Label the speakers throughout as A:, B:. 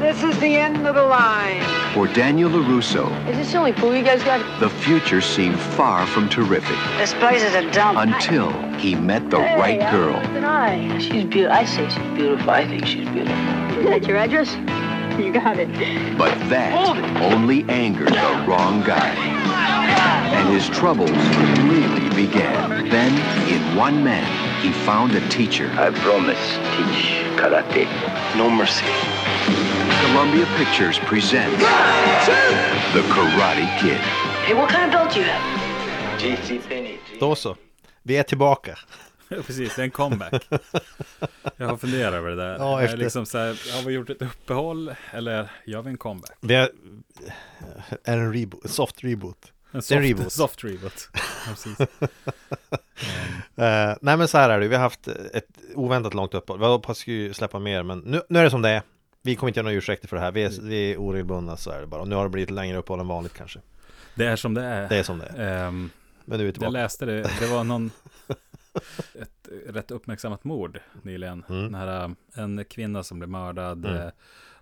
A: This is the end of the line.
B: For Daniel LaRusso,
C: Is this the only pool you guys got?
B: the future seemed far from terrific
A: This place is a dump.
B: until he met the right girl.
C: An eye. She's beautiful. I say she's beautiful. I think she's beautiful. Is that your address? You got it.
B: But that only angered the wrong guy. And his troubles really began. Then, in one man, he found a teacher.
D: I promise, teach karate. No mercy.
B: Columbia Pictures presents The Karate Kid.
C: Hey, what kind of belt do you have?
D: JC Penny.
E: Då så. Vi är tillbaka.
F: Precis, det är en comeback. Jag har funderat över det där.
E: Ja,
F: Jag är
E: efter-
F: Liksom så här, har vi gjort ett uppehåll eller gör vi en comeback?
E: Vi är, är en rebo- soft reboot.
F: En
E: Det är en reboot.
F: Soft reboot. Ja, precis.
E: Eh, nej men så här är det, vi har haft ett oväntat långt uppehåll. Vi hoppas ju släppa mer men nu, nu är det som det är. Vi kommer inte göra några ursäkter för det här, vi
F: Mm.
E: är, vi är oregelbundna så är det bara. Och nu har det blivit längre uppehåll än vanligt kanske.
F: Det är som det är.
E: Det är som det är.
F: Ehm,
E: Men nu är vi
F: jag
E: tillbaka.
F: läste det, det var någon, ett rätt uppmärksammat mord nyligen.
E: Mm.
F: När eh, en kvinna som blev mördad eh,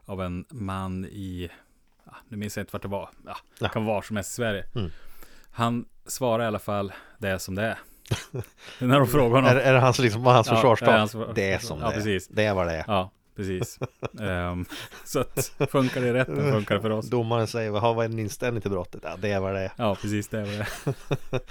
F: av en man i, ah, nu minns jag inte vart det var, ja,
E: Ja.
F: kan vara var som helst i Sverige.
E: Mm.
F: Han svarade i alla fall, det är som det är. när de frågar honom.
E: Är, är det hans, liksom, hans
F: Ja,
E: försvarstal?
F: det är hans försvar-
E: Det är som
F: Ja,
E: det är.
F: precis.
E: Det är vad det är.
F: Ja, precis. Ehm, så att funkar det i rätten funkar det för oss.
E: Domaren säger, "Jaha, vad är din inställning till brottet? Ja, det är vad det är.
F: Ja, precis det var det.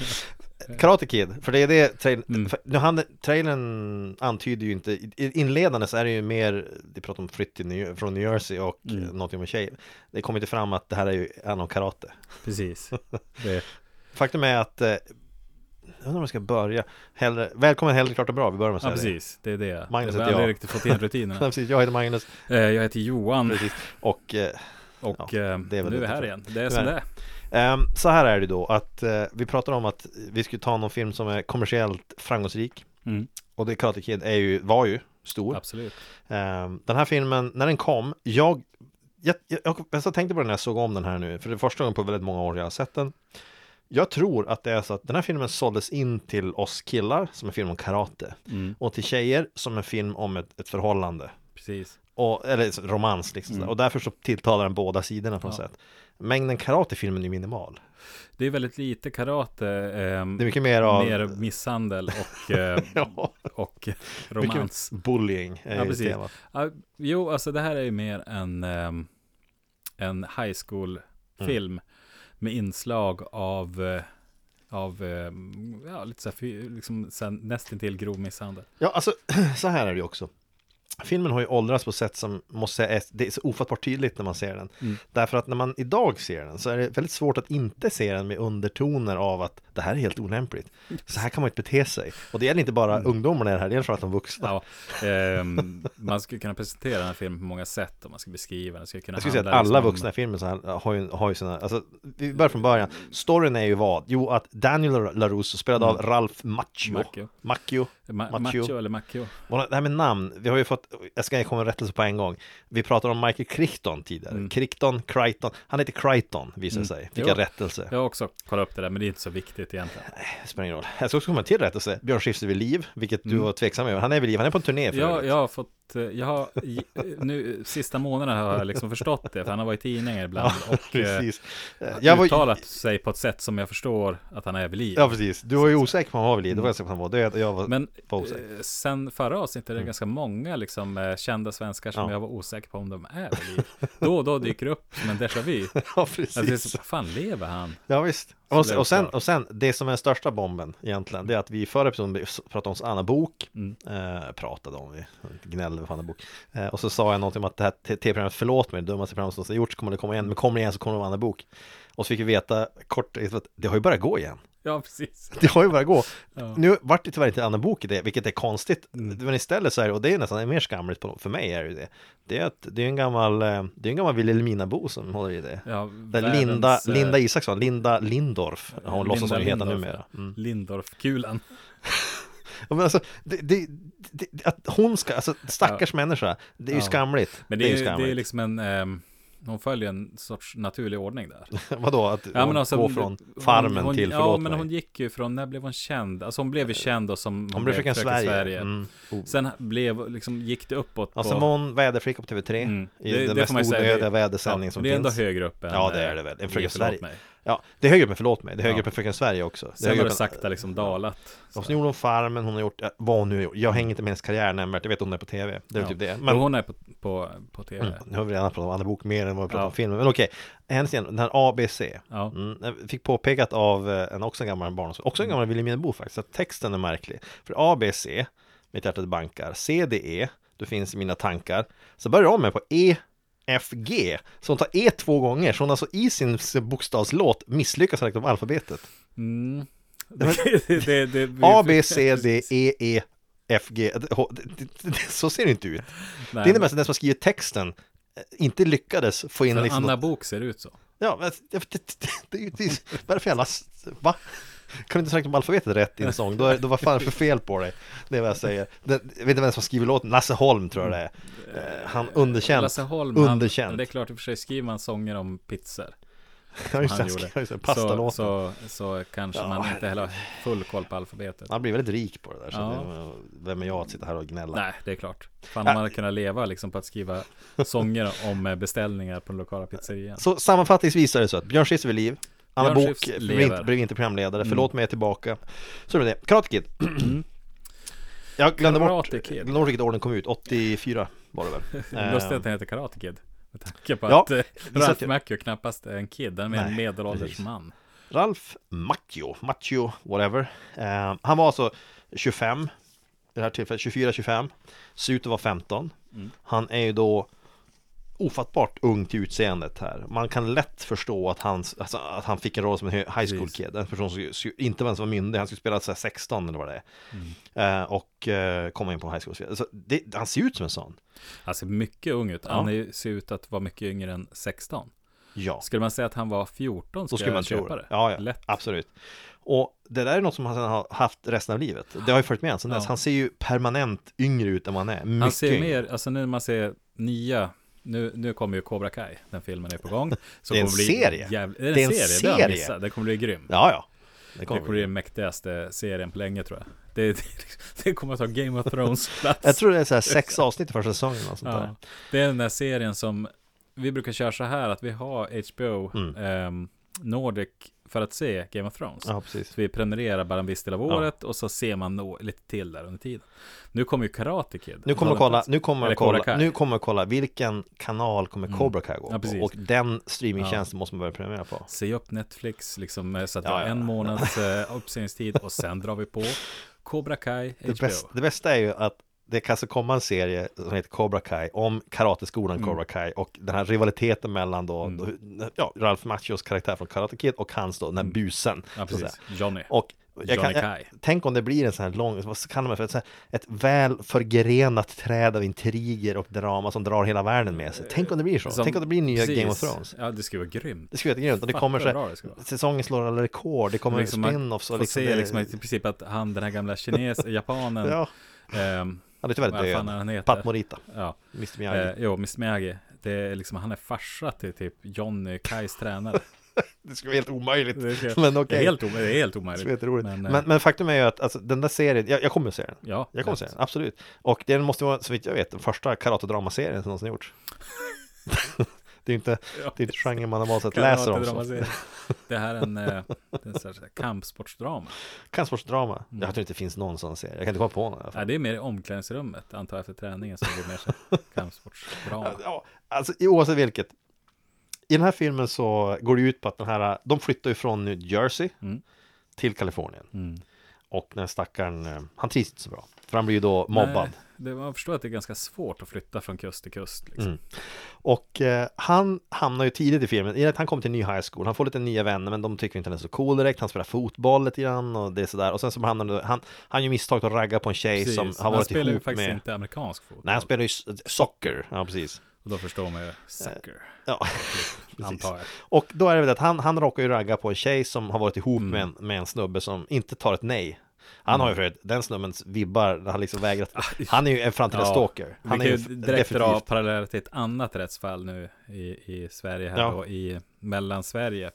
E: Karate Kid, för det är det trail-
F: Mm.
E: för- nu han, trailern antyder ju inte, i- inledande så är det ju mer, de pratar om flytt till New, från New Jersey och
F: Mm.
E: mm. någonting med tjejer. Det kommer inte fram att det här är ju är någon karate.
F: Precis. Det,
E: Faktum är att, eh, jag undrar om jag ska börja, hellre, välkommen hellre klart och bra, vi börjar med att
F: ja,
E: säga
F: precis. Det är det.
E: Magnus
F: det
E: heter
F: har aldrig
E: jag.
F: riktigt fått in
E: det.
F: rutinerna.
E: Ja, precis. Jag heter Magnus
F: Eh, Jag heter Johan
E: och eh,
F: och
E: Ja, det
F: eh,
E: är väl
F: nu är vi
E: lite
F: här
E: för-
F: igen. Det är som
E: Nej.
F: det är.
E: ehm, så här är det då att eh, vi pratar om att vi skulle ta någon film som är kommersiellt framgångsrik
F: Mm,
E: och det Karate Kid är ju, var ju stor.
F: absolut.
E: Ehm, Den här filmen, när den kom, jag, jag, jag, jag, jag så tänkte på den när jag såg om den här nu, för det är första gången på väldigt många år jag har sett den. Jag tror att det är så att den här filmen såldes in till oss killar som en film om karate
F: Mm,
E: och till tjejer som en film om ett, ett förhållande.
F: precis.
E: Och, eller så- romans liksom. sådär.
F: Mm.
E: Och därför så tilltalar den båda sidorna på något
F: Ja.
E: sätt. Mängden karate i filmen är minimal.
F: Det är väldigt lite karate. ehm,
E: Det är mycket mer av
F: mer misshandel och, eh,
E: ja,
F: och
E: mycket
F: romans.
E: bullying. eh, Är
F: Ja,
E: ju
F: precis.
E: temat.
F: Ja, jo, alltså det här är ju mer en, ehm, en high school-film
E: Mm.
F: med inslag av, eh, av ehm, ja, lite så här, fy- liksom, så här, nästintill grov misshandel.
E: Ja, alltså så här är det ju också. Filmen har ju åldrats på ett sätt som måste säga är, det är så ofattbart tydligt när man ser den.
F: Mm.
E: Därför att när man idag ser den så är det väldigt svårt att inte se den med undertoner av att det här är helt olämpligt. Så här kan man inte bete sig. Och det gäller inte bara ungdomarna i det här, det gäller framförallt de vuxna.
F: Mm. Ja, ehm, man skulle kunna presentera den här filmen på många sätt om man ska beskriva den. Skulle kunna
E: Jag skulle säga att
F: handla
E: alla
F: liksom
E: vuxna
F: om-
E: i filmen så här, har, ju, har ju sina, alltså, vi börjar från början. Storyn är ju vad? Jo, att Daniel LaRusso spelad av Ralph Macchio.
F: Mm. Macchio.
E: Macchio. Macho.
F: Ma- Macho eller Macchio.
E: Och Det här med namn, vi har ju fått, jag ska komma med en rättelse på en gång. Vi pratade om Michael Crichton tidigare.
F: Mm.
E: Crichton, Crichton, han heter Crichton visar det sig. Fick
F: Jo.
E: jag rättelse.
F: Jag har också kollat upp det där, men det är inte så viktigt egentligen.
E: Det spelar ingen roll. Jag ska också komma till rättelse. Björn Skifs är vid liv, vilket du
F: Mm.
E: var tveksam över. Han är vid liv, han är på en turné för
F: Jag,
E: övrigt.
F: jag har fått, eh, jag har, i- nu sista månaderna har jag liksom förstått det, för han har varit i tidningar ibland och eh,
E: precis. Jag var,
F: uttalat sig på ett sätt som jag förstår att han är vid liv.
E: ja, precis. Du var ju osäker på om han var vid liv, då var jag säker på att han var död. Och jag var,
F: Men
E: var osäker. Mm.
F: eh, sen förra avsnittet är det ganska många liksom, eh, kända svenskar som
E: Ja.
F: jag var osäker på om de är vid liv. Då och då dyker det upp som en déjà vu.
E: ja,
F: Alltså, det är
E: precis.
F: så, fan lever han?
E: Ja visst. Och,
F: blev det
E: och, sen,
F: klart.
E: och sen, det som är den största bomben egentligen, det är att vi i förra episoden pratade om Anna Bok
F: Mm.
E: eh, Pratade om, vi gnällde på Anna Bok eh, Och så sa jag någonting om att det här te- tv-programmet, förlåt mig, det dummaste programmet som har gjorts kommer det komma igen, men kommer det igen så kommer det vara Anna Bok Och så fick vi veta kort, att det har ju börjat gå igen
F: Ja, precis.
E: Det har ju börjat gå
F: Ja. Mm.
E: Nu vart det tyvärr inte Anna Bok i det, vilket är konstigt Men istället så är det, och det är nästan mer skamligt på, för mig är det ju det Det är att det är en gammal, eh, det är en gammal Vilhelminabo som håller i det
F: Ja,
E: där
F: världens,
E: Linda,
F: eh,
E: Linda Isaksson, Linda Lindorf, hon låtsas som hon heter
F: Lindorff,
E: numera. Mm.
F: Lindorff-kulan.
E: Ja, Men alltså, det, det, det, att hon ska, alltså stackars människa, det är ju
F: Ja.
E: skamligt.
F: Men det, är, ju- det är
E: skamligt.
F: liksom en, ehm, hon följer en sorts naturlig ordning där.
E: Vadå, att
F: Ja, men
E: hon
F: alltså,
E: går
F: hon-
E: från
F: hon-
E: farmen
F: hon,
E: till,
F: Ja,
E: förlåt
F: men
E: mig. Eh,
F: hon gick ju från, när blev hon känd? Alltså hon blev ju känd och som
E: hon blev fröken Sverige. Mm.
F: Sen blev, liksom, gick det uppåt
E: Alltså
F: på...
E: var hon väderflicka på TV3
F: Mm.
E: i den mest
F: ju säga,
E: onödiga
F: det-
E: vädersändning
F: ja,
E: som
F: Det är ändå
E: finns.
F: högre upp än...
E: Ja, det är
F: eh,
E: det väl. En
F: i
E: Fröken
F: Förlåt
E: Sverige.
F: mig.
E: Ja, det är högre upp än Förlåt mig, det är högre
F: Ja.
E: upp än Fröken Sverige också. Det är
F: Sen
E: högre
F: har
E: upp
F: det
E: än-
F: sakta liksom dalat.
E: Och sen gjorde hon Farmen, hon har gjort, ja, vad hon nu har gjort. Jag hänger inte med hennes karriär nämnvärt, jag vet hon är på TV. Det är
F: Ja.
E: typ det. Men
F: Men hon är på, på, på TV.
E: Mm, nu har vi redan pratat om Anna Bok mer än vad vi pratat
F: Ja.
E: om filmen. Men okej, hennes igen, den här ABC.
F: Ja.
E: Mm, jag fick påpekat av eh, en också en gammal barn, också en
F: Mm.
E: gammal Vilhelminabo faktiskt, att texten är märklig. För ABC, Mitt hjärtat bankar, CDE, Du finns i mina tankar. Så börjar om med på EFG, så hon tar E två gånger, så hon alltså i sin s- bokstavslåt misslyckas direkt om alfabetet.
F: Mm. Det, det, det, det,
E: A, B, C, D, E, E, F, G. Det- H- det- det- det- Så ser det inte ut.
F: Nej,
E: Det innebär att den som har skrivit texten eh, inte lyckades få in
F: men
E: liksom
F: Anna Bok ser ut så.
E: Ja, men det, det, det, det, är ju- det, är ju- vad är det för jävla... Va? Kan du inte söka på alfabetet rätt i en sång? Då, är, då vad fan är det för fel på dig? Det är vad jag säger. Den, jag vet inte vem som skriver låten, Lasse Holm tror jag det är. Eh, Han underkänd.
F: Lasse Holm,
E: underkänd.
F: Han, det är klart i och för sig, skriver man sånger om pizzor.
E: Ja, just det,
F: Han
E: han
F: gjorde.
E: skrev ju så här
F: Så,
E: pastalåten.
F: så, så kanske
E: Ja.
F: man inte heller har full koll på alfabetet.
E: Han blir väldigt rik på det där, så
F: Ja.
E: det, vem är jag att sitta här och gnälla?
F: Nej, det är klart. Fan om man hade kunnat leva liksom på att skriva sånger om eh, beställningar på den lokala pizzerian.
E: Så sammanfattningsvis är det så att Björn Skifs är vid liv, Anna
F: Björn
E: Bok
F: Skifs Mm.
E: blev
F: lever.
E: inte, blev inte programledare, förlåt mig, jag är tillbaka. Så är det med det. Karate Kid. Jag glömde bort,
F: Mm. Karate Kid.
E: glömde bort vilket år den kom ut, 84 var det väl?
F: Lustigt
E: Eh,
F: att den heter Karate Kid. Med tanke på
E: Ja,
F: att eh,
E: vi satt
F: Ralph
E: ju-
F: Macchio knappast är en kid, han är
E: Nej,
F: en medelålders
E: precis.
F: man.
E: Ralf Macchio, Macchio, whatever. Eh, han var alltså 25 vid det här tillfället, 24-25. Ser ut att vara 15. Han är ju då ofattbart ung till utseendet här. Man kan lätt förstå att han, alltså, att han fick en roll som en hö- high school
F: Precis.
E: kid. En person som skulle- inte ens var myndig, han skulle spela så här 16 eller vad det är. Eh, och eh, komma in på en high school. Alltså, det, han ser ut som en sån.
F: Han ser mycket ung ut.
E: Ja.
F: Han är, ju- ser ut att vara mycket yngre än 16.
E: Ja.
F: Skulle man säga att han var 14
E: Då
F: skulle,
E: skulle man
F: jag
E: tro
F: köpa
E: det.
F: det.
E: Ja, ja.
F: Lätt.
E: absolut. Och det där är något som han sedan har haft resten av livet. Det har ju följt med honom sedan dess.
F: Ja.
E: Han ser ju permanent yngre ut än vad han är. Mycket
F: Han ser
E: yngre.
F: mer, alltså nu när man ser nya, nu, nu kommer ju Cobra Kai, den filmen är på gång. Så
E: Det är en
F: kommer bli
E: serie.
F: jävla- det är en serie. Det har jag missat. Det kommer bli grym.
E: Ja, ja. Det
F: Det
E: kommer
F: kommer bli den mäktigaste serien på länge tror jag. Det, det, det kommer att ta Game of Thrones plats.
E: Jag tror det är så här sex avsnitt i första säsongen. Och sånt där.
F: ja. Det är den där serien som vi brukar köra så här att vi har HBO
E: Mm.
F: ehm, Nordic för att se Game of Thrones.
E: ja, precis.
F: Så vi prenumererar bara en viss del av
E: Ja.
F: året och så ser man nå- lite till där under tiden. Nu kommer ju Karate Kid.
E: Nu kommer jag kolla, nu kommer
F: Eller
E: jag
F: Cobra
E: kolla,
F: Kai. Mm.
E: nu kommer jag kolla vilken kanal kommer Cobra Kai gå
F: Ja,
E: på?
F: precis.
E: Och den streamingtjänsten måste man börja prenumerera på.
F: Se upp Netflix liksom eh, så att vi
E: Ja,
F: har
E: ja.
F: en månads eh, uppsägningstid och sen drar vi på Cobra Kai HBO.
E: Det, bäst, det bästa är ju att det kan alltså komma en serie som heter Cobra Kai om karateskolan
F: Mm.
E: Cobra Kai och den här rivaliteten mellan då, då ja, Ralf Machios karaktär från Karate Kid och hans då, den här busen.
F: Mm. Ja,
E: så att
F: precis.
E: säga.
F: Johnny.
E: Och jag kan,
F: Johnny
E: jag,
F: Kai.
E: tänk om det blir en sån här lång, vad kallar man för, ett, så här, ett väl förgrenat träd av intriger och drama som drar hela världen med sig. Tänk om det blir så,
F: Som-
E: tänk om det blir nya
F: precis.
E: Game of Thrones.
F: Ja, det skulle vara grymt.
E: Det skulle vara jättegrymt och det
F: Fan,
E: kommer
F: vad
E: så
F: bra
E: här,
F: det skulle vara.
E: säsongen slår alla rekord, det kommer
F: man
E: spin-offs och
F: får
E: liksom,
F: se
E: det,
F: liksom i princip att han, den här gamla kines, japanen,
E: ja,
F: ehm,
E: han är
F: vad
E: tyvärr
F: fan är han
E: död.
F: heter?
E: Pat Morita,
F: ja,
E: Mr
F: eh,
E: Miyagi.
F: jo, Miss Miyagi, det är liksom, han är farsa till typ Johnny Kais tränare.
E: Det skulle vara helt omöjligt.
F: Det är-
E: Men
F: det
E: okej.
F: är helt o- det är helt
E: Det
F: omöjligt.
E: skulle vara jätteroligt.
F: Men,
E: Men,
F: eh,
E: men, faktum är ju att alltså, den där serien, jag, jag kommer att se den.
F: ja,
E: Jag kommer att
F: lätt.
E: se den, absolut. Och den måste vara, så vitt jag vet, den första karatedramaserien som någonsin gjorts. det är ju inte,
F: Ja,
E: det är inte genren man normalt sett
F: Kan det
E: läser
F: vara
E: om.
F: ett
E: så ofta.
F: dramaserie? Det här är en, eh, en sån här kampsportsdrama.
E: Kampsportsdrama.
F: Mm.
E: Jag tror inte det finns någon sån serie. Jag kan inte komma på någon. i alla fall.
F: Nej, det är mer i omklädningsrummet, antar jag, efter träningen som går mer så här kampsportsdrama.
E: Ja, alltså i- oavsett vilket. I den här filmen så går det ju ut på att den här, de flyttar ju från New Jersey
F: Mm.
E: till Kalifornien.
F: Mm.
E: Och den här stackaren, eh, han trivs inte så bra. För han blir ju då mobbad.
F: Nej, det, man förstår att det är ganska svårt att flytta från kust till kust. Liksom.
E: Mm. Och eh, han hamnar ju tidigt i filmen, i att han kommer till en ny high school, han får lite nya vänner men de tycker inte han är så cool direkt, han spelar fotboll lite grann och det är sådär. Och sen så hamnar han, han, han gör misstaget att ragga på en tjej
F: Precis.
E: som har
F: han
E: varit
F: spelar ju
E: ihop med...
F: faktiskt inte amerikansk fotboll.
E: Nej, han spelar ju s- soccer, ja precis.
F: Och då förstår man ju sucker,
E: Ja, precis.
F: antar jag.
E: Och
F: Mm.
E: då är det väl det att han, han råkar ju ragga på en tjej som har varit ihop med, en, med en snubbe som inte tar ett nej. Han har ju för övrigt, den snubbens vibbar, han liksom vägrat.
F: Ah,
E: Han är ju en framtida stalker. Han
F: vi
E: är
F: kan ju
E: ju
F: direkt
E: definitivt-
F: dra paralleller till ett annat rättsfall nu i, i Sverige här
E: Ja.
F: då, i Mellansverige.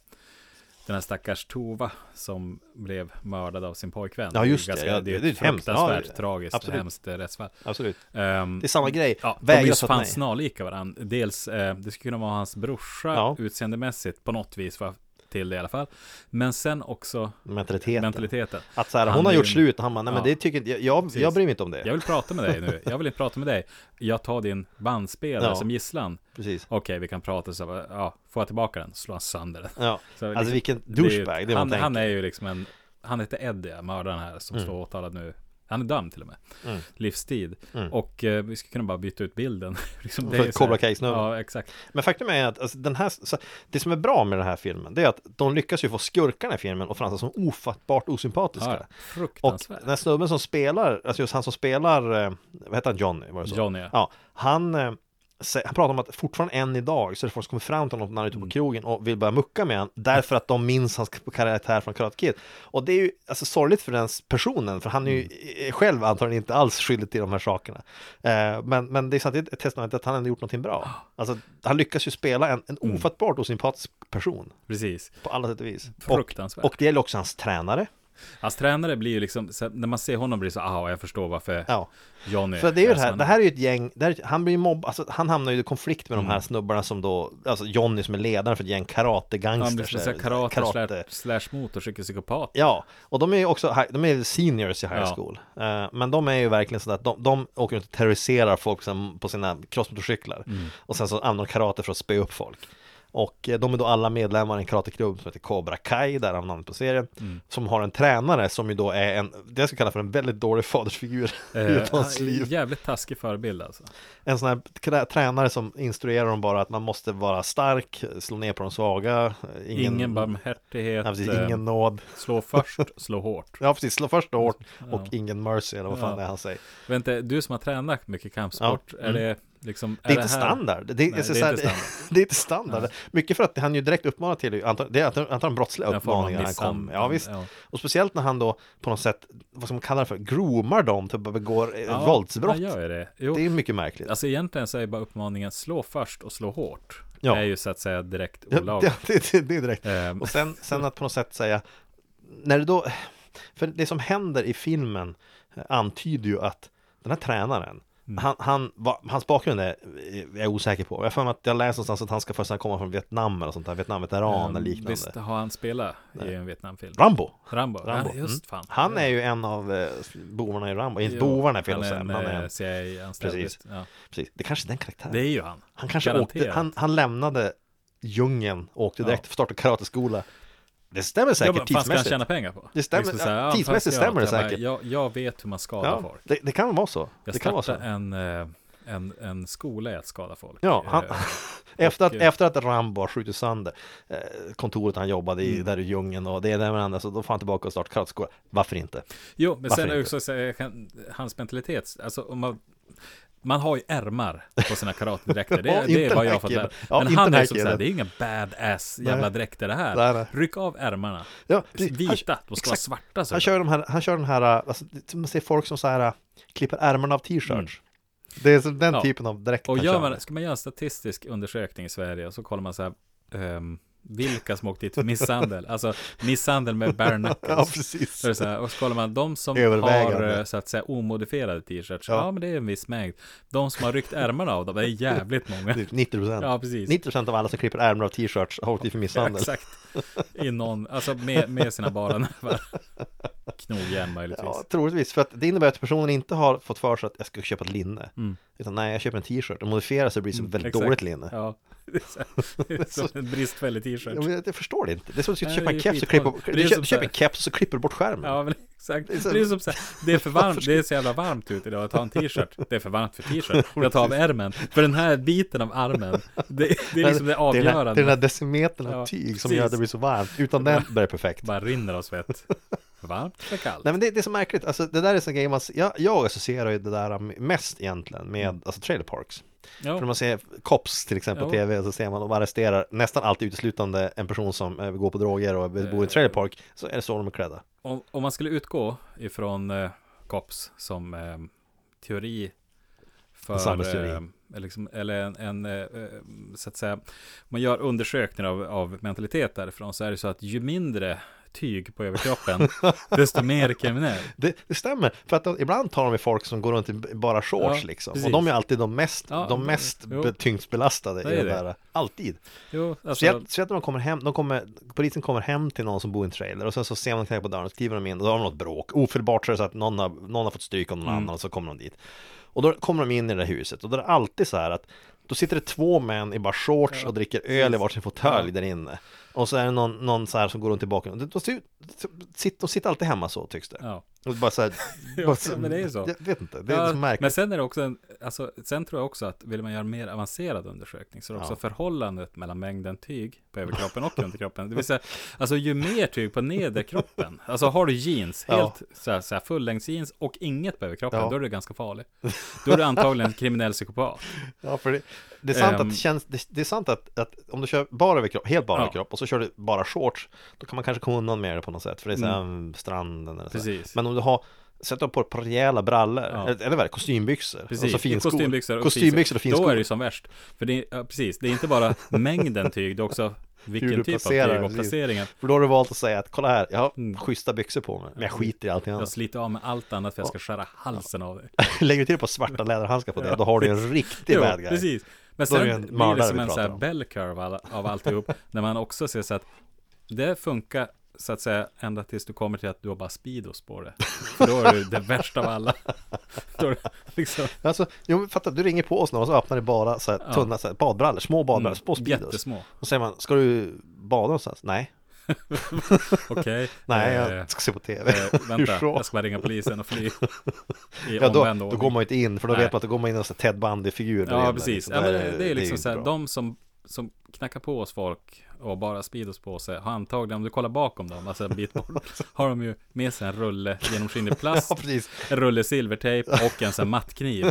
F: Den här stackars Tova som blev mördad av sin pojkvän.
E: Ja,
F: är ju
E: just det. Ja,
F: det är
E: det är
F: ett
E: hemskt. Ja,
F: fruktansvärt
E: ja,
F: tragiskt,
E: absolut.
F: hemskt eh, rättsfall.
E: Absolut.
F: Ehm,
E: Det är samma grej.
F: Ja, de är ju
E: Vägrar så att
F: fan
E: nej.
F: snarlika varandra. Dels, eh, det skulle kunna vara hans brorsa
E: Ja.
F: utseendemässigt på något vis, va, till det i alla fall. Men sen också
E: Mentaliteten.
F: mentaliteten.
E: Att så här,
F: Han
E: hon har
F: är
E: gjort
F: ju-
E: slut och han bara, nej men
F: Ja.
E: det tycker inte, jag, jag,
F: Precis.
E: jag bryr mig inte om det.
F: Jag vill prata med dig nu. Jag vill inte prata med dig. Jag tar din bandspelare
E: Ja.
F: som gisslan.
E: Precis.
F: Okej, vi kan prata så. här, Ja, får jag tillbaka den? Slå sönder den.
E: Ja.
F: Så liksom,
E: Alltså vilken
F: det är ju-
E: douchebag, det är vad man
F: han,
E: tänker. Mm.
F: han är ju liksom en... Han heter Eddie, mördaren här, som står åtalad nu. Han är dömd till och med. Livstid. Och eh, vi skulle kunna bara byta ut bilden. liksom,
E: Mm. För
F: ju
E: ett
F: så här-
E: Cobra Kai-snubbe.
F: Ja, exakt.
E: Men faktum är att alltså, den här, så, det som är bra med den här filmen, det är att de lyckas ju få skurkarna i filmen att framstå som ofattbart
F: Ja,
E: osympatiska. och
F: fruktansvärt.
E: den här snubben som spelar, alltså just han som spelar, eh, vad heter han, Johnny? Var det så?
F: Johnny, ja.
E: Ja, han, eh, sä- han pratar om att fortfarande än idag så är det folk som kommer fram till honom när han är
F: Mm.
E: ute på krogen och vill börja mucka med honom därför att de minns hans karaktär från Karate Kid. Och det är ju alltså, sorgligt för den personen, för han är ju
F: Mm.
E: eh, själv antagligen inte alls skyldig till de här sakerna. Eh, men, men det är samtidigt ett testament att han ändå gjort någonting bra. Alltså, han lyckas ju spela en, en
F: Mm.
E: ofattbart osympatisk person
F: Precis.
E: på alla sätt och vis.
F: Fruktansvärt.
E: Och, och det gäller också hans tränare.
F: Hans tränare blir ju liksom, så här, när man ser honom blir det så, aha, jag förstår varför
E: Ja.
F: Johnny
E: För det är ju det
F: som
E: här,
F: han
E: det
F: är."
E: här är ju ett gäng, det här, är ett- han blir ju mobb, alltså han hamnar ju i konflikt med
F: Mm.
E: de här snubbarna som då, alltså Johnny som är ledaren för ett gäng
F: Ja, Han
E: karategangsters.
F: blir så här
E: eller
F: karate, karate. slash, slash motorcykelpsykopat.
E: Ja, och de är ju också, hi- de är ju seniors i high
F: Ja.
E: school. Eh, Men de är ju verkligen sådär att de, de åker runt och terroriserar folk som, på sina crossmotorcyklar.
F: Mm.
E: Och sen så använder de karate för att spöa upp folk. Och eh, de är då alla medlemmar i en karateklubb som heter Cobra Kai, där han namnet på serien.
F: Mm.
E: Som har en tränare som ju då är en, det jag skulle kalla för en väldigt dålig fadersfigur i
F: Eh,
E: hans
F: han-
E: liv.
F: Jävligt taskig förebild alltså.
E: en sån här trä- tränare som instruerar dem bara att man måste vara stark, slå ner på de svaga, eh,
F: Ingen,
E: ingen,
F: barmhärtighet,
E: ja, precis,
F: eh,
E: ingen nåd.
F: slå först, slå hårt.
E: Ja precis, slå först hårt och
F: Ja.
E: ingen mercy eller vad fan
F: Ja.
E: det är han säger.
F: Vänta, du som har tränat mycket kampsport,
E: Ja,
F: är
E: mm.
F: det liksom...
E: Det är,
F: det
E: inte
F: här-
E: standard. Det,
F: Nej,
E: är, så
F: det är
E: så här,
F: inte standard.
E: det är inte standard. Mycket för att han ju direkt uppmanar till, anta- det är att- antagligen brottsliga
F: Den formen av
E: uppmaningar han kom.
F: misshandel,
E: Ja, visst.
F: ja.
E: Och speciellt när han då på något sätt, vad som man kallar det för, groomar dem till att begå ja,
F: Ja,
E: våldsbrott.
F: Han gör ju det. Jo,
E: Det är mycket märkligt.
F: Alltså egentligen så är bara uppmaningen slå först och slå hårt.
E: Ja.
F: Det är ju så att säga direkt
E: Ja,
F: olagligt.
E: Det, det, det, det är direkt.
F: Ehm.
E: Och sen, sen att på något sätt säga, när det då, för det som händer i filmen eh, antyder ju att den här tränaren,
F: Mm.
E: han, han, vad- hans bakgrund är, eh, är jag osäker på. Jag har för mig att jag läst någonstans att han ska först komma från Vietnam eller sånt där, Vietnam, Iran eller liknande.
F: Ehm, Visst har han spelat i en Vietnamfilm?
E: Rambo!
F: Rambo.
E: Rambo.
F: Ja, just
E: Mm.
F: fan.
E: Han är ju en av eh, bovarna i Rambo, inte
F: Jo,
E: bovarna är fel att
F: han är
E: säga,
F: en,
E: men han är
F: eh,
E: en,
F: CIA-anställd.
E: Precis.
F: visst. Ja.
E: precis. Det är kanske är den karaktären.
F: Det är ju han.
E: han kanske
F: Garanterat.
E: åkte, han, han lämnade djungeln, åkte direkt,
F: Ja.
E: startade karateskola. Det stämmer
F: Ja,
E: säkert
F: men fan ska han
E: tidsmässigt.
F: tjäna pengar på?
E: Det stämmer-
F: så här,
E: ja,
F: fan,
E: tidsmässigt
F: ska jag-
E: stämmer det
F: jag bara,
E: säkert.
F: Jag, jag vet hur man skadar
E: Ja,
F: folk.
E: det, det kan vara så.
F: Jag
E: det kan vara så.
F: startade en, eh, en, en skola i att skada folk.
E: Ja, han,
F: Eh,
E: efter, att,
F: eh,
E: efter att Rambo har skjutit sönder eh, kontoret han jobbade
F: Mm.
E: i, där i djungeln och det ena med det andra, så då får han tillbaka och starta karateskola. Varför inte?
F: Jo, men
E: Varför
F: sen är det
E: inte?
F: också så här, jag kan- hans mentalitet. Alltså, om man, man har ju ärmar på sina karatedräkter. Det,
E: Ja,
F: är-
E: inte
F: det är vad
E: den
F: jag
E: här
F: har fått lära
E: killen. Ja,
F: Men
E: inte
F: han
E: den
F: är
E: här
F: som så här,
E: killen.
F: det är ju inga badass jävla
E: Nej.
F: dräkter det här.
E: Nej, nej.
F: Ryck av ärmarna.
E: Ja, precis.
F: Vita,
E: Han-
F: de ska vara
E: exakt.
F: svarta. Så
E: Han kör, de här, han kör den här, eh, alltså, det- man ser folk som så här eh, klipper ärmarna av t-shirts. Det är som den
F: Mm. Ja.
E: typen av dräkt
F: Och
E: han
F: gör
E: kör.
F: man, ska man göra en statistisk undersökning i Sverige och så kollar man så här, ehm, vilka som åkt dit för misshandel? Alltså misshandel med bare
E: Ja,
F: knuckles.
E: precis.
F: Så är det så här, och så kollar man de som har
E: Övervägande.
F: eh, så att säga omodifierade t-shirts. Ja.
E: Ja.
F: men det är en viss mängd. De som har ryckt ärmarna av dem, det är jävligt många.
E: Typ 90 procent.
F: Ja, precis.
E: 90 procent av alla som klipper ärmar av t-shirts har åkt dit för
F: Ja,
E: misshandel.
F: exakt. I någon, alltså med, med sina bara nävar. Knogjärn möjligtvis.
E: Ja, troligtvis. För att det innebär att personen inte har fått för sig att jag ska köpa ett linne. Utan nej, jag köper en t-shirt och modifierar så det blir som ett väldigt
F: Mm.
E: dåligt
F: Exakt.
E: linne. Ja.
F: Ja, det är så här- det är som en bristfällig t-shirt.
E: men jag förstår det inte. Det är som att du
F: Nej,
E: köper
F: det
E: en
F: är
E: keps och
F: skitbra.
E: klipper,
F: Det är
E: du köper,
F: som
E: du
F: så här-
E: köper en keps och så klipper du bort skärmen.
F: Ja, men exakt. Det är,
E: så-
F: som så här, det är för varmt, det är så jävla varmt ute idag att ta en t-shirt. Det är för varmt för t-shirt. Jag tar av ärmen. För den här biten av armen, det, det är liksom det
E: den här, det är den
F: avgörande.
E: här decimetern av
F: Ja,
E: tyg som
F: precis.
E: gör att det blir så varmt. Utan den blir det perfekt.
F: Bara rinner av svett. Varmt eller kallt?
E: Nej men det, det är så
F: Mm.
E: märkligt, alltså det där är så grejer man, jag, jag associerar ju det där mest egentligen med, alltså trailer parks.
F: Ja.
E: För när man ser Cops till exempel på
F: Jo.
E: tv så ser man de arresterar nästan alltid uteslutande en person som eh, går på droger och bor i en
F: Eh.
E: trailer park så är det så de är klädda.
F: Om, om man skulle utgå ifrån eh, COPS som eh, teori för,
E: En samhällsteori.
F: eh, liksom, eller en, en eh, eh, så att säga, om man gör undersökningar av, av mentalitet därifrån så är det så att ju mindre tyg på överkroppen, desto mer kriminell.
E: Det, det stämmer, för att de, ibland tar de med folk som går runt i b- bara shorts
F: Ja,
E: liksom.
F: precis.
E: Och de är alltid de mest,
F: Ja,
E: de mest
F: jo.
E: be- tyngst belastade
F: Det
E: i
F: är
E: det
F: det.
E: där. Alltid.
F: Jo,
E: Så
F: alltså,
E: jag, så jag tror de kommer hem, de kommer, polisen kommer hem till någon som bor i en trailer och sen så ser man knäcka på dörren, och skriver de in och då har de något bråk. Ofelbart så är det så att någon har, någon har fått stryk av någon
F: Mm.
E: annan och så kommer de dit. Och då kommer de in i det där huset och då är det alltid så här att då sitter det två män i bara shorts och dricker öl i varsin fåtölj där inne. Och så är det någon, någon så här som går runt i bakgrunden. De, de, sitter, de sitter alltid hemma så tycks det.
F: ja.
E: Och bara så här,
F: Ja,
E: bara så-
F: men det är ju så.
E: Jag vet inte, det är
F: Ja,
E: så märkligt.
F: Men sen är det också en, alltså, sen tror jag också att vill man göra en mer avancerad undersökning så är det också
E: Ja.
F: förhållandet mellan mängden tyg på överkroppen och underkroppen. Det vill säga, alltså ju mer tyg på nederkroppen, alltså har du jeans,
E: Ja.
F: helt så här, så här, fullängds jeans och inget på överkroppen,
E: Ja.
F: då är du ganska farlig. Då är du antagligen en kriminell psykopat.
E: Ja, för det, det är sant
F: Ehm.
E: att, det känns, det, det är sant att, att om du kör bara överkropp, helt bara
F: Ja.
E: överkropp och så kör du bara shorts, då kan man kanske komma undan med det på något sätt, för det är så här, mm. stranden eller så. här.
F: Precis.
E: Men om du har Sätter på ett par rejäla brallor,
F: Ja.
E: eller, eller vad är det, kostymbyxor,
F: Precis,
E: och så finskor.
F: kostymbyxor och,
E: kostymbyxor och
F: Då är
E: finskor.
F: det ju som värst. För det är, ja, precis, det är inte bara mängden tyg, det är också
E: Hur
F: vilken
E: du
F: typ av
E: placerar
F: tyg
E: det,
F: och
E: precis.
F: placeringen.
E: För då har du valt att säga att kolla här, jag har
F: Mm.
E: schyssta byxor på mig, men jag skiter i allting
F: Jag
E: annat.
F: sliter av med allt annat för jag ska skära halsen av dig.
E: Lägger du till på svarta läderhandskar på det, då har du en riktig bad guy.
F: precis. Men
E: Då är det
F: sen
E: ju en
F: blir det
E: mördare
F: som
E: vi
F: en så
E: pratar
F: här
E: om.
F: bell curve av, av alltihop. när man också ser så att det funkar så att säga ända tills du kommer till att du har bara speedos på det. För då är du det värsta av alla. Då är det liksom,
E: Alltså, jo, men fatta, du ringer på oss nu och så öppnar det bara så här,
F: Ja.
E: tunna så här, badbrallor, små badbrallor,
F: Mm,
E: små speedos.
F: jättesmå.
E: Och säger man, ska du bada någonstans? Nej,
F: Okej.
E: nej,
F: eh,
E: jag ska se på tv.
F: eh,
E: Hur
F: vänta,
E: så?
F: jag ska bara ringa polisen och fly. I
E: Ja, då,
F: omvänd
E: då
F: ordning.
E: går man ju inte in, för då
F: Nej.
E: vet man att då går man in i en sån här Ted Bundy-figur. där
F: Ja,
E: inne,
F: precis.
E: liksom.
F: Ja, men
E: Nej,
F: det, det är liksom
E: inte
F: så här,
E: bra.
F: de som, som knackar på oss folk och bara Speedos på sig har antagligen, om du kollar bakom dem, alltså en bit bort, har de ju med sig en rulle genomskinlig plast,
E: Ja, precis.
F: en rulle silvertejp och en sån här mattkniv.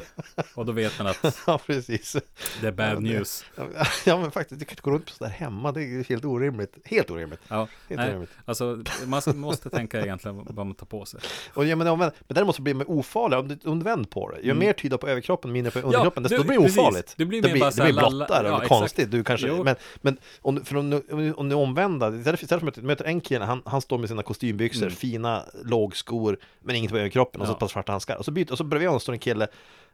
F: Och då vet man att
E: Ja, precis.
F: det är bad news.
E: Ja, men faktiskt, du kan inte gå runt på sådär hemma. Det är helt orimligt. Helt orimligt.
F: Ja,
E: Helt
F: nej,
E: orimligt.
F: alltså man s- måste tänka egentligen vad man tar på sig.
E: Och, ja, men, omvänd, men däremot så blir man ofarlig om du om du vänder på det. Ju mer tyda på överkroppen, mindre på underkroppen, desto
F: Mm. du-
E: då blir
F: precis.
E: det ofarligt.
F: Du blir
E: det
F: mer
E: blir,
F: bara
E: det
F: så här
E: blir
F: lalla-
E: blottare
F: ja,
E: och
F: exakt.
E: konstigt. Du kanske,
F: Jo.
E: men men om, du- för om, du- om, du- om du omvända, istället för att du möter en kille, han, han står med sina kostymbyxor, fina lågskor, men inget på överkroppen och så
F: Mm. Ja.
E: ett par svarta handskar. Och så, byter, och så bredvid honom står en kille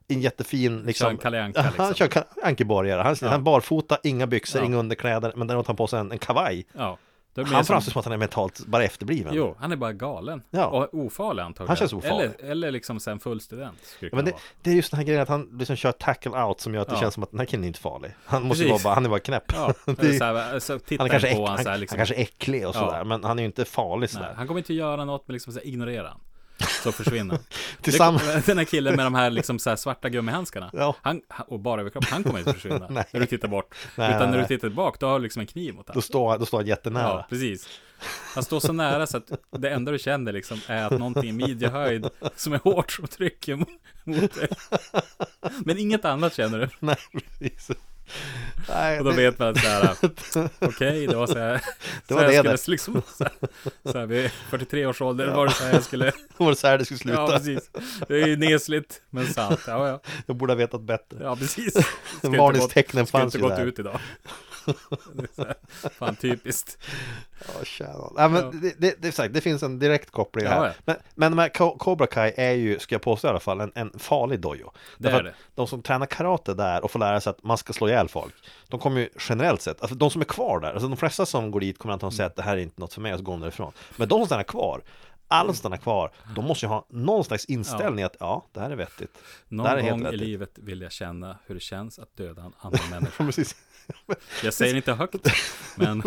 E: i en jättefin liksom,
F: en Kalle Anka,
E: Han
F: liksom.
E: kör Kalle Ankeborgare, han, han barfota, inga byxor,
F: Ja.
E: inga underkläder Men däremot har han på sig en, en kavaj
F: Ja, då är det mer
E: Han
F: som-
E: framstår som att han är mentalt bara efterbliven
F: Jo, han är bara galen.
E: Ja.
F: Och ofarlig antagligen.
E: Han känns ofarlig.
F: Eller, eller liksom sen full student. skulle
E: Ja, men det,
F: kunna vara.
E: det är just den här grejen att han liksom kör tackle out som gör att det
F: Ja.
E: känns som att den här killen är inte farlig. Han måste
F: Precis.
E: vara bara, han är bara knäpp.
F: Ja,
E: Det-
F: eller så här, så tittar
E: han, är kanske äck,
F: på
E: han,
F: han, så här,
E: han
F: liksom,
E: kanske är äcklig och
F: Ja.
E: sådär, men han är ju inte farlig
F: nej,
E: sådär.
F: han kommer inte göra något, men liksom så här, ignorera han. Så försvinner han.
E: Tillsammans-
F: Det- Den här killen med de här, liksom, så här svarta gummihandskarna.
E: Ja.
F: Han, han- och bara överkropp, han kommer inte försvinna.
E: Nej.
F: När du tittar bort.
E: Nej,
F: Utan
E: nej,
F: när du
E: nej.
F: tittar bak, då har du liksom en kniv mot
E: Då
F: honom.
E: står, han- då står han
F: Ja,
E: jättenära.
F: precis. Han står så nära så att det enda du känner liksom är att någonting i midjehöjd som är hårt som trycker mot, mot dig. Men inget annat känner du.
E: Nej, precis. Nej,
F: Och då
E: det-
F: vet man att så här, okej, det var så här,
E: Det
F: det
E: var
F: var så här
E: det
F: jag
E: det.
F: skulle liksom, så här, så här vid 43 års ålder var det så här jag skulle,
E: Då var det så här det skulle sluta.
F: ja precis, det är ju nesligt men sant, ja ja,
E: Jag borde ha vetat bättre.
F: ja precis. Ska inte gått-
E: Varningstecknen
F: ska
E: fanns
F: inte
E: ju
F: gått
E: där.
F: ut idag. Det är så här, Fan typiskt.
E: Ja, tjena. Nej, men
F: Ja.
E: det, det, det, är sagt, det finns en direkt koppling
F: Ja,
E: här.
F: ja.
E: Men, men de här Co- Cobra Kai är ju, ska jag påstå i alla fall, en, en farlig dojo.
F: Det är
E: Därför
F: det.
E: att De som tränar karate där och får lära sig att man ska slå ihjäl folk, de kommer ju generellt sett, alltså de som är kvar där, alltså de flesta som går dit kommer antagligen säga att det här är inte något för mig och så går de därifrån. Men de som stannar kvar, alla som stannar kvar, de måste ju ha någon slags inställning att ja, det här är vettigt. det här är
F: Någon
E: helt
F: gång i
E: vettigt.
F: livet vill jag känna hur det känns att döda en annan människa.
E: Precis.
F: Jag säger inte högt, men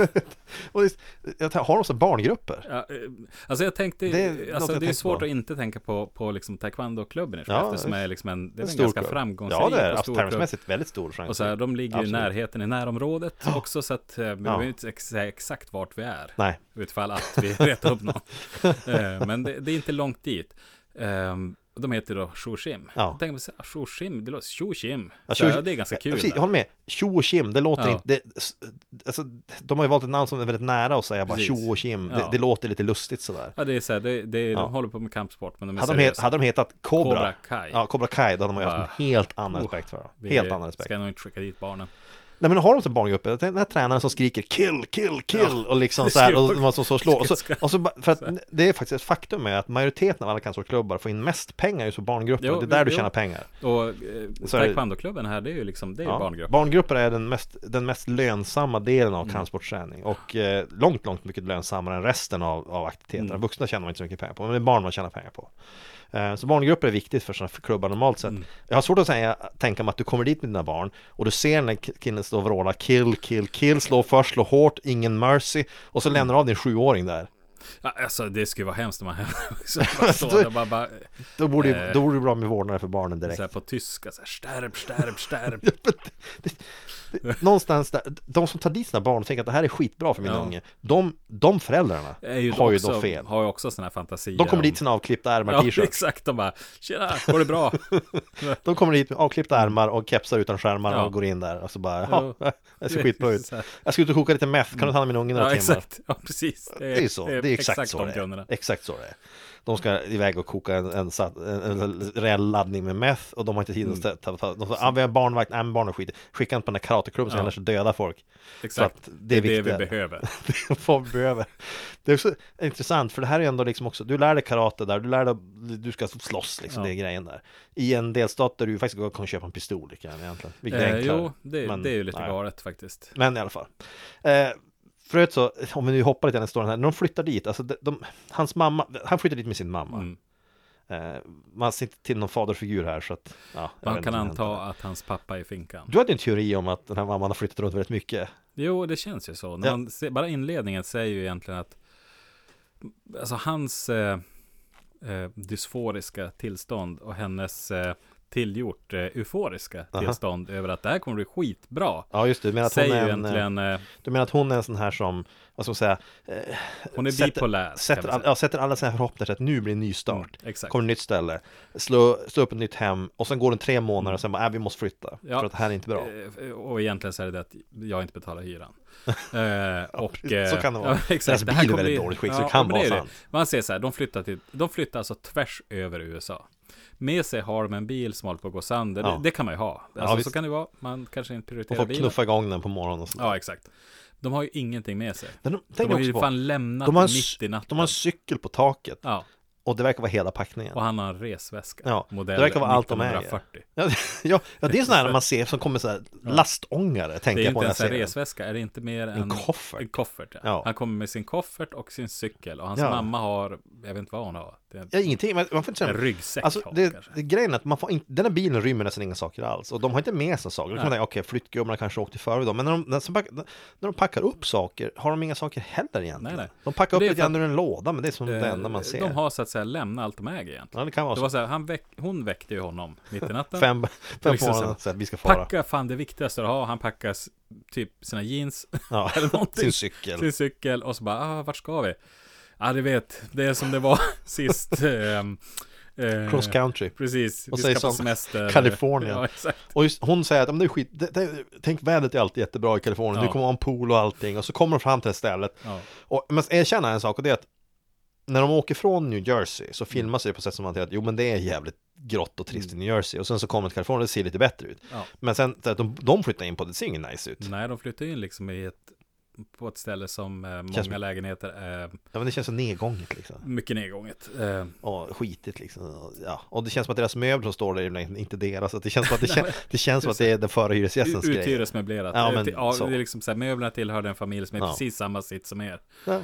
E: Och just, jag tar- har de så här barngrupper?
F: Ja, eh, alltså jag tänkte,
E: Det är
F: det,
E: något
F: alltså
E: jag
F: det är
E: tänkt
F: svårt
E: på.
F: att inte tänka på, på liksom taekwondo-klubben i
E: Ja,
F: Skellefteå som är liksom en, det är en,
E: stor
F: ganska
E: klubb.
F: framgångsrik
E: Ja, det är Alltså,
F: och stor
E: absolut,
F: klubb.
E: termsmässigt väldigt stor framgång.
F: Och så här, de ligger ju i
E: Absolut.
F: närheten i närområdet också så att eh, vi behöver ju inte ex- säga exakt vart vi är.
E: Nej.
F: Utifall att vi retar upp någon. Eh, Men det, det är inte långt dit. Ehm, De heter då Shoshim.
E: Ja.
F: Ja. Tänk mig, Shoshim, ah, det låter Shoshim.
E: Ja,
F: Så här,
E: Shoe-
F: det är ganska
E: Ja,
F: kul.
E: Precis, jag
F: va?
E: håller med. Tjo och Kim, det låter
F: Ja.
E: inte... Det, s- alltså, de har ju valt ett namn som är väldigt nära att säga bara
F: Precis.
E: tjo och Kim. Det,
F: Ja.
E: det låter lite lustigt sådär.
F: Ja, det är så här, det, det,
E: Ja.
F: de håller på med kampsport, men de är
E: Hade de, he,
F: seriösa.
E: hade de hetat Cobra,
F: Cobra Kai.
E: Ja, Cobra Kai, då hade man ju
F: Ja.
E: haft en helt annan
F: Oh,
E: respekt för det.
F: Vi
E: Helt annan respekt.
F: Ska nog inte skicka dit barnen.
E: Nej men har de så barngrupper, den här tränaren som skriker kill, kill, kill och liksom så här, och man som så slår. Och så, och så, ba- för att det är faktiskt ett faktum är att majoriteten av alla kampsportsklubbar får in mest pengar just på barngrupper.
F: Jo,
E: det är där du
F: jo.
E: tjänar pengar.
F: Och eh,
E: Så är det-
F: taekwondoklubben här, det är ju liksom, det är ju
E: Ja.
F: barngrupp. Mm.
E: Barngrupper är den mest, den mest lönsamma delen av kampsportsträning och eh, långt, långt mycket lönsammare än resten av, av aktiviteterna.
F: Mm.
E: Vuxna tjänar man inte så mycket pengar på, men det är barn man tjänar pengar på. Eh, så barngrupper är viktigt för sådana för klubbar normalt sett.
F: Mm.
E: Jag har svårt att säga, tänka mig att du kommer dit med dina barn och du ser när ki- killen står och vrålar kill, kill, kill, slå först, slå hårt, ingen mercy och så
F: Mm.
E: lämnar du av din sjuåring där.
F: Ja, alltså det skulle vara hemskt om man så bara står där och bara, bara
E: Då borde, ju-
F: Eh.
E: då borde det bra med vårdnader för barnen direkt.
F: så här på tyska, så här, stärp, stärp, stärp.
E: Någonstans där, de som tar dit sina barn och tänker att det här är skitbra för min
F: Ja.
E: unge, de, de föräldrarna
F: Är ju
E: har ju
F: också,
E: då fel.
F: Har ju också sådana här fantasier.
E: De kommer
F: om-
E: dit i sina avklippta ärmar,
F: Ja,
E: t-shirts.
F: exakt. De bara, tjena, går det bra?
E: De kommer dit med avklippta ärmar och kepsar utan skärmar
F: Ja.
E: och går in där och så bara, ja,
F: Ja.
E: det ser skitbra ut.
F: Så här.
E: Jag ska ut och koka lite meth, kan du ta hand om min unge några
F: Ja,
E: timmar?
F: exakt. Ja, precis.
E: Det är ju så, det är exakt, så
F: de
E: det är.
F: kunderna.
E: Exakt så det är. De ska iväg och koka en, en, satt- en, en rejäl laddning med meth och de har inte tid
F: Mm.
E: att ta, ta, ta, de säger, ah, vi har barnvakt, nej men barnen skiter Skicka inte på den här karateklubben som
F: Ja.
E: annars dödar folk.
F: Exakt.
E: Så att det
F: Det
E: är
F: är det vi
E: viktigare.
F: behöver.
E: Vad vi behöver. Det är också intressant, för det här är ju ändå liksom också, du lär dig karate där, du lär dig, du ska slåss liksom,
F: Ja.
E: det är grejen där. I en delstat där du faktiskt kan köpa en pistol lika gärna egentligen, vilket är
F: Eh,
E: enklare.
F: jo, det,
E: Men,
F: det är ju lite
E: nej.
F: galet faktiskt.
E: Men i alla fall. Eh, för övrigt så, om vi nu hoppar lite grann i storyn här, när de flyttar dit, alltså de, de, hans mamma, han flyttar dit med sin mamma.
F: Mm.
E: Eh, man ser inte till någon faderfigur här så att, ja, jag vet
F: Man
E: inte
F: kan
E: vad som hänt
F: anta
E: där.
F: att hans pappa är i finkan.
E: Du hade ju en teori om att den här mamman har flyttat runt väldigt mycket.
F: Jo, det känns ju så. När
E: Ja.
F: man ser, bara inledningen säger ju egentligen att alltså hans eh, eh, dysforiska tillstånd och hennes eh, tillgjort eh, euforiska
E: Aha.
F: tillstånd över att det här kommer bli skitbra.
E: Ja just det, du menar att, hon
F: säger
E: är
F: ju
E: en, eh,
F: egentligen, eh,
E: du menar att hon är en sån här som, vad ska man säga, eh,
F: hon är
E: sätter-
F: bipolär.
E: sätter,
F: kan man
E: all,
F: säga.
E: ja, sätter alla sina förhoppningar till att nu blir det en ny start.
F: Mm, exakt.
E: Kommer ett nytt ställe, slå, slå upp ett nytt hem och sen går det tre månader och sen bara, äh, vi måste flytta.
F: Ja.
E: För att det här är inte bra.
F: Eh, Och egentligen så är det det att jag inte betalar hyran. Eh, och, eh,
E: så kan det vara. Deras
F: här
E: bil är
F: kommer
E: väldigt
F: bli-
E: dåligt skick, så det kan
F: men
E: vara
F: är det.
E: sant.
F: Man ser så här, de flyttar, till, de flyttar alltså tvärs över USA. Med sig har de en bil som håller på att gå sönder.
E: Ja.
F: Det, det kan man ju ha.
E: Ja,
F: Alltså, så
E: visst.
F: kan det vara. Man kanske inte
E: Och
F: prioriterar
E: folk
F: bilen.
E: knuffar igång den på morgonen och sådär.
F: Ja, exakt. De har ju ingenting med sig.
E: Men de,
F: De
E: tänk
F: har
E: också
F: ju
E: på,
F: fan lämnat
E: de har, en,
F: mitt i
E: cy-
F: natten.
E: de har en cykel på taket
F: Ja,
E: och det verkar vara hela packningen.
F: och han har en resväska.
E: Ja,
F: modell
E: det verkar vara allt de äger.
F: 1940.
E: Ja, ja, ja, det är sådana här man ser som kommer så här lastångare,
F: Det
E: tänker
F: är
E: jag på när jag
F: inte ens en
E: ser den.
F: resväska, är det inte mer än
E: En koffert.
F: En koffert ja.
E: Ja.
F: Han kommer med sin koffert och sin cykel och hans
E: Ja.
F: mamma har, jag vet inte vad hon har. Det är en,
E: Ja, ingenting, men man får inte säga
F: en ryggsäck
E: Alltså,
F: har hon
E: det,
F: kanske.
E: det, grejen är att man får inte, den här bilen rymmer nästan inga saker alls och de har inte med sig saker. Då kan man
F: Nej.
E: tänka, okej, flyttgubbarna kanske åkte före dem, men när de, när, som pack- när de packar upp saker har de inga saker heller egentligen.
F: Nej, nej.
E: De packar upp
F: Det är
E: lite
F: för att-
E: grann ur en låda, men det är som det
F: Eh,
E: enda man ser.
F: De har så att säga lämnat allt de äger egentligen.
E: ja, det kan vara
F: Det
E: så.
F: var så här, han väck, hon väckte ju honom mitt i natten.
E: Fem, fem på
F: liksom så
E: morgonen,
F: här,
E: så att vi ska fara.
F: Packa fan det viktigaste du har. Han packar s- typ sina jeans,
E: ja,
F: eller någonting.
E: sin cykel.
F: sin cykel och så bara, ah, vart ska vi? Ja, du vet, det är som det var sist. ehm, eh,
E: Cross country.
F: Precis,
E: Och
F: vi
E: säger
F: ska på
E: som
F: semester.
E: Kalifornien.
F: Ja, exakt.
E: Och just, hon säger att "Men det är skit, det, det, tänk vädret är alltid jättebra i Kalifornien,
F: Ja.
E: du kommer ha en pool och allting. Och så kommer de fram till det stället.
F: Ja.
E: Och man ska erkänna en sak och det är att när de åker från New Jersey så filmas det på sätt som man tänker att jo men det är jävligt grått och trist i New Jersey. Och sen så kommer de till Kalifornien och det ser lite bättre ut.
F: Mm. Ja.
E: Men sen så att de, de flyttar in på det, det ser inget nice ut.
F: Nej, de flyttar in liksom i ett, på ett ställe som eh, många
E: Känns som-
F: lägenheter är
E: Ja men det känns så nedgånget liksom.
F: mycket nedgånget. Eh,
E: Och skitigt liksom. Och, ja. och det känns som att deras möbler som står där är liksom inte deras. Så att det känns som att det, kän, det, känns som att det är den förra hyresgästens
F: ut-
E: grej.
F: Uthyresmöblerat.
E: Ja,
F: Eh,
E: men
F: till- ja,
E: så.
F: det är liksom så här, möblerna tillhörde en familj som är
E: Ja.
F: precis samma sitt som er.
E: Ja,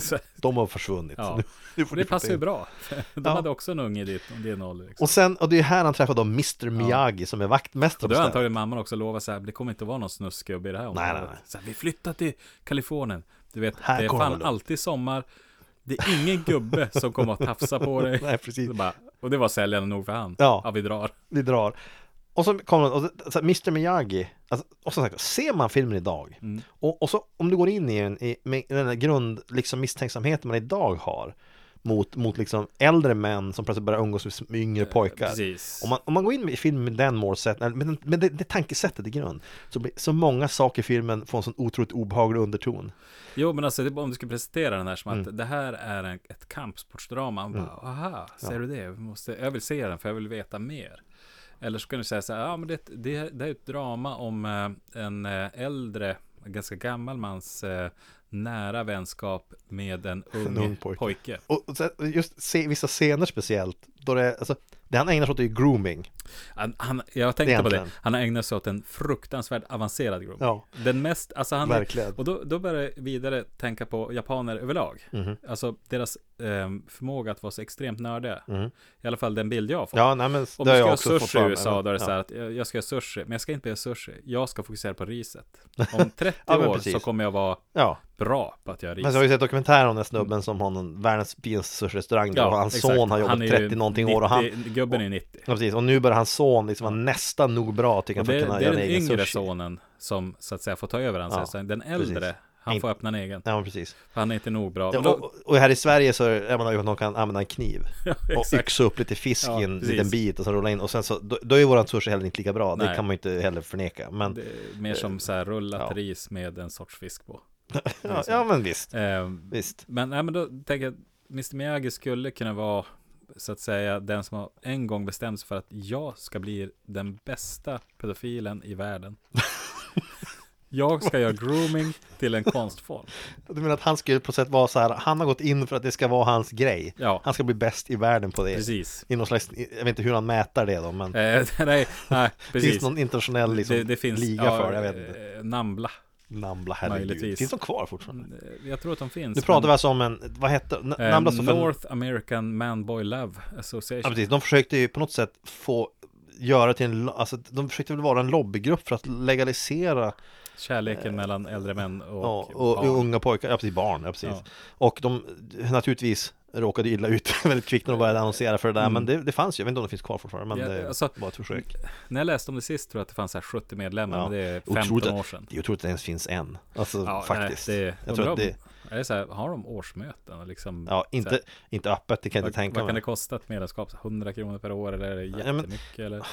F: så,
E: de har försvunnit.
F: Ja.
E: Så nu, nu får ni
F: det
E: flytta
F: passar ju
E: in.
F: bra. De
E: Ja.
F: hade också en unge i ditt, din ålder. Liksom.
E: Och sen, och det är här han träffar då Mr Miyagi som är vaktmästare på
F: Och då har
E: stället.
F: antagligen mamman också lovat så här, det kommer inte vara någon snuskgubbe i det här området.
E: nej, nej.
F: Så här, vi flyttar till Kalifornien. Du vet,
E: Här
F: det är
E: kommer
F: fan
E: väl upp.
F: alltid sommar. Det är ingen gubbe som kommer att tafsa på dig.
E: Nej, precis.
F: Så bara, och det var säljaren nog för han.
E: Ja.
F: ja vi drar.
E: vi drar. Och så kommer och så, så här, Mr Miyagi, alltså, och som sagt, ser man filmen idag
F: Mm.
E: och, och så om du går in i den i, med den där grund, liksom misstänksamheten man idag har mot, mot liksom äldre män som plötsligt börjar umgås med yngre pojkar.
F: Eh, Precis.
E: Om man, om man går in i filmen med den målsättningen, med, den- med det, det tankesättet i grund, så blir så många saker i filmen får en sån otroligt obehaglig underton.
F: Jo, men alltså det är bara om du ska presentera den här som att det här är en, ett kampsportsdrama. Man bara, aha, ser du det? Vi måste, jag vill se den för jag vill veta mer. Eller så kan du säga så här, ja men det, är ett- det, är- det är ett drama om eh, en eh, äldre, ganska gammal mans eh, nära vänskap med en ung,
E: En ung
F: pojke.
E: pojke. Och och sen, just se, vissa scener speciellt, då det, alltså, det han ägnar sig åt är ju grooming.
F: Han, han, jag tänkte på det,
E: Egentligen.
F: han har ägnat sig åt en fruktansvärt avancerad grupp.
E: Ja.
F: Den mest, alltså han,
E: Verkligen.
F: Och då, då börjar jag vidare tänka på japaner överlag.
E: Mhm.
F: Alltså deras ehm, förmåga att vara så extremt nördiga. I alla fall den bild jag har fått.
E: Mhm. Ja, nej men
F: Om
E: det
F: du
E: har
F: ska
E: jag också
F: göra
E: fått
F: sushi i
E: för mig.
F: USA, då är det
E: Ja.
F: så här att jag jag ska göra sushi, men jag ska inte göra sushi. Jag ska fokusera på riset. Om 30
E: Ja, men
F: år
E: precis.
F: så kommer jag vara
E: Ja,
F: bra på att göra ris.
E: men så har vi sett dokumentärer om den här snubben som har någon världens finaste sushi-restaurang där och hans
F: Mm. exakt.
E: son har jobbat
F: är ju
E: 30 någonting år och han
F: 90 Gubben är 90.
E: Ja, precis. Och nu börjar hans son liksom vara nästan nog bra tycker
F: Och
E: han för att
F: det, är-
E: kunna
F: det är
E: göra
F: den
E: en egen
F: yngre
E: sushi.
F: sonen som så att säga får ta över hans
E: Ja,
F: restaurang. Den äldre,
E: precis.
F: han får
E: Inte-
F: öppna en egen.
E: Ja, men precis.
F: Han är inte nog bra.
E: Ja,
F: Men då-
E: och, och här i Sverige så är man ju att någon kan använda en kniv och
F: exakt.
E: yxa upp lite fisk
F: Ja,
E: i en
F: precis.
E: liten bit och sen rulla in och sen så då, då är våran sushi heller inte lika bra. Det
F: Nej.
E: kan man ju inte heller förneka. Men
F: Det är mer som så här rullat
E: ja.
F: ris med en sorts fisk på.
E: ja, ja, men visst,
F: Eh,
E: visst.
F: men, nej, men då tänker jag att Mr Miyagi skulle kunna vara så att säga den som har en gång bestämt sig för att jag ska bli den bästa pedofilen i världen. jag ska göra grooming till en konstform.
E: Du menar att han skulle på sätt vara så här, han har gått in för att det ska vara hans grej.
F: Ja.
E: Han ska bli bäst i världen på det.
F: Precis.
E: I någon slags, jag vet inte hur han mäter det då, men
F: Eh, nej, nej, precis.
E: finns någon internationell liksom,
F: det, det finns,
E: liga
F: ja,
E: för det? Jag vet inte.
F: eh, Namla.
E: Nambla, herregud.
F: möjligtvis.
E: Finns de kvar fortfarande?
F: Eh, Jag tror att de finns.
E: Nu pratar vi
F: men,
E: alltså om en, vad hette N-
F: eh,
E: Namla stod för en-
F: North American Man Boy Love
E: Ja
F: Association.
E: precis, de försökte ju på något sätt få göra till en, lo- alltså de försökte väl vara en lobbygrupp för att legalisera
F: Kärleken mellan äldre män och,
E: ja, och,
F: barn.
E: och unga pojkar, ja precis barn, ja precis.
F: Ja.
E: Och de naturligtvis råkade illa ut väldigt kvickt när de började annonsera för det där, men det, det fanns ju, jag vet inte om det finns kvar fortfarande, men
F: Mm. Ja,
E: det
F: alltså,
E: var ett försök.
F: När jag läste om det sist tror jag att det fanns så här 70 medlemmar,
E: Ja.
F: men det är 15
E: Otroligt-
F: år sedan.
E: Det är otroligt att det ens finns en, alltså
F: Ja,
E: faktiskt.
F: Nej, det,
E: jag tror att det,
F: är det så här, har de årsmöten? och Liksom,
E: ja
F: så
E: inte,
F: här,
E: inte öppet, det kan jag
F: vad,
E: inte tänka
F: vad kan det
E: mig.
F: kosta ett medlemskap? 100 kronor per år eller är det
E: Ja, men-
F: jättemycket? eller,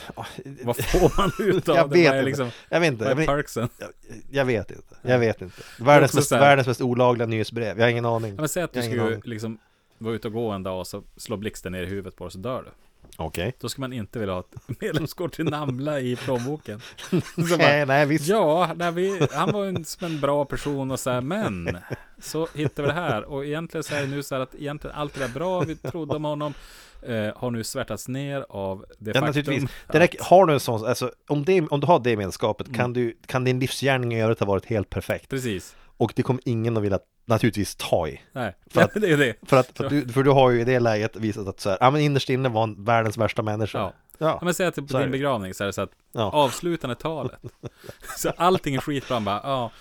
F: vad får man ut av
E: Jag
F: det?
E: vet
F: Vad är
E: inte.
F: liksom,
E: Jag vet inte,
F: vad
E: jag
F: är
E: vet,
F: perksen?
E: jag, jag vet inte, jag vet inte. Världens,
F: Också
E: mest,
F: så här-
E: världens mest olagliga nyhetsbrev, jag har ingen aning.
F: Ja, men säg att du
E: Jag har ingen
F: skulle
E: aning.
F: liksom, vara ute och gå en dag och så slår blixten ner i huvudet på dig och så dör du.
E: Okej.
F: Då skulle man inte vilja ha ett medlemskort till Namla i plånboken. Så bara,
E: Nej, nej, visst.
F: Ja, nej, vi, han var en, som en bra person och så här, men så hittade vi det här. Och egentligen så är det nu så här att egentligen allt det där bra vi trodde om honom eh, har nu svärtats ner av det
E: Ja,
F: faktum.
E: naturligtvis. Det räcker, har du en sån, alltså, om, det, om du har det egenskapet
F: Mm.
E: kan, du, kan din livsgärning i övrigt ha varit helt perfekt.
F: Precis.
E: Och det kommer ingen att vilja naturligtvis ta i.
F: Nej,
E: För att-
F: Ja, det är det.
E: För, att, för, att du, för du har ju i det läget visat att så här, ja men innerst inne var han världens värsta människa.
F: Ja.
E: ja.
F: Ja, men säg att
E: så
F: på
E: är
F: typ din
E: det.
F: begravning så är det så att
E: Ja.
F: avslutande talet. Så allting är skitbra. Han bara, ja.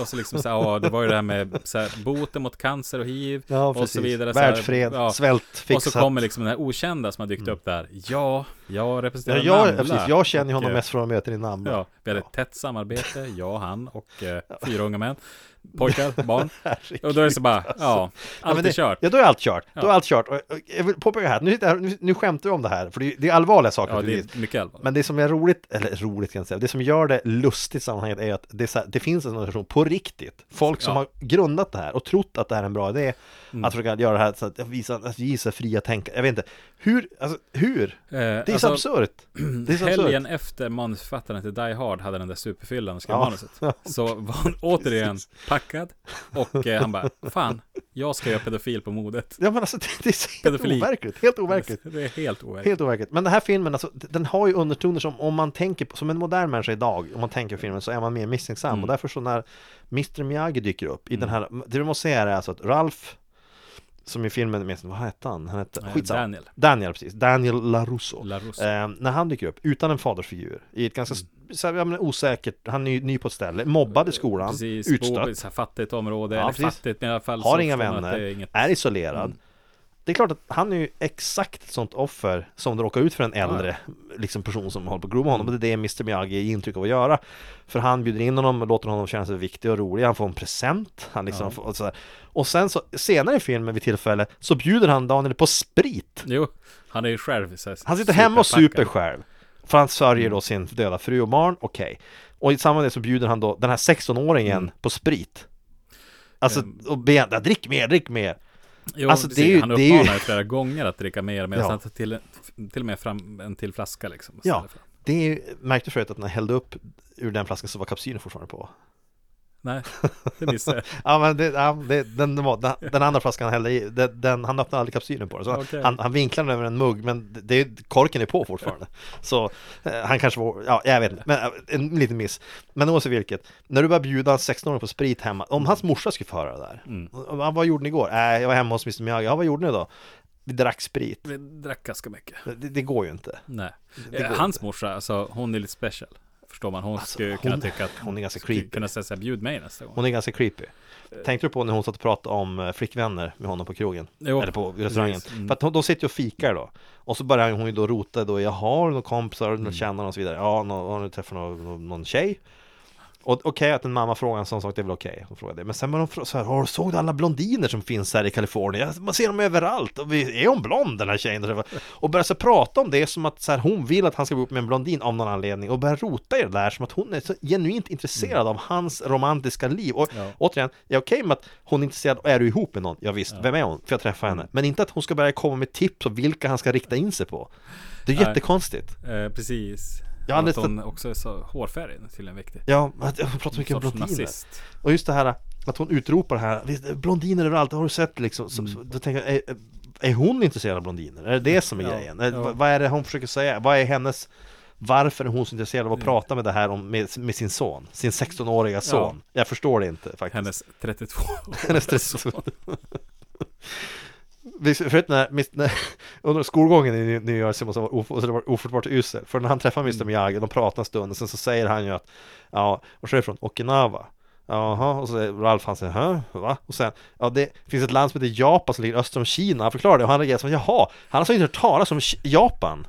F: Och så liksom så här, ja, det var ju det här med så här, boten mot cancer och hiv.
E: Ja,
F: och
E: precis.
F: så vidare. så här,
E: Världsfred,
F: ja.
E: svält,
F: Och
E: fixat. Mm.
F: så kommer liksom den här okända som har dykt upp där. Ja, jag
E: ja,
F: representerar
E: jag, ja,
F: Namla.
E: precis, jag känner ju
F: Och,
E: honom
F: eh,
E: mest från möten i namn.
F: Ja, vi hade ett tätt samarbete, jag, han och eh, fyra unga män. Pojkar, barn. Och då är det så bara, ja,
E: alltså. Ja,
F: allt
E: men
F: är
E: det,
F: kört.
E: Ja, då är allt kört. Då är allt kört. Och, och, jag vill påpeka här, nu, sitter jag här- nu, nu skämtar vi om det här, för det är, det är allvarliga saker.
F: Ja, det
E: naturligtvis.
F: är mycket allvarligt.
E: Men det som är roligt, eller roligt kan jag säga, det som gör det lustigt i sammanhanget är att det, är så här, det finns en organisation på riktigt. Folk som
F: Ja. Mm.
E: har grundat det här och trott att det här är en bra idé. Att försöka göra det här så att visa, att visa fria tänkare. Jag vet inte. Hur? Alltså, hur?
F: Eh,
E: det är
F: alltså,
E: så absurt. Det är så
F: Helgen
E: absurt.
F: efter manusförfattaren till Die Hard hade den där superfyllan och skrev
E: Ja.
F: manuset. Så var han återigen packad och eh, han bara, fan, jag ska göra pedofil på modet.
E: Ja men alltså det, det är så helt
F: Pedofili.
E: overkligt. Helt overkligt.
F: Det är helt overkligt.
E: Helt overkligt. Men den här filmen, alltså, den har ju undertoner som om man tänker på, som en modern människa idag, om man tänker på filmen så är man mer misstänksam.
F: Mm.
E: Och därför så när Mr Miyagi dyker upp i den här, det vi måste säga är alltså att Ralf, som i filmen, minns- vad hette han? Han hette,
F: Eh,
E: skitsamma.
F: Daniel.
E: Daniel, precis. Daniel LaRusso.
F: LaRusso. Mm.
E: Eh, när han dyker upp, utan en fadersfigur, i ett ganska så här, ja, men, osäkert, han är ju ny på ett ställe, mobbad i skolan,
F: Eh, Precis, bor i
E: utstött,
F: ett så här fattigt område,
E: Ja,
F: eller
E: precis.
F: fattigt, men i alla fall
E: har
F: så
E: inga
F: får man Alltså, att det
E: vänner,
F: är Mm.
E: är,
F: inget
E: isolerad. Det är klart att han är ju exakt ett sånt offer som det råkar ut för en äldre liksom person som håller på att grooma honom. Och det är det Mr Miyagi ger intryck av att göra. För han bjuder in honom, låter honom känna sig viktig och rolig, han får en present. Han liksom får, och, sådär. och sen så, senare i filmen vid tillfälle, så bjuder han Daniel på sprit.
F: Jo, han är ju själv så här
E: Han sitter hemma och super
F: superpackad. Mm.
E: själv. För han sörjer då sin döda fru och barn, okej. Och i samband med det så bjuder han då den här 16-åringen
F: Mm.
E: på sprit. Alltså,
F: Ehm.
E: och be, ja, drick mer, drick mer.
F: Jo,
E: Alltså,
F: precis.
E: det är ju-
F: han
E: det är ju-
F: uppmanar ju flera gånger att dricka mer, men
E: Ja.
F: han tar till, till och med fram en till flaska liksom.
E: Ja,
F: istället för-
E: det är ju, märkte förut att när jag hällde upp ur den flaskan så var kapsylen fortfarande på.
F: Nej, det missade jag.
E: Ja, men det, ja, det, den, var, den, den andra flaskan han hällde i, den, den, han öppnade aldrig kapsylen på den. Så
F: Okej.
E: han, han vinklade den över en mugg, men det, det, korken är på fortfarande. Så eh, han kanske var, ja, jag vet inte, men eh, en liten miss. Men oavsett vilket, när du börjar bjuda en 16-åring på sprit hemma, om hans morsa skulle få höra det där.
F: Mm.
E: "Ja, Vad gjorde ni igår? Äh, jag var hemma hos Mr Miyagi. Ja, vad gjorde ni då? Vi drack sprit.
F: Vi drack ganska mycket.
E: Det, det går ju inte.
F: Nej.
E: går Alltså,
F: Eh, Hans morsa, alltså hon är lite special. Förstår man. Hon skulle kunna
E: hon-
F: tycka att
E: hon är ganska
F: skulle
E: creepy.
F: kunna säga så här, bjud mig nästa gång.
E: Hon är ganska creepy. Tänkte du på när hon satt och pratade om eh, flickvänner med honom på krogen?
F: Jo,
E: Eller på restaurangen.
F: precis. Mm.
E: För att de, de sitter ju och fikar då. Och så börjar hon ju då rota då, jag har några kompisar,
F: Mm.
E: några känner och så vidare. Ja, nå- har du träffat någon, någon, någon tjej? Och okej att en mamma frågar en sån sak, det är väl okej. Hon frågar det. Men sen var de frå- så här, "Har du- såg du alla blondiner som finns här i Kalifornien? "Ja, Man ser dem överallt. Och vi, är hon blond den här tjejen? Och så- Och börjar så prata om det som att så här, hon vill att han ska bli ihop med en blondin av någon anledning. Och börjar rota i det där som att hon är så genuint intresserad av hans romantiska liv. Och
F: Ja.
E: återigen, jag är okej med att hon är intresserad, och är du ihop med någon? Ja, visst, vem är hon? För jag träffar
F: Mm.
E: henne. Men inte att hon ska börja komma med tips och vilka han ska rikta in sig på. Det är
F: Nej.
E: jättekonstigt.
F: Eh, precis.
E: Jag har
F: Och att
E: aldrig
F: hon också är så hårfärg är tydligen viktig.
E: Ja, att- jag pratar mycket om
F: Sorts
E: blondiner.
F: nazist.
E: Och just det här att hon utropar det här, "Visst, blondiner överallt, har du sett liksom? Så, så, då tänker jag, är, är hon intresserad av blondiner? Är det det som är
F: Mm. Ja,
E: grejen? Är,
F: ja.
E: vad- Vad är det hon försöker säga? Vad är hennes, varför är hon så intresserad
F: Mm.
E: av att prata med det här om, med, med sin son? Sin 16-åriga son? Jag förstår det inte faktiskt.
F: Hennes 32
E: Hennes stressor. Förut när, mis- när, under skolgången i New Jersey måste ha varit of- måste ha varit ofattbart usel. För när han träffar
F: Mm.
E: Mr Miyagi, de pratar en stund och sen så säger han ju att Ja, och så är det från Okinawa Jaha, och så är Ralf han säger Hä? Va? Och sen, ja det finns ett land som heter Japan som ligger öster om Kina Han förklarar det och han reagerar som Jaha, han har alltså inte hört talas om Ki- Japan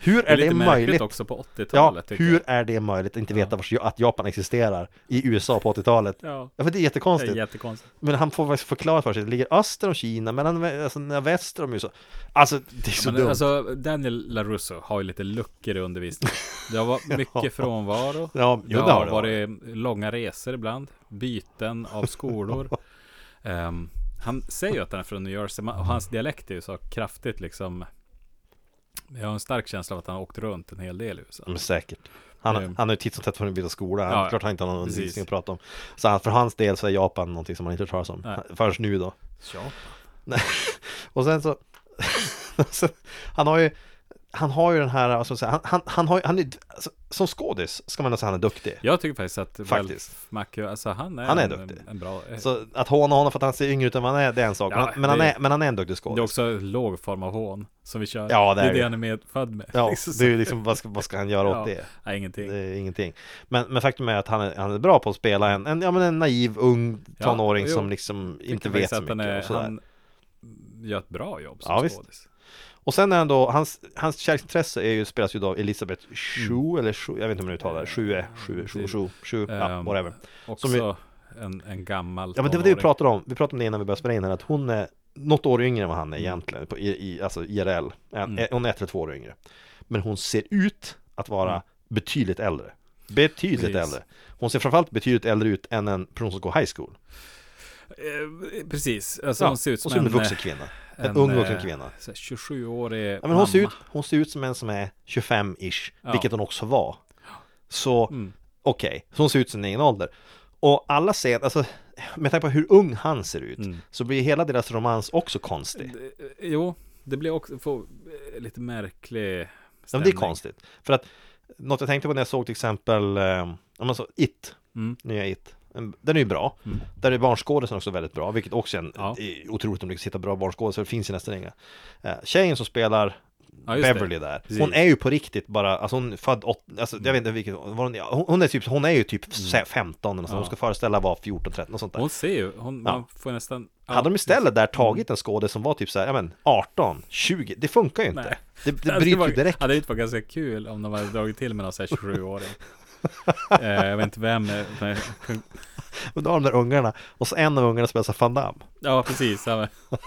E: Hur
F: Mm. Det är
E: är
F: lite
E: det
F: märkligt
E: möjligt?
F: också på
E: Ja,
F: 80-talet. tycker
E: hur
F: jag.
E: är det möjligt att inte veta vars, att Japan existerar i USA på 80-talet?
F: Ja.
E: Ja, för det är
F: Det är
E: jättekonstigt
F: jättekonstigt.
E: men han får faktiskt förklara för sig, det ligger öster om Kina, mellan vä- alltså, när väster om USA Alltså det är så
F: Men,
E: dumt
F: alltså, Daniel LaRusso har ju lite luckor i undervisningen. Det har varit mycket frånvaro.
E: Ja, jo,
F: det har varit
E: varit.
F: långa resor ibland. Byten av skolor. Ehm, han säger ju att han är från New Jersey ma- och hans dialekt är ju så kraftigt liksom. Jag har en stark känsla av att han har åkt runt en hel del i USA.
E: Men säkert han,
F: Ehm.
E: han har ju titt som tätt för att byta skola,
F: Ja, ja.
E: han, klart han inte har någon
F: Precis.
E: undervisning att prata om Så han, för hans del så är Japan någonting som man inte hört talas om,
F: Nej.
E: förrän nu då
F: Ja.
E: Nej. Och sen så alltså, Han har ju Han har ju den här, vad ska man säga, han, han, han har ju, han är, alltså, som skådis ska man ändå säga han är duktig
F: Jag tycker faktiskt att
E: Faktiskt.
F: Ralph Macchio, alltså han är,
E: Han är
F: en,
E: duktig.
F: en bra... eh,
E: Så att håna honom för att han ser yngre ut än vad han är, det är en sak
F: Ja,
E: men, han
F: det-
E: är, men han är en duktig skådis
F: Det är också en låg form av hån som vi kör.
E: Ja, det
F: det
E: är
F: är det
E: det.
F: han är medfödd med.
E: Ja,
F: Liksom
E: det är
F: så.
E: ju liksom, vad ska, vad ska han göra åt det?
F: Nej, ingenting.
E: Det är ingenting. Men, men faktum är att han är, han är bra på att spela en, en, ja, men en naiv ung tonåring
F: jo.
E: som liksom inte
F: Tycker
E: vet
F: faktiskt
E: så
F: att han
E: mycket.
F: är-
E: och, sådär.
F: Han gör ett bra jobb som
E: Ja, visst.
F: skådis.
E: och sen är han då, hans, hans kärleksintresse är ju, spelas ju av Elisabeth Chu,
F: Mm.
E: eller Chu, jag vet inte hur man uttalar det, eh, Schue, Schue, Schue, Schue, Schue, ja,
F: Eh, Ehm,
E: whatever.
F: Också
E: Som
F: en, en gammal
E: Ja men det var det vi
F: tonåring.
E: pratade om, vi pratade om det innan vi började spela in här, att hon är något år yngre än vad han är egentligen, på, i, i, alltså IRL. En, Hon är ett eller två år yngre. Men hon ser ut att vara betydligt äldre. Betydligt
F: Precis.
E: äldre. Hon ser framförallt betydligt äldre ut än en person som går high school.
F: Eh, Precis, alltså hon ser ut som,
E: hon ser en vuxen
F: eh,
E: kvinna. En, ung vuxen
F: eh,
E: kvinna.
F: så här 27-årig
E: Ja, men hon, ser ut, hon ser ut som en som är 25-ish,
F: Ja.
E: vilket hon också var. Så okej, så hon ser ut som sin egen ålder. Och alla ser, alltså med tanke på hur ung han ser ut, så blir hela deras romans också konstig.
F: Jo, det blir också får, eh, lite märklig
E: Ja, men det är konstigt. För att något jag tänkte på när jag såg till exempel eh, om man så, It,
F: Mm.
E: nya It. Den är ju bra. Där är barnskådisen också väldigt bra, vilket också är en,
F: Ja.
E: är otroligt om du kan hitta bra barnskådisar, det finns ju nästan inga. Eh, Tjejen som spelar
F: Ja, just det.
E: Beverly där
F: Precis. Mm.
E: Hon är ju på riktigt bara, alltså hon är född åt, alltså jag vet inte vilket, var hon, hon, hon, är typ, hon är ju typ se- 15 eller något sånt. hon ska föreställa vara 14, 13 och sånt där
F: Hon ser ju, hon,
E: Ja.
F: man får nästan... ja, Mm.
E: Hade de istället där tagit en skådespelare som var typ såhär, ja men 18, 20, det funkar ju inte
F: Nej.
E: Det, det
F: hade
E: bryter ju
F: varit-
E: direkt
F: Det hade inte varit ganska kul om de hade dragit till med någon sån här 27-åring. eh, jag vet inte vem. eh, men-
E: Och då har de där ungarna, och så en av ungarna spelar så här Van Damme
F: Ja, precis. Ja, men,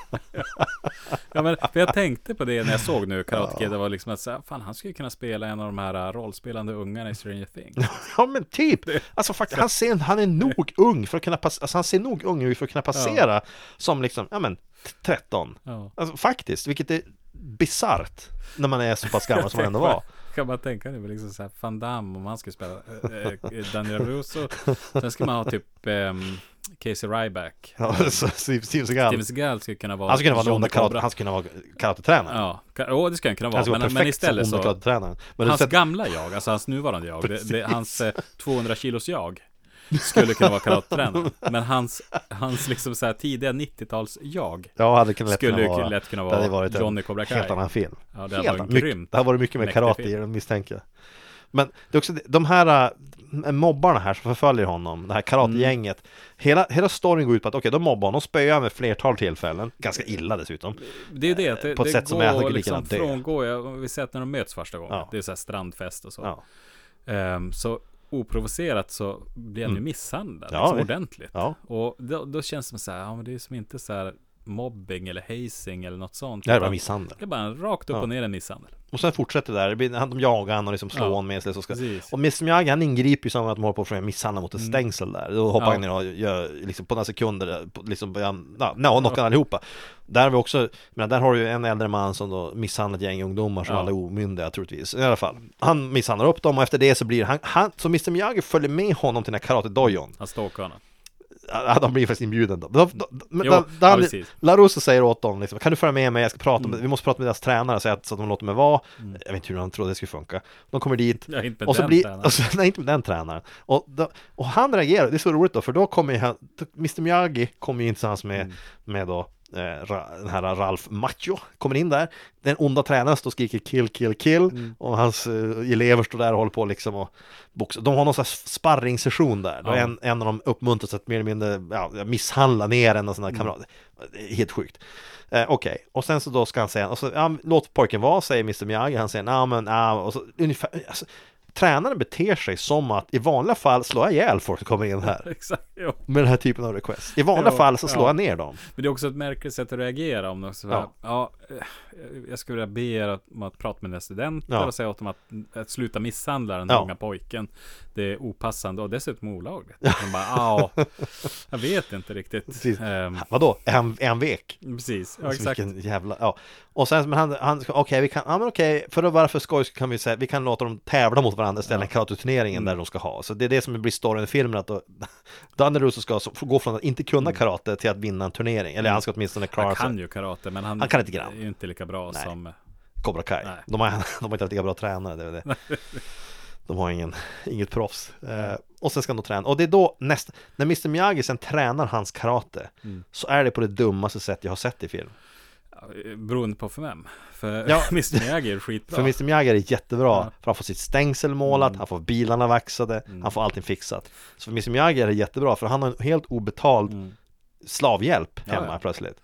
F: ja, men, för jag tänkte på det när jag såg nu Karate Kid. Det var liksom att så här, fan, han skulle ju kunna spela en av de här eh, rollspelande ungarna i Stranger Things.
E: Ja men typ! Alltså faktiskt, han, ser, han är nog ung för att kunna passera, alltså han ser nog ung ut för att kunna passera som liksom, ja men, t- 13
F: Ja.
E: Alltså faktiskt, vilket är bisarrt när man är så pass gammal som man ändå var
F: Kan man tänka nu, liksom så här, Van Damme om han skulle spela eh, Daniel Russo. Sen ska man ha typ eh, Casey Ryback.
E: Ja, så Steve Steve Seagal
F: Steven Seagal skulle kunna vara
E: Han skulle kunna vara den
F: Johnny
E: onda karate,
F: Cobra.
E: han skulle kunna vara karatetränare
F: Ja, ka- åh, det skulle han kunna
E: Han skulle
F: vara.
E: vara
F: Men,
E: perfekt
F: men
E: som
F: istället
E: onda
F: så,
E: karatetränaren Men
F: hans
E: istället-
F: gamla jag, alltså hans nuvarande jag, det, det, hans eh, 200 kilos jag, skulle kunna vara karattränare. Men hans, hans liksom så här tidiga 90-tals jag,
E: Ja, hade kunnat lätt
F: Skulle
E: kunna
F: ju
E: vara,
F: lätt kunna
E: det hade
F: vara
E: varit
F: Johnny
E: en
F: Cobra Kai.
E: helt annan film.
F: Ja, det hade
E: Helt
F: varit
E: annan-
F: en
E: mycket-
F: grymt
E: det hade varit mycket mer
F: mäktig
E: karate i
F: film.
E: den misstänker jag. Men det är också det- de här äh, mobbarna här som förföljer honom, det här karategänget.
F: Mm.
E: Hela, hela storyn går ut på att okej, de mobbar honom, spöar honom vid flertal tillfällen, ganska illa dessutom.
F: det är ju det, att det,
E: På ett
F: det
E: sätt som
F: går
E: jag hade lika
F: liksom
E: gärna dö.
F: frångår, jag, vi sett när de möts första gången,
E: Ja.
F: det är så här strandfest och så.
E: Ja,
F: Ehm, så oprovocerat så blir han ju misshandlad
E: Mm. Ja,
F: liksom,
E: visst.
F: ordentligt.
E: Ja.
F: Och då, då känns det som så här, ja men det är som inte så här mobbing eller hazing eller något sånt.
E: det här var
F: utan
E: misshandel.
F: Det är bara rakt upp
E: Ja.
F: och ner en misshandel.
E: Och sen fortsätter det där, Det blir- han- de jagar han och liksom slår
F: Ja,
E: honom med sig. Så ska,
F: precis. Mm.
E: och Miss Miyagi han ingriper ju som att de håller på att försöka misshandla mot ett stängsel där. Då hoppar
F: Ja.
E: han ner och gör liksom på några sekunder, på- liksom börjar han- ja, no, knockar han allihopa. Där har vi också, men där har du ju en äldre man som då misshandlat ett gäng ungdomar som
F: Ja.
E: alla är omyndiga troligtvis. I alla fall, han misshandlar upp dem och efter det så blir han, han så Mr Miyagi följer med honom till den här karatedojon.
F: Han stalkar honom.
E: Ja, de blir faktiskt inbjuden då. då, då, men
F: Jo,
E: då, då
F: ja,
E: hade-
F: precis. Mm.
E: Larusso säger åt dem liksom, kan du följa med mig, jag ska prata med, vi måste prata med deras tränare så att, så att de låter mig vara. Jag vet inte hur han trodde det skulle funka. De kommer dit,
F: Ja, inte med
E: och så
F: den
E: blir,
F: tränaren.
E: och så, Alltså, nej inte med den tränaren. Och, då, och han reagerar, det är så roligt då, för då kommer ju han, då- Mr Miyagi kommer ju in tillsammans med,
F: Mm.
E: med då eh, Ra- den här Ralf Macho kommer in där Den onda tränaren står och skriker kill, kill, kill
F: Mm.
E: Och hans eh, elever står där och håller på liksom och boxa. De har någon slags sparringsession där Då
F: Ja.
E: en, en av dem uppmuntras att mer eller mindre ja, misshandla ner en av
F: Mm.
E: sina kamrater Det är Helt sjukt eh, Okej, och sen så då ska han säga och så, ja, Låt pojken vara, säger Mr Miyagi Han säger nej men nej och så, ungefär, alltså, Tränaren beter sig som att i vanliga fall slår jag ihjäl folk som kommer in här
F: Exakt, jo.
E: Med den här typen av request I vanliga
F: Ja,
E: fall så slår
F: ja.
E: jag ner dem
F: Men det är också ett märkligt sätt att reagera om de så här, ja. eh, jag skulle vilja be er att, om att prata med dina studenter
E: Ja.
F: och säga åt dem att, att sluta misshandla den
E: Ja.
F: unga pojken. Det är opassande och dessutom olagligt. De bara, ja, jag vet inte riktigt.
E: Precis.
F: Ehm,
E: Vadå, är han, är han vek?
F: precis. Ja,
E: Alltså,
F: exakt.
E: vilken jävla, ja. Och sen, men han, han ska- okej, vi kan, ja men okej, för att vara för skoj så kan vi säga, vi kan låta dem tävla mot varandra istället, ja. karateturneringen
F: Mm.
E: där de ska ha. Så det är det som blir storyn i filmen, att då- Daniel Russo ska så- få gå från att inte kunna karate till att vinna en turnering, eller han ska åtminstone klara
F: Mm. Han
E: sig.
F: kan ju karate, men han,
E: Han kan lite grann.
F: är ju inte lika bra
E: Nej.
F: som... eh,
E: Cobra Kai.
F: Nej.
E: De har, de har inte haft lika bra tränare, det är väl det. De har ingen, inget proffs. Eh, och sen ska de träna. Och det är då nästa, när Mr Miyagi sen tränar hans karate, så är det på det dummaste sätt jag har sett i film.
F: eh, Beroende på för vem. För
E: Ja.
F: Mr Miyagi är skitbra.
E: För Mr Miyagi är jättebra,
F: Ja. Mm.
E: för han får sitt stängsel målat, han får bilarna vaxade, han får allting fixat. Så för Mr Miyagi är det jättebra, för han har en helt obetald slavhjälp hemma
F: Mm. Ja, ja.
E: plötsligt.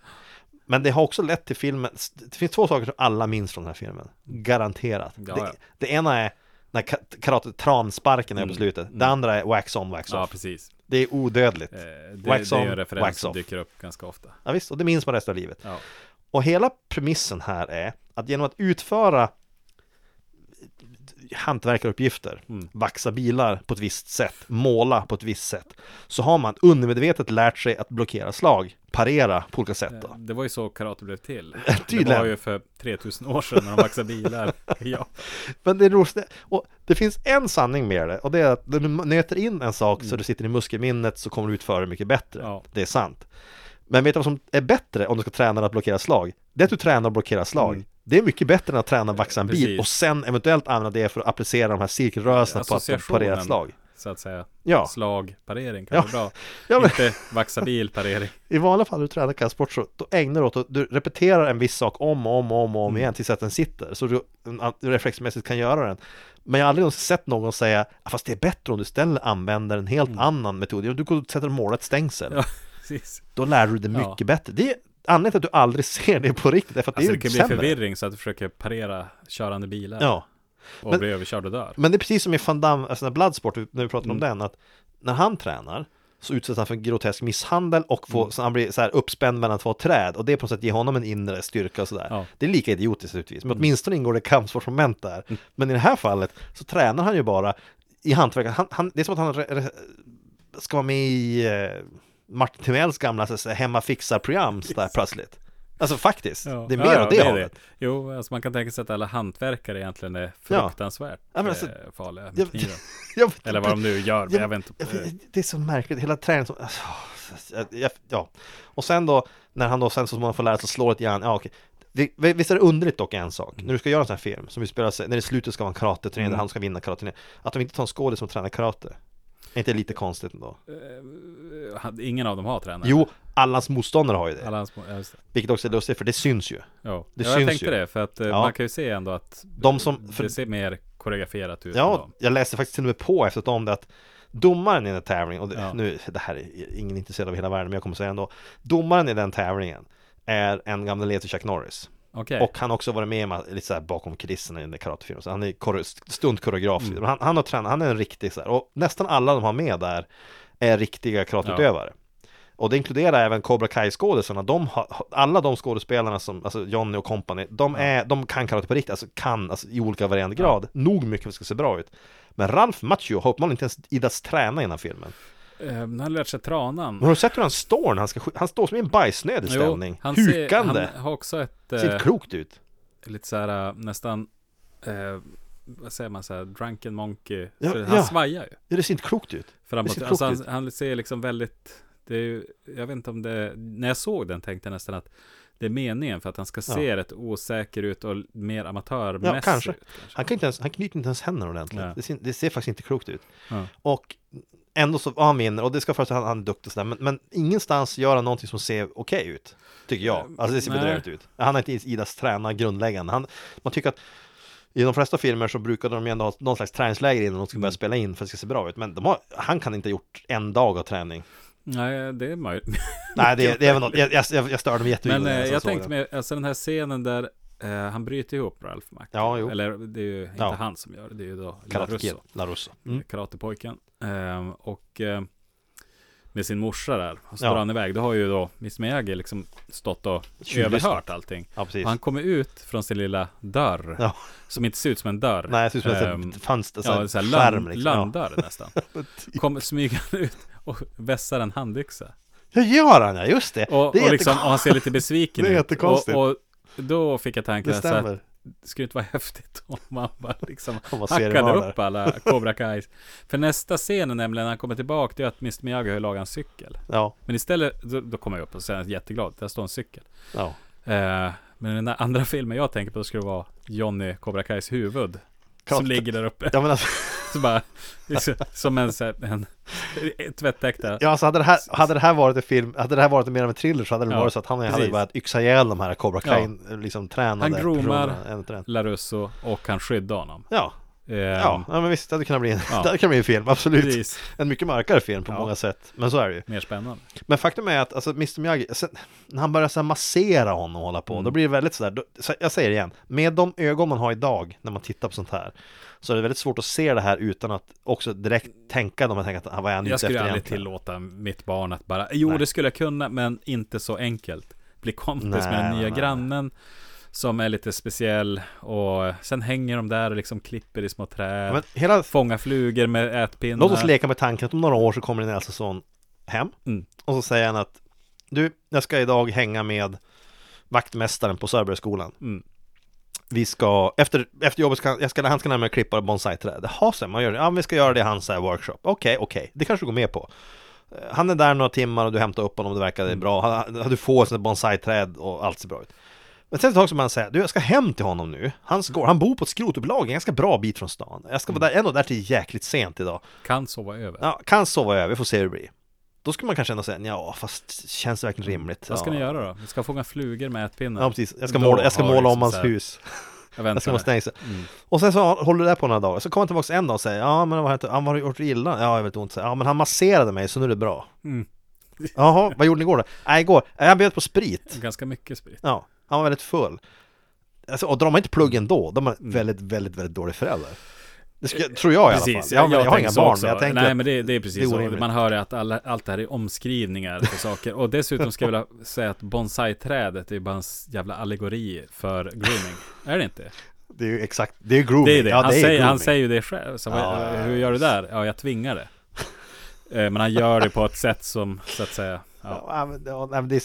E: Men det har också lett till filmen, det finns två saker som alla minns från den här filmen, garanterat.
F: Ja,
E: det,
F: ja.
E: det ena är när ka- karate transparken är på slutet, det andra är wax on, wax
F: Mm. Ja,
E: off.
F: precis.
E: det är odödligt.
F: Eh, Det,
E: wax
F: det är ju
E: on,
F: en
E: wax
F: referens som
E: off.
F: dyker upp ganska ofta.
E: Ja, visst, och det minns man resten av livet.
F: Ja.
E: Och hela premissen här är att genom att utföra hantverkaruppgifter, vaxa bilar på ett visst sätt, måla på ett visst sätt, så har man undermedvetet lärt sig att blockera slag, parera på olika sätt. Då.
F: Det var ju så karate blev till. Det
E: Tydligen.
F: var ju för 3000 år sedan när de vaxade bilar. ja.
E: Men det är roligt, och det finns en sanning med det, och det är att när du nöter in en sak så du sitter i muskelminnet så kommer du utföra det mycket bättre.
F: Mm. Ja.
E: Det är sant. Men vet du vad som är bättre om du ska träna att blockera slag? Det är att du tränar att blockera slag. Det är mycket bättre än att träna att vaxa en bil
F: Mm. Precis.
E: och sen eventuellt använda det för att applicera de här cirkelrörelserna på att
F: Associationen
E: parera ett slag.
F: så att säga.
E: Ja.
F: Slag, parering kan
E: Ja.
F: vara bra.
E: Ja, men-
F: Inte vaxa bil, parering.
E: I vanliga fall när du tränar kampsport så då ägnar du åt att du repeterar en viss sak om och om och om, och
F: Mm.
E: om igen tills att den sitter så du mm, att du reflexmässigt kan göra den. Men jag har aldrig någonsin sett någon säga "Ah, fast det är bättre om du istället använder en helt annan metod. Ja, Du går och sätter och målar ett stängsel.
F: Mm. Ja, precis.
E: Då lär du dig
F: Ja.
E: mycket bättre. Det är anledningen till att du aldrig ser det på riktigt, därför att
F: Alltså
E: det
F: det
E: är ju
F: kan bli
E: sämre.
F: förvirring så att du försöker parera körande bilar
E: Ja.
F: och
E: men-
F: blir överkörd och dör.
E: Men det är precis som i Van Damme, alltså när Bloodsport, när vi pratar om
F: Mm.
E: den, att när han tränar så utsätts han för en grotesk misshandel och
F: Mm.
E: får, så han blir så här uppspänd mellan två träd och det på något sätt ger honom en inre styrka och sådär.
F: Ja. Mm.
E: Det är lika idiotiskt naturligtvis, men åtminstone ingår det kampsportsmoment där. Men i det här fallet så tränar han ju bara i hantverket. Han, han, det är som att han re, re, ska vara med i eh, Martin Timells gamla så att säga, hemma fixar-program så där plötsligt. Alltså faktiskt,
F: Ja.
E: det är mer
F: Ja, ja,
E: åt det,
F: är
E: hållet.
F: Jo, alltså man kan tänka sig att alla hantverkare egentligen är
E: Ja.
F: fruktansvärt
E: Ja, men alltså-
F: eh, farliga med
E: Jag-
F: kniven.
E: Jag vet
F: Eller
E: inte.
F: vad de nu gör, men
E: Ja,
F: jag vet inte.
E: Jag vet- Det är så märkligt, hela träningen som... Alltså, jag- jag- ja. Och sen då, när han då sen så småningom får lära sig att slå lite grann, ja okej. Det- Visst är det underligt dock en
F: Mm.
E: sak, när du ska göra en sån här film, som vi spelar, sig- när det i slutet ska vara en karateturnering, där han ska vinna karateturneringen, att de inte tar en skådis som tränar karate. Är inte det lite konstigt ändå?
F: Eh, han- Ingen av dem har tränare.
E: Jo, allas motståndare har ju det,
F: Alla hans, ja, just det.
E: vilket också är lustigt, för det syns ju.
F: Jo.
E: Det
F: ja, jag
E: syns
F: tänkte
E: ju.
F: det, för att eh,
E: Ja.
F: man kan ju se ändå att
E: De som- för-
F: det ser mer koreograferat ut. än
E: Ja,
F: dem.
E: jag läste faktiskt till och med på efteråt om det att domaren i den här tävlingen, och det,
F: Ja.
E: nu, det här är ingen intresserad av i hela världen, men jag kommer säga ändå. Domaren i den tävlingen är en gammal elev till Chuck Norris.
F: Okej.
E: Och han har också varit med i ma- lite så här bakom kulisserna i den där karatefilmen, så han är kore- stuntkoreograf.
F: Mm.
E: Men Han, han har tränat, han är en riktig så här, och nästan alla de har med där är riktiga karateutövare. Och det inkluderar även Cobra Kai-skådisarna, de har, alla de skådespelarna som, alltså Johnny och company, de, är, de kan karate på riktigt, alltså kan, alltså i olika varierande grad, nog mycket för att det ska se bra ut. Men Ralf Macchio har uppenbarligen inte ens idats träna i den här filmen.
F: Eh, Han har lärt sig tranan.
E: Men har du sett hur han står när han ska skj- Han står som i en bajsnödig ställning,
F: han ser-
E: hukande.
F: han har också ett...
E: Ser
F: eh,
E: inte klokt ut.
F: lite så här eh, nästan, eh, vad säger man så här, drunken monkey.
E: Ja,
F: för han
E: ja.
F: svajar ju
E: Ja, det ser inte klokt ut. Det
F: framåt.
E: ser
F: Alltså han,
E: tråkigt
F: han ser liksom väldigt, det är ju, jag vet inte om det, när jag såg den tänkte jag nästan att det är meningen för att han ska se rätt osäker ut och mer amatörmässig
E: Ja, kanske.
F: ut.
E: Han, kan inte ens, han knyter inte ens händerna ordentligt.
F: Nej.
E: Det, ser, det ser faktiskt inte klokt ut.
F: Ja.
E: Och ändå så, ja, han vinner, och det ska förstås, han, han är duktig och sådär, men, men ingenstans gör han någonting som ser okej ut. Tycker jag. Alltså det ser
F: Nej.
E: bedrövligt ut. Han har inte ens Idas träna grundläggande. Han, man tycker att i de flesta filmer så brukar de ju ändå ha någon slags träningsläger innan de ska
F: Mm.
E: börja spela in för att det ska se bra ut. Men de har, han kan inte ha gjort en dag av träning.
F: Nej, det är möjligt.
E: Nej, det, det är väl något, jag, jag, jag störde mig jättemycket
F: Men
E: när
F: eh, jag
E: såg
F: tänkte
E: den.
F: mig, alltså den här scenen där eh, han bryter ihop Ralph Mack.
E: Ja, jo.
F: Eller det är ju inte
E: Ja.
F: han som gör det, det är ju då La
E: Karate Kid,
F: Russo. Eh,
E: Larusso. Mm.
F: karatepojken. Ehm, och eh, med sin morsa där. Och så drar
E: Ja.
F: han iväg. Då har ju då Miss Miyagi liksom stått och
E: Tjuvlyssnat.
F: överhört allting.
E: Ja, precis.
F: Och han kommer ut från sin lilla dörr.
E: Ja.
F: Som inte ser ut som en dörr.
E: Nej, det ser ut som
F: Ehm,
E: ett fönster, så
F: ja,
E: här
F: en sån här
E: skärm
F: lönn-
E: liksom. Ja. Typ.
F: lönndörr nästan. Kommer smygande ut och vässar en handyxa.
E: Hur gör han? Ja, just det.
F: Och, och,
E: det är
F: liksom, och han ser lite besviken
E: Det är
F: ut.
E: jättekonstigt.
F: Och, och då fick jag tanken
E: Det
F: så här,
E: stämmer.
F: skulle inte vara häftigt om man bara liksom
E: Om man ser
F: hackade
E: det bara.
F: upp alla Cobra Kai. För nästa scen är nämligen när han kommer tillbaka, det är att Mr Miyagi har ju lagat en cykel.
E: Ja,
F: Men istället, då, då kommer jag upp och säger jätteglad, där står en cykel.
E: ja.
F: Eh, men den där andra filmen jag tänker på, då skulle det vara Johnny Cobra Kais huvud. Som
E: Klart.
F: ligger där uppe.
E: Ja, men alltså,
F: Så bara, liksom, som en, så här- en, en tvättäkt där.
E: ja, alltså hade, det här, hade det här varit en film, hade det här varit mer av en thriller så hade det
F: Ja,
E: varit så att han hade
F: precis.
E: ju börjat yxa ihjäl de här Cobra Kai, liksom tränade
F: Han groomar
E: personerna, en efter en.
F: Larusso och han skyddar honom.
E: Ja,
F: Eh,
E: ja, ja, men visst, det hade kunnat bli en,
F: Ja.
E: det hade kunnat bli en film, absolut.
F: Precis.
E: En mycket mörkare film på
F: Ja.
E: många sätt, men så är det ju.
F: Mer spännande.
E: Men faktum är att alltså, Mr Miyagi, sen, när han börjar så här massera honom och hålla på,
F: Mm.
E: då blir det väldigt sådär, då, så jag säger det igen, med de ögon man har idag när man tittar på sånt här, så är det väldigt svårt att se det här utan att också direkt tänka, de här tänka att ah, vad är han
F: Jag
E: ute
F: skulle
E: efter
F: aldrig
E: egentligen?
F: tillåta mitt barn att bara, jo
E: Nej.
F: det skulle jag kunna, men inte så enkelt. Bli kompis
E: Nej,
F: med den nya
E: nej, nej.
F: grannen som är lite speciell och sen hänger de där och liksom klipper i små träd.
E: Men hela
F: Fångar flugor med ätpinnar.
E: Låt oss leka med tanken att om några år så kommer Linnea Sässon hem
F: eh, Mm.
E: och så säger han att du, jag ska idag hänga med vaktmästaren på Sörbergsskolan.
F: Mm.
E: Vi ska, efter, efter jobbet ska, jag ska, han ska närmare klippa bonsai-träd. Jaha, säger man, gör det. Ja, men vi ska göra det i hans så här, workshop. Okej, okej, det kanske du går med på. Eh, Han är
F: Mm.
E: där några timmar och du hämtar upp honom, det verkar det är bra. Han, han- du får ett sånt här bonsai-träd och allt ser bra ut. Men sen ett tag så man säger, du jag ska hem till honom nu. Han, går, han bor på ett skrotupplag, en ganska bra bit från stan. Jag ska
F: Mm.
E: vara där, ändå där till jäkligt sent idag.
F: Kan sova över.
E: Ja, kan sova över, vi får se hur det blir. Då skulle man kanske ändå säga, ja fast känns det verkligen rimligt?
F: Mm. Vad ska
E: ja.
F: ni göra då? Ni ska fånga flugor med ätpinnar?
E: Ja precis, jag ska
F: Då
E: måla, jag ska
F: har
E: måla om
F: liksom
E: hans
F: så här- Mm.
E: hus.
F: Jag
E: Jag ska
F: väntar.
E: måla stängsel. Och sen så håller det där på några dagar, så kommer han tillbaka en dag och säger Ja men vad har hänt? han, vad har du gjort illa? Ja jag vet ont, Så, ja men han masserade mig så nu är det bra
F: Mm.
E: Jaha, vad gjorde ni igår då? Nej igår, jag bjöd på sprit
F: Ganska mycket sprit.
E: Ja, han var väldigt full alltså, Och drar man inte pluggen då, då är man
F: Mm.
E: väldigt, väldigt, väldigt dålig förälder det ska, tror jag i alla fall.
F: Precis,
E: Jag, jag, har
F: tänker
E: inga
F: så
E: barn,
F: också.
E: men jag tänker
F: Nej,
E: att-
F: men det, det är
E: det är
F: precis så.
E: orimligt.
F: Man hör ju att alla, allt det här är omskrivningar för saker. Och dessutom ska jag vilja säga att bonsai-trädet är bara en s- jävla allegori för grooming. Är det inte?
E: det är ju exakt, det är ju grooming.
F: Det är det.
E: Ja,
F: han,
E: är
F: säger, han
E: grooming.
F: säger ju det själv. Så, vad-
E: Ja, ja, ja.
F: hur gör du där? Ja, jag tvingar det. Eh, Men han gör det på ett sätt som, så att säga, ja.
E: Ja, men, ja, nej, men det är,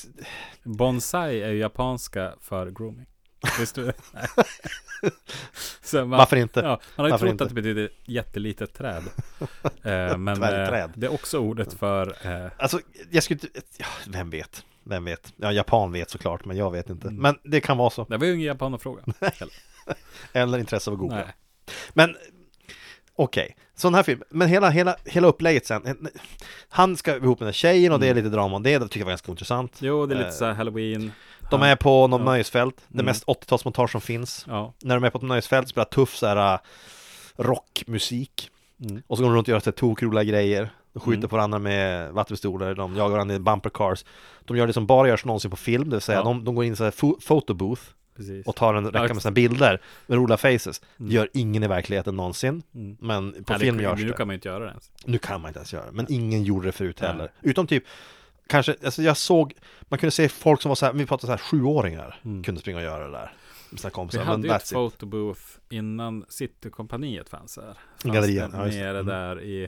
F: Bonsai är ju japanska för grooming. Visste du det? Nej. Så man-
E: varför inte?
F: Ja, man har ju
E: Varför
F: trott
E: inte?
F: att det betyder jättelitet träd. Eh, men eh,
E: Dvärgträd.
F: det är också ordet för... Eh,
E: Alltså, jag skulle inte... ja, Vem vet? Vem vet? Ja, japan vet såklart, men jag vet inte. Men det kan vara så.
F: det var ju ingen japanofråga. Eller-
E: Eller intresse av att googla.
F: Nej.
E: Men okej, sån här film. Men hela, hela, hela upplägget sen. Han ska ihop med den här tjejen och det är lite drama om det. Det tycker jag var ganska intressant.
F: Jo, det är lite
E: Eh,
F: så här halloween.
E: De
F: Ja.
E: är på något
F: Ja.
E: nöjesfält. Det
F: Mm.
E: mest 80-talsmontage som finns.
F: Ja,
E: När de är på ett nöjesfält spelar tuff så här äh, rockmusik.
F: Mm.
E: Och så går de runt och gör så här tokroliga grejer. De skjuter
F: Mm.
E: på varandra med vattenpistoler, de jagar varandra i bumper cars. De gör det som bara görs någonsin på film, det vill säga
F: Ja.
E: de, de går in i så här fo- photo booth
F: precis.
E: och tar en räcka med sina bilder med roliga faces. Det gör ingen i verkligheten någonsin,
F: Mm.
E: men på
F: Nej, det-
E: film görs
F: Nu
E: det.
F: kan man ju inte göra det ens.
E: Nu kan man inte ens göra det, men ingen gjorde det förut
F: Nej.
E: heller. Utom typ, kanske, alltså jag såg, man kunde se folk som var så här, vi pratar så här sjuåringar, kunde springa och göra det där. Med sina
F: Mm. Vi
E: kompisar,
F: hade
E: men
F: ju ett
E: that's it.
F: photobooth innan Citykompaniet fanns här. Fanns
E: Gallerian,
F: det
E: ja, just det.
F: nere
E: Mm.
F: där i...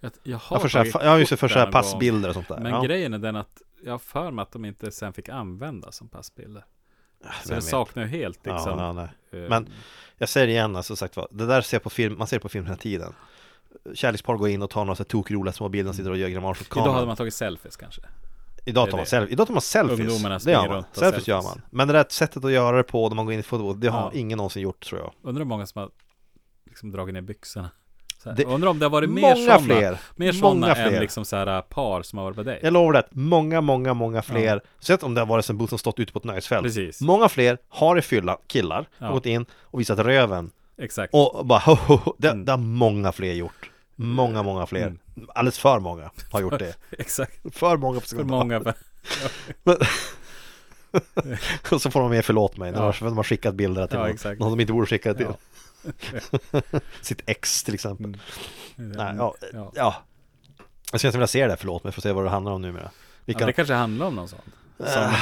F: Jag, jag har
E: Ja, för så här,
F: tagit
E: ja just det,
F: kort
E: för så här
F: där någon gång.
E: passbilder och sånt där.
F: Men
E: ja,
F: grejen är den att jag har för mig att de inte sen fick använda som passbilder. Så
E: Ah, vem
F: det
E: vet.
F: saknar ju helt liksom.
E: ja, ja, nej.
F: eh,
E: Men jag säger det igen, alltså sagt vad, det där ser jag på film, man ser det på film hela tiden. Kärlekspar går in och tar några så här tokroliga små bilder och sitter och gör grimaser åt
F: Idag hade
E: kameran.
F: man tagit selfies kanske.
E: Idag
F: det
E: tar
F: är
E: man
F: det.
E: selfies, idag tar man selfies.
F: Ungdomarna
E: det gör
F: springer
E: man.
F: runt och
E: Selfies, gör
F: selfies.
E: man. Men det där sättet att göra det på när man går in i fotboll, det har
F: Ja.
E: ingen någonsin gjort tror jag.
F: Undrar hur många som har liksom dragit ner byxorna. Så här.
E: Det-
F: Undrar om det har varit mer
E: Många
F: sådana.
E: fler! Många
F: Mer sådana
E: fler.
F: än liksom så här par som har varit på dig.
E: Jag lovar det, att många, många, många fler, sett om det har varit sen Booth stått ute på ett nöjesfält.
F: Precis.
E: Många fler har i fylla, killar,
F: Ja.
E: gått in och visat röven
F: Exakt.
E: och bara ho, ho, ho. Det, det har många fler gjort. Många, många fler.
F: Mm.
E: Alldeles för många har gjort det.
F: Exakt.
E: För många på
F: För många. för-
E: Men- Och så får de med förlåt mig,
F: Ja.
E: annars har de skickat bilder till
F: Ja,
E: någon,
F: exakt.
E: någon de inte borde skicka till.
F: Ja.
E: Sitt ex till exempel.
F: Mm.
E: Nej, ja, ja.
F: Ja.
E: Jag skulle inte vilja se det där, förlåt mig, för att se vad det handlar om numera.
F: Ja, men
E: Vilka,
F: det kanske handlar om någon sån. Som,
E: Äh,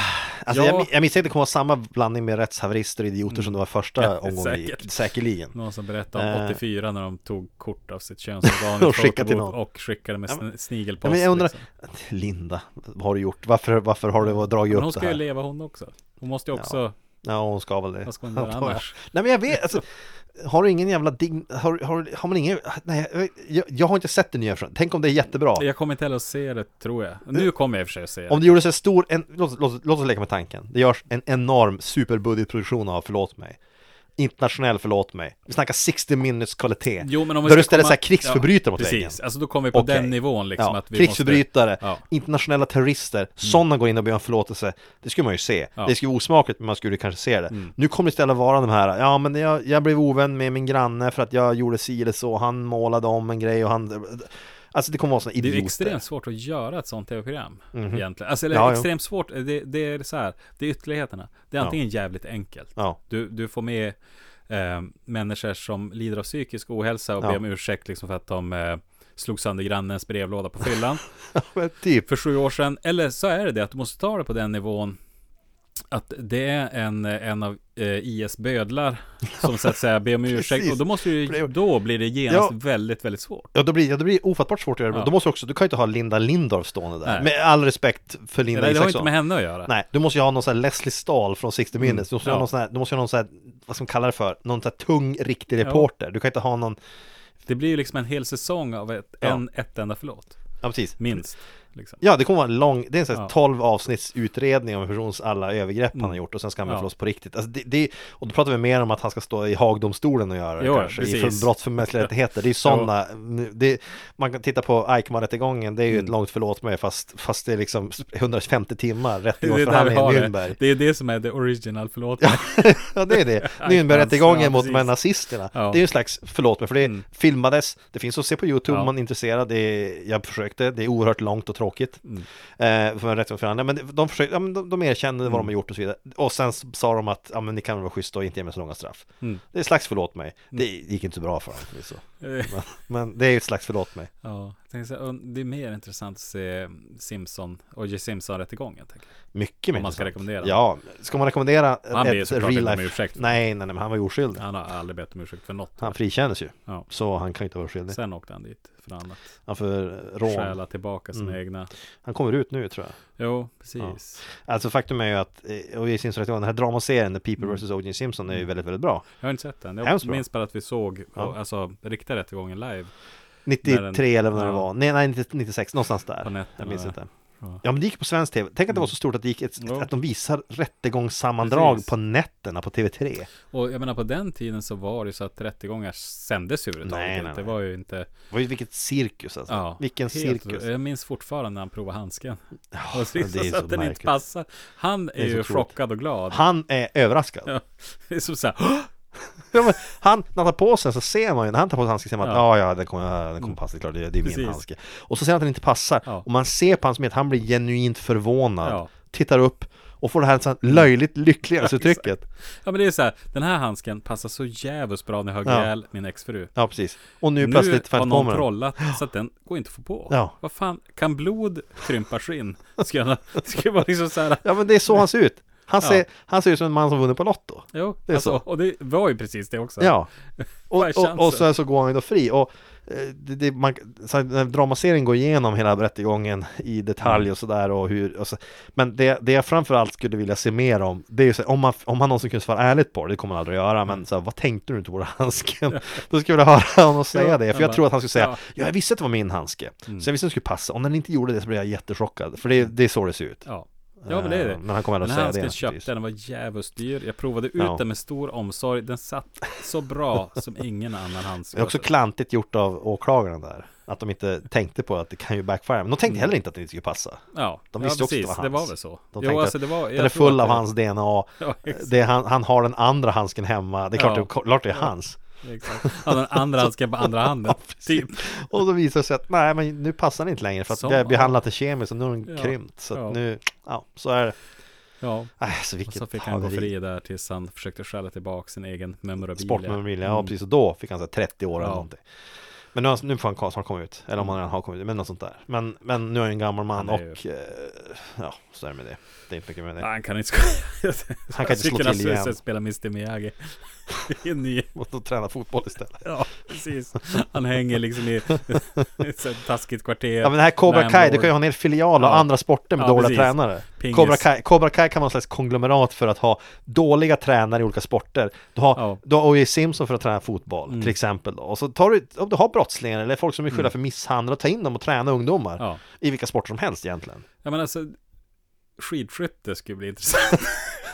E: alltså,
F: ja.
E: jag, jag misstänker att det kommer vara samma blandning med rättshaverister och idioter som det var första
F: Mm. Ja,
E: omgången. i-
F: säkert.
E: Säkerligen.
F: Någon som berättade om
E: Eh.
F: 84 när de tog kort av sitt könsorgan i
E: Och skickade till
F: fotobot
E: någon.
F: och skickade med
E: Ja,
F: sn- snigelpost.
E: Ja, men jag undrar,
F: liksom.
E: Linda, vad har du gjort? Varför, varför har du dragit
F: Mm. Men hon
E: upp det
F: ska ju
E: här?
F: leva hon också. Hon måste ju också,
E: Ja, hon ska väl det.
F: vad ska hon göra annars?
E: Nej men jag vet, alltså, har du ingen jävla dign... Har, har, har man ingen... Nej, jag, jag har inte sett det nya från. Tänk om det är jättebra.
F: Jag kommer inte heller att se det, tror jag. Nu kommer jag i och för sig att se det.
E: Äh, Om det gjordes en stor... En, låt, låt, låt oss leka med tanken. Det görs en enorm superbudgetproduktion av Förlåt mig. Internationell Förlåt mig. Vi snackar 60 minutes kvalitet.
F: Jo, men om vi
E: där du
F: ska
E: ställer
F: komma-
E: så här krigsförbrytare mot
F: precis.
E: väggen.
F: Alltså då kommer vi på
E: Okej.
F: den nivån liksom
E: ja,
F: att vi
E: krigsförbrytare,
F: Ja. Mm.
E: internationella terrorister, sådana går in och ber om förlåtelse. Det skulle man ju se.
F: Ja. Mm.
E: Det skulle vara osmakligt, men man skulle kanske se det. Nu kommer det istället vara de här, ja men jag, jag blev ovän med min granne för att jag gjorde si eller så, han målade om en grej och han... Alltså det kommer vara sådana
F: Måste, det
E: idioter. Mhm.
F: är ju extremt svårt att göra ett sånt tv-program egentligen. Alltså eller
E: Ja, jo.
F: extremt svårt, det, det är så här, det är ytterligheterna. Det är
E: Ja.
F: antingen jävligt enkelt.
E: Ja.
F: Du, du får med eh, människor som lider av psykisk ohälsa och
E: Ja.
F: ber om ursäkt liksom för att de eh, slog sönder grannens brevlåda på fyllan.
E: Men typ.
F: för sju år sedan. Eller så är det det att du måste ta det på den nivån att det är en, en av eh, IS bödlar som så att säga ber om ursäkt
E: Precis.
F: och då måste
E: För det-
F: ju, då blir det genast
E: Ja.
F: väldigt, väldigt svårt.
E: Ja, då blir, ja, då blir det ofattbart svårt att göra det.
F: Ja.
E: Då måste du också, du kan ju inte ha Linda Lindorff stående där.
F: Nej.
E: Med all respekt för
F: Det,
E: Linda
F: det har ju
E: Isaksson.
F: inte med henne att göra.
E: Nej, du måste ju ha någon sån här Leslie Stahl från 60 Minutes. Du måste ju ha någon
F: Mm. ja.
E: sån här, du måste ju ha någon sån här, vad ska man kalla det för? Någon sån här tung, riktig reporter. Du kan inte ha någon,
F: Det blir ju liksom en hel säsong av ett,
E: Ja.
F: en, ett enda förlåt.
E: ja precis.
F: Minst. Liksom.
E: Ja, det kommer vara en lång, det är en sån här
F: Ja.
E: 12 avsnitts utredning om en persons alla övergrepp han har
F: Mm.
E: gjort och sen ska han
F: Ja.
E: väl ja. på riktigt. Alltså det, det, och då pratar vi mer om att han ska stå i Haagdomstolen och göra det
F: Jo,
E: kanske, i
F: precis.
E: för, brott för mänskliga rättigheter. Det är sådana, det, man kan titta på Eichmann-rättegången, det är ju
F: Mm.
E: ett långt förlåt mig, fast, fast det är liksom 150 timmar rättegångsförhandling i Nürnberg.
F: det. Det är det som är the original, förlåt mig.
E: Ja det är det,
F: Ja,
E: Nürnbergrättegången mot de här
F: precis.
E: nazisterna
F: Ja.
E: Det är ju en slags, förlåt mig för det
F: Mm.
E: filmades Det finns att se på Youtube om
F: Ja.
E: man är intresserad det är, Jag försökte, det är oerhört långt och tråkigt
F: Mm.
E: eh, För en rättegångsförhandling, men de, försökte, ja, men de, de erkände
F: Mm.
E: vad de har gjort och så vidare Och sen s- sa de att, ja men ni kan väl vara schyssta och inte ge mig så långa straff
F: Mm.
E: Det är ett slags förlåt mig Det gick inte så bra för dem förvisso
F: Eh,
E: men, men det är ju ett slags förlåt mig
F: ja, jag tänkte, säga, um, det är mer intressant att se Simpson, O.J. Simpson-rättegången. tänker jag.
E: Mycket mer
F: Om man ska
E: intressant.
F: rekommendera.
E: Ja, ska man rekommendera
F: Han ber ju såklart inte om ursäkt.
E: Nej, nej, nej, men han var ju oskyldig
F: Han har aldrig bett om ursäkt för något.
E: Han frikändes ju,
F: Ja.
E: så han kan ju inte vara oskyldig
F: Sen åkte han dit för annat.
E: Han för rån
F: Stjäla tillbaka sina
E: Mm.
F: egna.
E: Han kommer ut nu tror jag
F: Jo, precis.
E: Alltså faktum är ju att eh, O.J. Simpson-rättegången, den här dramaserien The
F: Mm.
E: People vs. O.J. Simpson är ju väldigt, väldigt bra
F: Jag har inte sett den.
E: Hemskt
F: Jag
E: bra.
F: minns bara att vi såg
E: Ja.
F: alltså, riktiga rättegången live.
E: 93
F: När den-
E: eller när det
F: ja.
E: var, nej, nej 90 96, någonstans där
F: På nätterna
E: Jag minns
F: där.
E: inte
F: Ja. Mm.
E: Ja men det gick på svensk tv, tänk att det var så stort att det gick ett,
F: Ja.
E: att de visar rättegångssammandrag
F: Precis.
E: på nätterna på TV3
F: Och jag menar på den tiden så var det ju så att rättegångar sändes ju överhuvudtaget.
E: Nej, nej,
F: Det
E: nej.
F: var ju inte...
E: Det var ju Vilket cirkus alltså,
F: Ja,
E: vilken
F: helt
E: cirkus
F: otro- Jag minns fortfarande när han provade handsken.
E: Ja,
F: och så, liksom
E: det är
F: så
E: så
F: att den inte
E: märkligt.
F: passar. Han är,
E: är så
F: ju
E: otroligt.
F: chockad och glad.
E: Han är överraskad
F: Ja, det är som så här,
E: Ja, men han, när han tar på sig den så ser man ju, när han tar på sig handsken ser man att ja,
F: Ja. Mm.
E: ja, den kommer, den kommer passa, det är klart, det, det är min
F: Precis.
E: handske. Och så ser han att den inte passar,
F: Ja.
E: och man ser på hans med att han blir genuint förvånad,
F: Ja.
E: tittar upp och får det här så här löjligt lyckliga uttrycket.
F: ja men det är så här, den här handsken passar så jävligt bra när jag högg
E: Ja.
F: ihjäl min exfru.
E: Ja, precis. Och nu,
F: Nu
E: plötsligt får
F: har
E: han på
F: någon
E: mig den.
F: trollat så att den går inte att få på.
E: Ja.
F: Vad fan, kan blod krympa skinn? Ska jag, ska jag vara liksom så här,
E: Ja, men det är så han ser ut. Han
F: Ja.
E: ser, han ser ut som en man som vunnit på Lotto.
F: jo,
E: Det är
F: alltså,
E: så.
F: och det var ju precis det också.
E: Ja, och,
F: Vad är
E: och, och
F: chansen?
E: sen så går han ju då fri och eh, det, det, man, så här, när dramaserien går igenom hela rättegången i
F: Mm.
E: detalj och sådär och hur och så, Men det, det jag framförallt skulle vilja se mer om Det är ju så här, om, man, om han någonsin kunde svara ärligt på det, det kommer han aldrig att göra Men så här, vad tänkte du inte på den handsken? Då skulle jag vilja höra honom säga
F: Mm. Ja,
E: det För
F: han
E: jag
F: bara,
E: tror att han skulle säga
F: ja. Mm.
E: Ja, jag visste att det var min handske Så jag visste att den skulle passa Om den inte gjorde det så blev jag jättechockad För det, det är så det ser ut
F: Ja, ja men det är det.
E: Eh, Men han kommer
F: Den
E: aldrig
F: här
E: att säga
F: handsken
E: det
F: köpte jag, den var djävulskt dyr. Jag provade ut
E: Ja.
F: den med stor omsorg. Den satt så bra som ingen annan handske.
E: Det är också klantigt gjort av åklagaren där. Att de inte tänkte på att det kan ju backfire. Men de
F: Mm.
E: tänkte heller inte att det inte skulle passa.
F: Ja,
E: De
F: ja,
E: visste ju också att det var
F: Det
E: hans.
F: var väl så.
E: De
F: jo,
E: tänkte
F: alltså det var,
E: att
F: jag
E: den är
F: tror
E: full
F: att
E: av
F: det-
E: hans DNA.
F: Ja, exakt.
E: Det är, han, han har den andra handsken hemma. Det är klart,
F: Ja.
E: det, klart det är hans.
F: exakt. Han har den andra handsken på andra handen. typ.
E: Och då visar det sig att nej, men nu passar den inte längre för att
F: Som
E: vi har
F: allt.
E: behandlat det kemiskt och nu har den
F: Ja.
E: krympt. Så att
F: Ja.
E: nu, ja, så är det.
F: Ja,
E: Äh, så
F: och
E: vilket
F: så fick han gå
E: haveri.
F: fri där tills han försökte stjäla tillbaka sin egen memorabilia.
E: Sportmemorabilia, ja
F: Mm.
E: precis. Och då fick han så här 30 år eller
F: Ja.
E: någonting. Men nu, har han- nu får han kom- snart komma ut, eller om han redan har kommit ut, men något sånt där. Men, men nu är han en gammal man
F: Han är ju-
E: och eh, ja, så är det med det. Det är inte mycket med det.
F: Nej, han kan inte skoja.
E: Han kan inte slå till igen.
F: spela Mr Miyagi. I en ny,
E: Och då träna fotboll istället.
F: ja, precis. Han hänger liksom i i ett så här taskigt kvarter.
E: Ja men det här Cobra Kai,
F: Landlord.
E: du kan ju ha en hel filial och
F: Ja.
E: andra sporter med
F: Ja,
E: dåliga
F: precis.
E: tränare.
F: Pingis.
E: Cobra Kai, Cobra Kai kan vara en slags konglomerat för att ha dåliga tränare i olika sporter. Du har,
F: Ja. Mm.
E: du har O.J. Simpson för att träna fotboll till exempel då. Och så tar du, om du har brottslingar eller folk som är skyldiga för misshandel, ta in dem och träna ungdomar.
F: Ja.
E: I vilka sporter som helst egentligen.
F: Ja men alltså Skidskytte skulle bli intressant.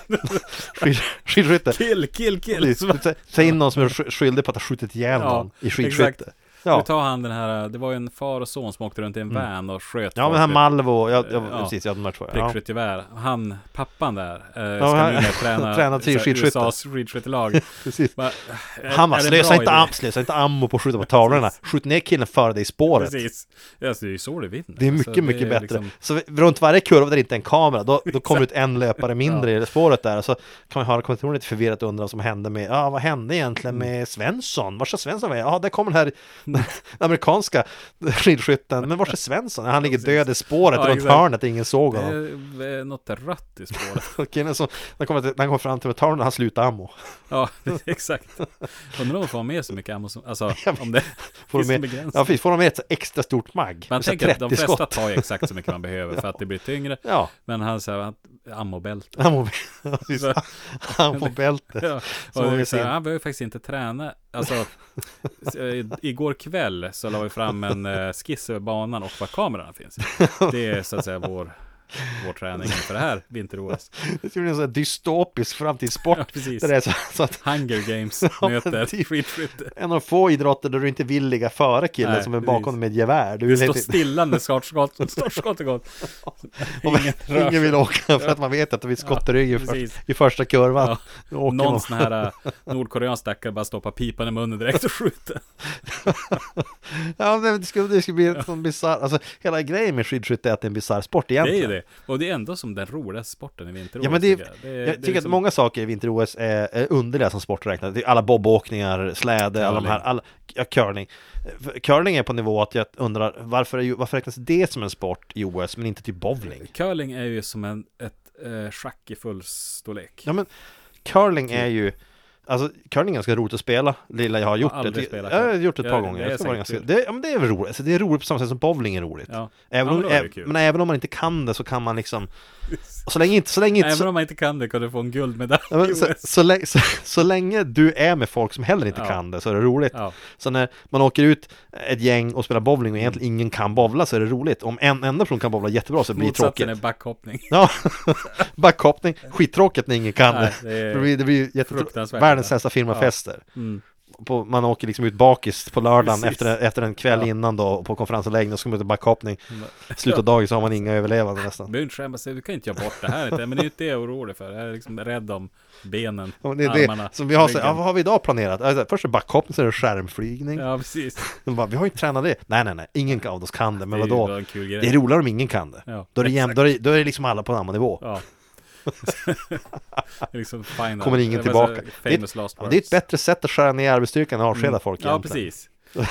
E: Skid, skidskytte.
F: Kill, kill,
E: Du-
F: kill. Så
E: du- Ta in någon som är sk- skyldig på att ha skjutit ihjäl
F: Ja,
E: någon i
F: exakt.
E: skidskytte.
F: ja.
E: Ja. Mm.
F: tar han den här, det var ju en far och son som åkte runt i en van och sköt
E: ja, men
F: folk
E: han
F: med
E: Malvo, ja, ja,
F: Ja.
E: precis, ja de här två. Ja.
F: prickskyttegevär. Han, pappan där, eh, ska
E: han-
F: nu träna,
E: träna till
F: så här
E: skidskytte.
F: USAs skidskyttelag.
E: Precis.
F: Bara, eh,
E: Han bara,
F: är det en
E: slösa
F: bra
E: inte,
F: idé?
E: am, slösa inte ammo på att skjuta på tavlorna. Skjut ner killen före dig i spåret.
F: Precis. Alltså, det är ju så det vinner.
E: Det är mycket,
F: Alltså, det
E: mycket
F: är
E: bättre.
F: liksom-
E: Så runt varje kurva där det inte är en kamera, då, då kommer det ut en löpare mindre i spåret där. Så kan man höra kommentatorer lite förvirrat undra vad som hände med, ja vad hände egentligen
F: Mm.
E: med Svensson? Var ska Svensson vara? Ja, där kommer den här den amerikanska skidskytten. Men var är Svensson? Ja, Han ligger död i spåret
F: Ja,
E: runt
F: exakt.
E: hörnet, ingen såg
F: det
E: honom.
F: är eh, något rött i spåret.
E: Och killen som, när han kommer fram till tavlan, han slutar ammo.
F: ja, exakt. Undrar om de får med så mycket ammo som, alltså om det
E: Får
F: finns
E: de
F: en
E: med,
F: begränsning.
E: ja, precis, får de med ett extra stort mag.
F: Man
E: Så här
F: tänker att de
E: 30
F: flesta
E: skott.
F: tar ju exakt så mycket man behöver för att det blir tyngre.
E: Ja.
F: Men han säger att ammobälte.
E: Han mår, precis,
F: Så-
E: han mår bältet.
F: Alltså, Ja.
E: Så
F: Och "Ah,
E: vi
F: det är så
E: ser-
F: här, han behöver faktiskt inte träna. Alltså, s- eh, igår kväll så la vi fram en eh, skiss över banan och var kamerorna finns. Det är så att säga vår, vår träning för det här vinter-OS.
E: Det skulle bli en sån här dystopisk framtidssport.
F: Ja, precis.
E: där det är så, så att
F: Hunger Games
E: Ja, men
F: möter
E: typ.
F: skidskytte.
E: en av få idrotter där du inte vill ligga före killen
F: Nej,
E: som är
F: precis.
E: bakom med ett gevär. Du
F: Det
E: vill
F: står
E: inte,
F: stilla när startskottet startskott gått. Ingen rör
E: ingen
F: sig.
E: vill åka för att man vet att det blir skottrygg i, för,
F: precis.
E: i första kurvan.
F: Ja,
E: Då åker
F: Någon
E: man.
F: sån här eh, nordkoreansk stackare bara stoppar pipan i munnen direkt och skjuter.
E: Ja, men det skulle, det skulle bli en sån bisarr, alltså hela grejen med skidskytte är att det är en bisarr sport
F: Det är
E: egentligen.
F: ju det. Och det är ändå som den roligaste sporten i vinter
E: Ja, men det, är-
F: är liksom-
E: jag tycker att många saker i vinter-OS är, är underliga som sport räknat. Det är alla bobåkningar, släde, alla de här, alla, ja, curling. För Curling är på nivå att jag undrar varför, är, ju- varför räknas det som en sport i OS men inte typ bowling?
F: Curling är ju som en, ett eh, schack i fullstorlek.
E: Ja men curling är ju Alltså curling är ganska roligt att spela, lilla jag har gjort
F: aldrig
E: det
F: spelat
E: Jag har
F: curling.
E: gjort det ett
F: Ja,
E: par
F: det
E: gånger
F: är
E: det, det,
F: säkert
E: ganska,
F: kul.
E: det, ja, men det är väl roligt, alltså, det är roligt på samma sätt som bowling är roligt
F: Ja.
E: även,
F: Ja,
E: om,
F: men då är det
E: ä-
F: kul.
E: Men även om man inte kan det så kan man liksom Och så länge inte, så länge inte, så,
F: Även om man inte kan det kan du få en guldmedalj.
E: Ja, men
F: i
E: så,
F: OS.
E: så, länge, så, så länge du är med folk som heller inte
F: Ja.
E: kan det så är det roligt.
F: Ja. Mm.
E: Så när man åker ut ett gäng och spelar bowling och egentligen ingen kan bowla så är det roligt. Om en enda person kan bowla jättebra så blir det tråkigt.
F: Motsatsen är backhoppning.
E: Ja, backhoppning, skittråkigt när ingen kan
F: Nej,
E: det.
F: det är
E: Det blir, det blir jättetrå-
F: fruktansvärt. Mm.
E: världens sämsta firmafester. På, man åker liksom ut bakis på lördagen
F: Precis.
E: efter, efter en kväll innan då på konferensanläggningen och så ska man ut i backhoppning.
F: Mm.
E: Slutet av dagen så har man inga överlevande
F: Du
E: nästan.
F: behöver inte skämmas, du kan inte göra bort det här inte. Men det är ju inte det jag är orolig för. Jag är liksom rädd om benen,
E: Ja, men Det är
F: armarna,
E: det som vi har, så,
F: ryggen.
E: ja, vad har vi idag planerat? Alltså, först är det backhoppning, sen är det skärmflygning.
F: Ja, precis.
E: De bara, vi har ju inte tränat det. Nej, nej, nej, ingen av oss kan det, men
F: Det är ju
E: vadå?
F: bara en kul grej.
E: Det är roligare om ingen kan det.
F: Ja,
E: då, är det jäm, då, är det, då är det liksom alla på samma nivå.
F: Ja. Det är liksom final.
E: Kommer ingen
F: Det var så
E: tillbaka. Det är,
F: Famous
E: ett,
F: last
E: ja, det är ett
F: words. Mm.
E: bättre sätt att skära ner arbetsstyrkan än att avskeda folk
F: Ja,
E: egentligen.
F: precis.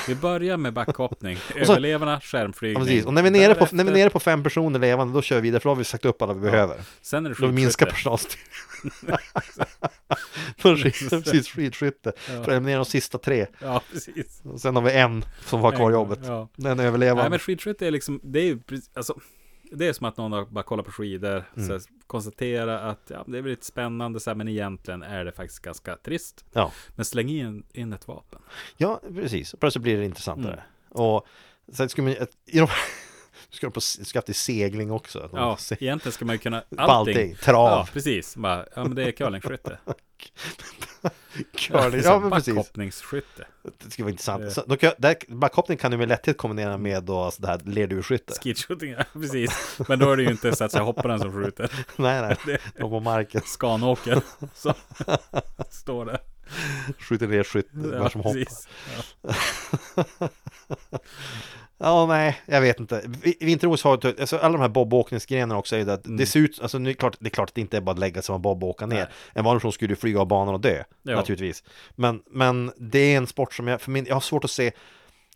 F: Vi börjar med backhoppning.
E: så-
F: Överlevarna,
E: Ja,
F: skärmflygning.
E: precis. Och när vi, är nere på, när vi är
F: Därefter-
E: nere på fem personer levande, då kör vi vidare, för då har vi sagt upp alla vi behöver.
F: Sen är det
E: Då minskar
F: skidskytte.
E: personalstyrkan. Då skid- precis, skidskytte. För att eliminera de sista tre.
F: Ja, precis.
E: Och sen har vi en som har kvar
F: En-
E: jobbet.
F: ja.
E: Den
F: Nej,
E: överlevande.
F: men skidskytte är liksom, det är ju precis, alltså, det är som att någon har bara kollat på skidor, så
E: Mm.
F: här, konstatera att ja, det är väl lite spännande, så här, men egentligen är det faktiskt ganska trist.
E: Ja.
F: Men släng in, in ett vapen.
E: Ja, precis. Plötsligt blir det intressantare.
F: Mm.
E: Och sen ska man ju- ett- i de, ska de på, ska till segling också. Att de
F: Ja,
E: se-
F: egentligen ska man ju kunna allting.
E: på allting. Trav,
F: Ja, precis. Bara, ja, men det är curlingskytte.
E: curling. Ja, men precis.
F: Backhoppningsskytte.
E: liksom. Det skulle vara
F: Eh.
E: intressant. Så, då kan, där, backhoppning kan du med lätthet kombinera med då, alltså det här lerduveskytte.
F: Skidshooting, ja, precis. Men då är det ju inte så att säga hopparen som skjuter.
E: Nej, nej.
F: Det-
E: De på marken
F: Skanåker. Så står det.
E: skjuter lerskytte. Ja, som hoppar.
F: precis.
E: Ja, nej, jag vet inte. Vi- Vinter-OS har ju- alltså alla de här bobåkningsgrenarna också är ju det att det ser ut, alltså nu, är det klart, det är klart att det inte är bara att lägga sig och bob och åka ner.
F: Mm. Nej.
E: En vanlig person skulle ju flyga av banan och dö,
F: Ja.
E: naturligtvis. Men, men det är en sport som jag, för min, jag har svårt att se.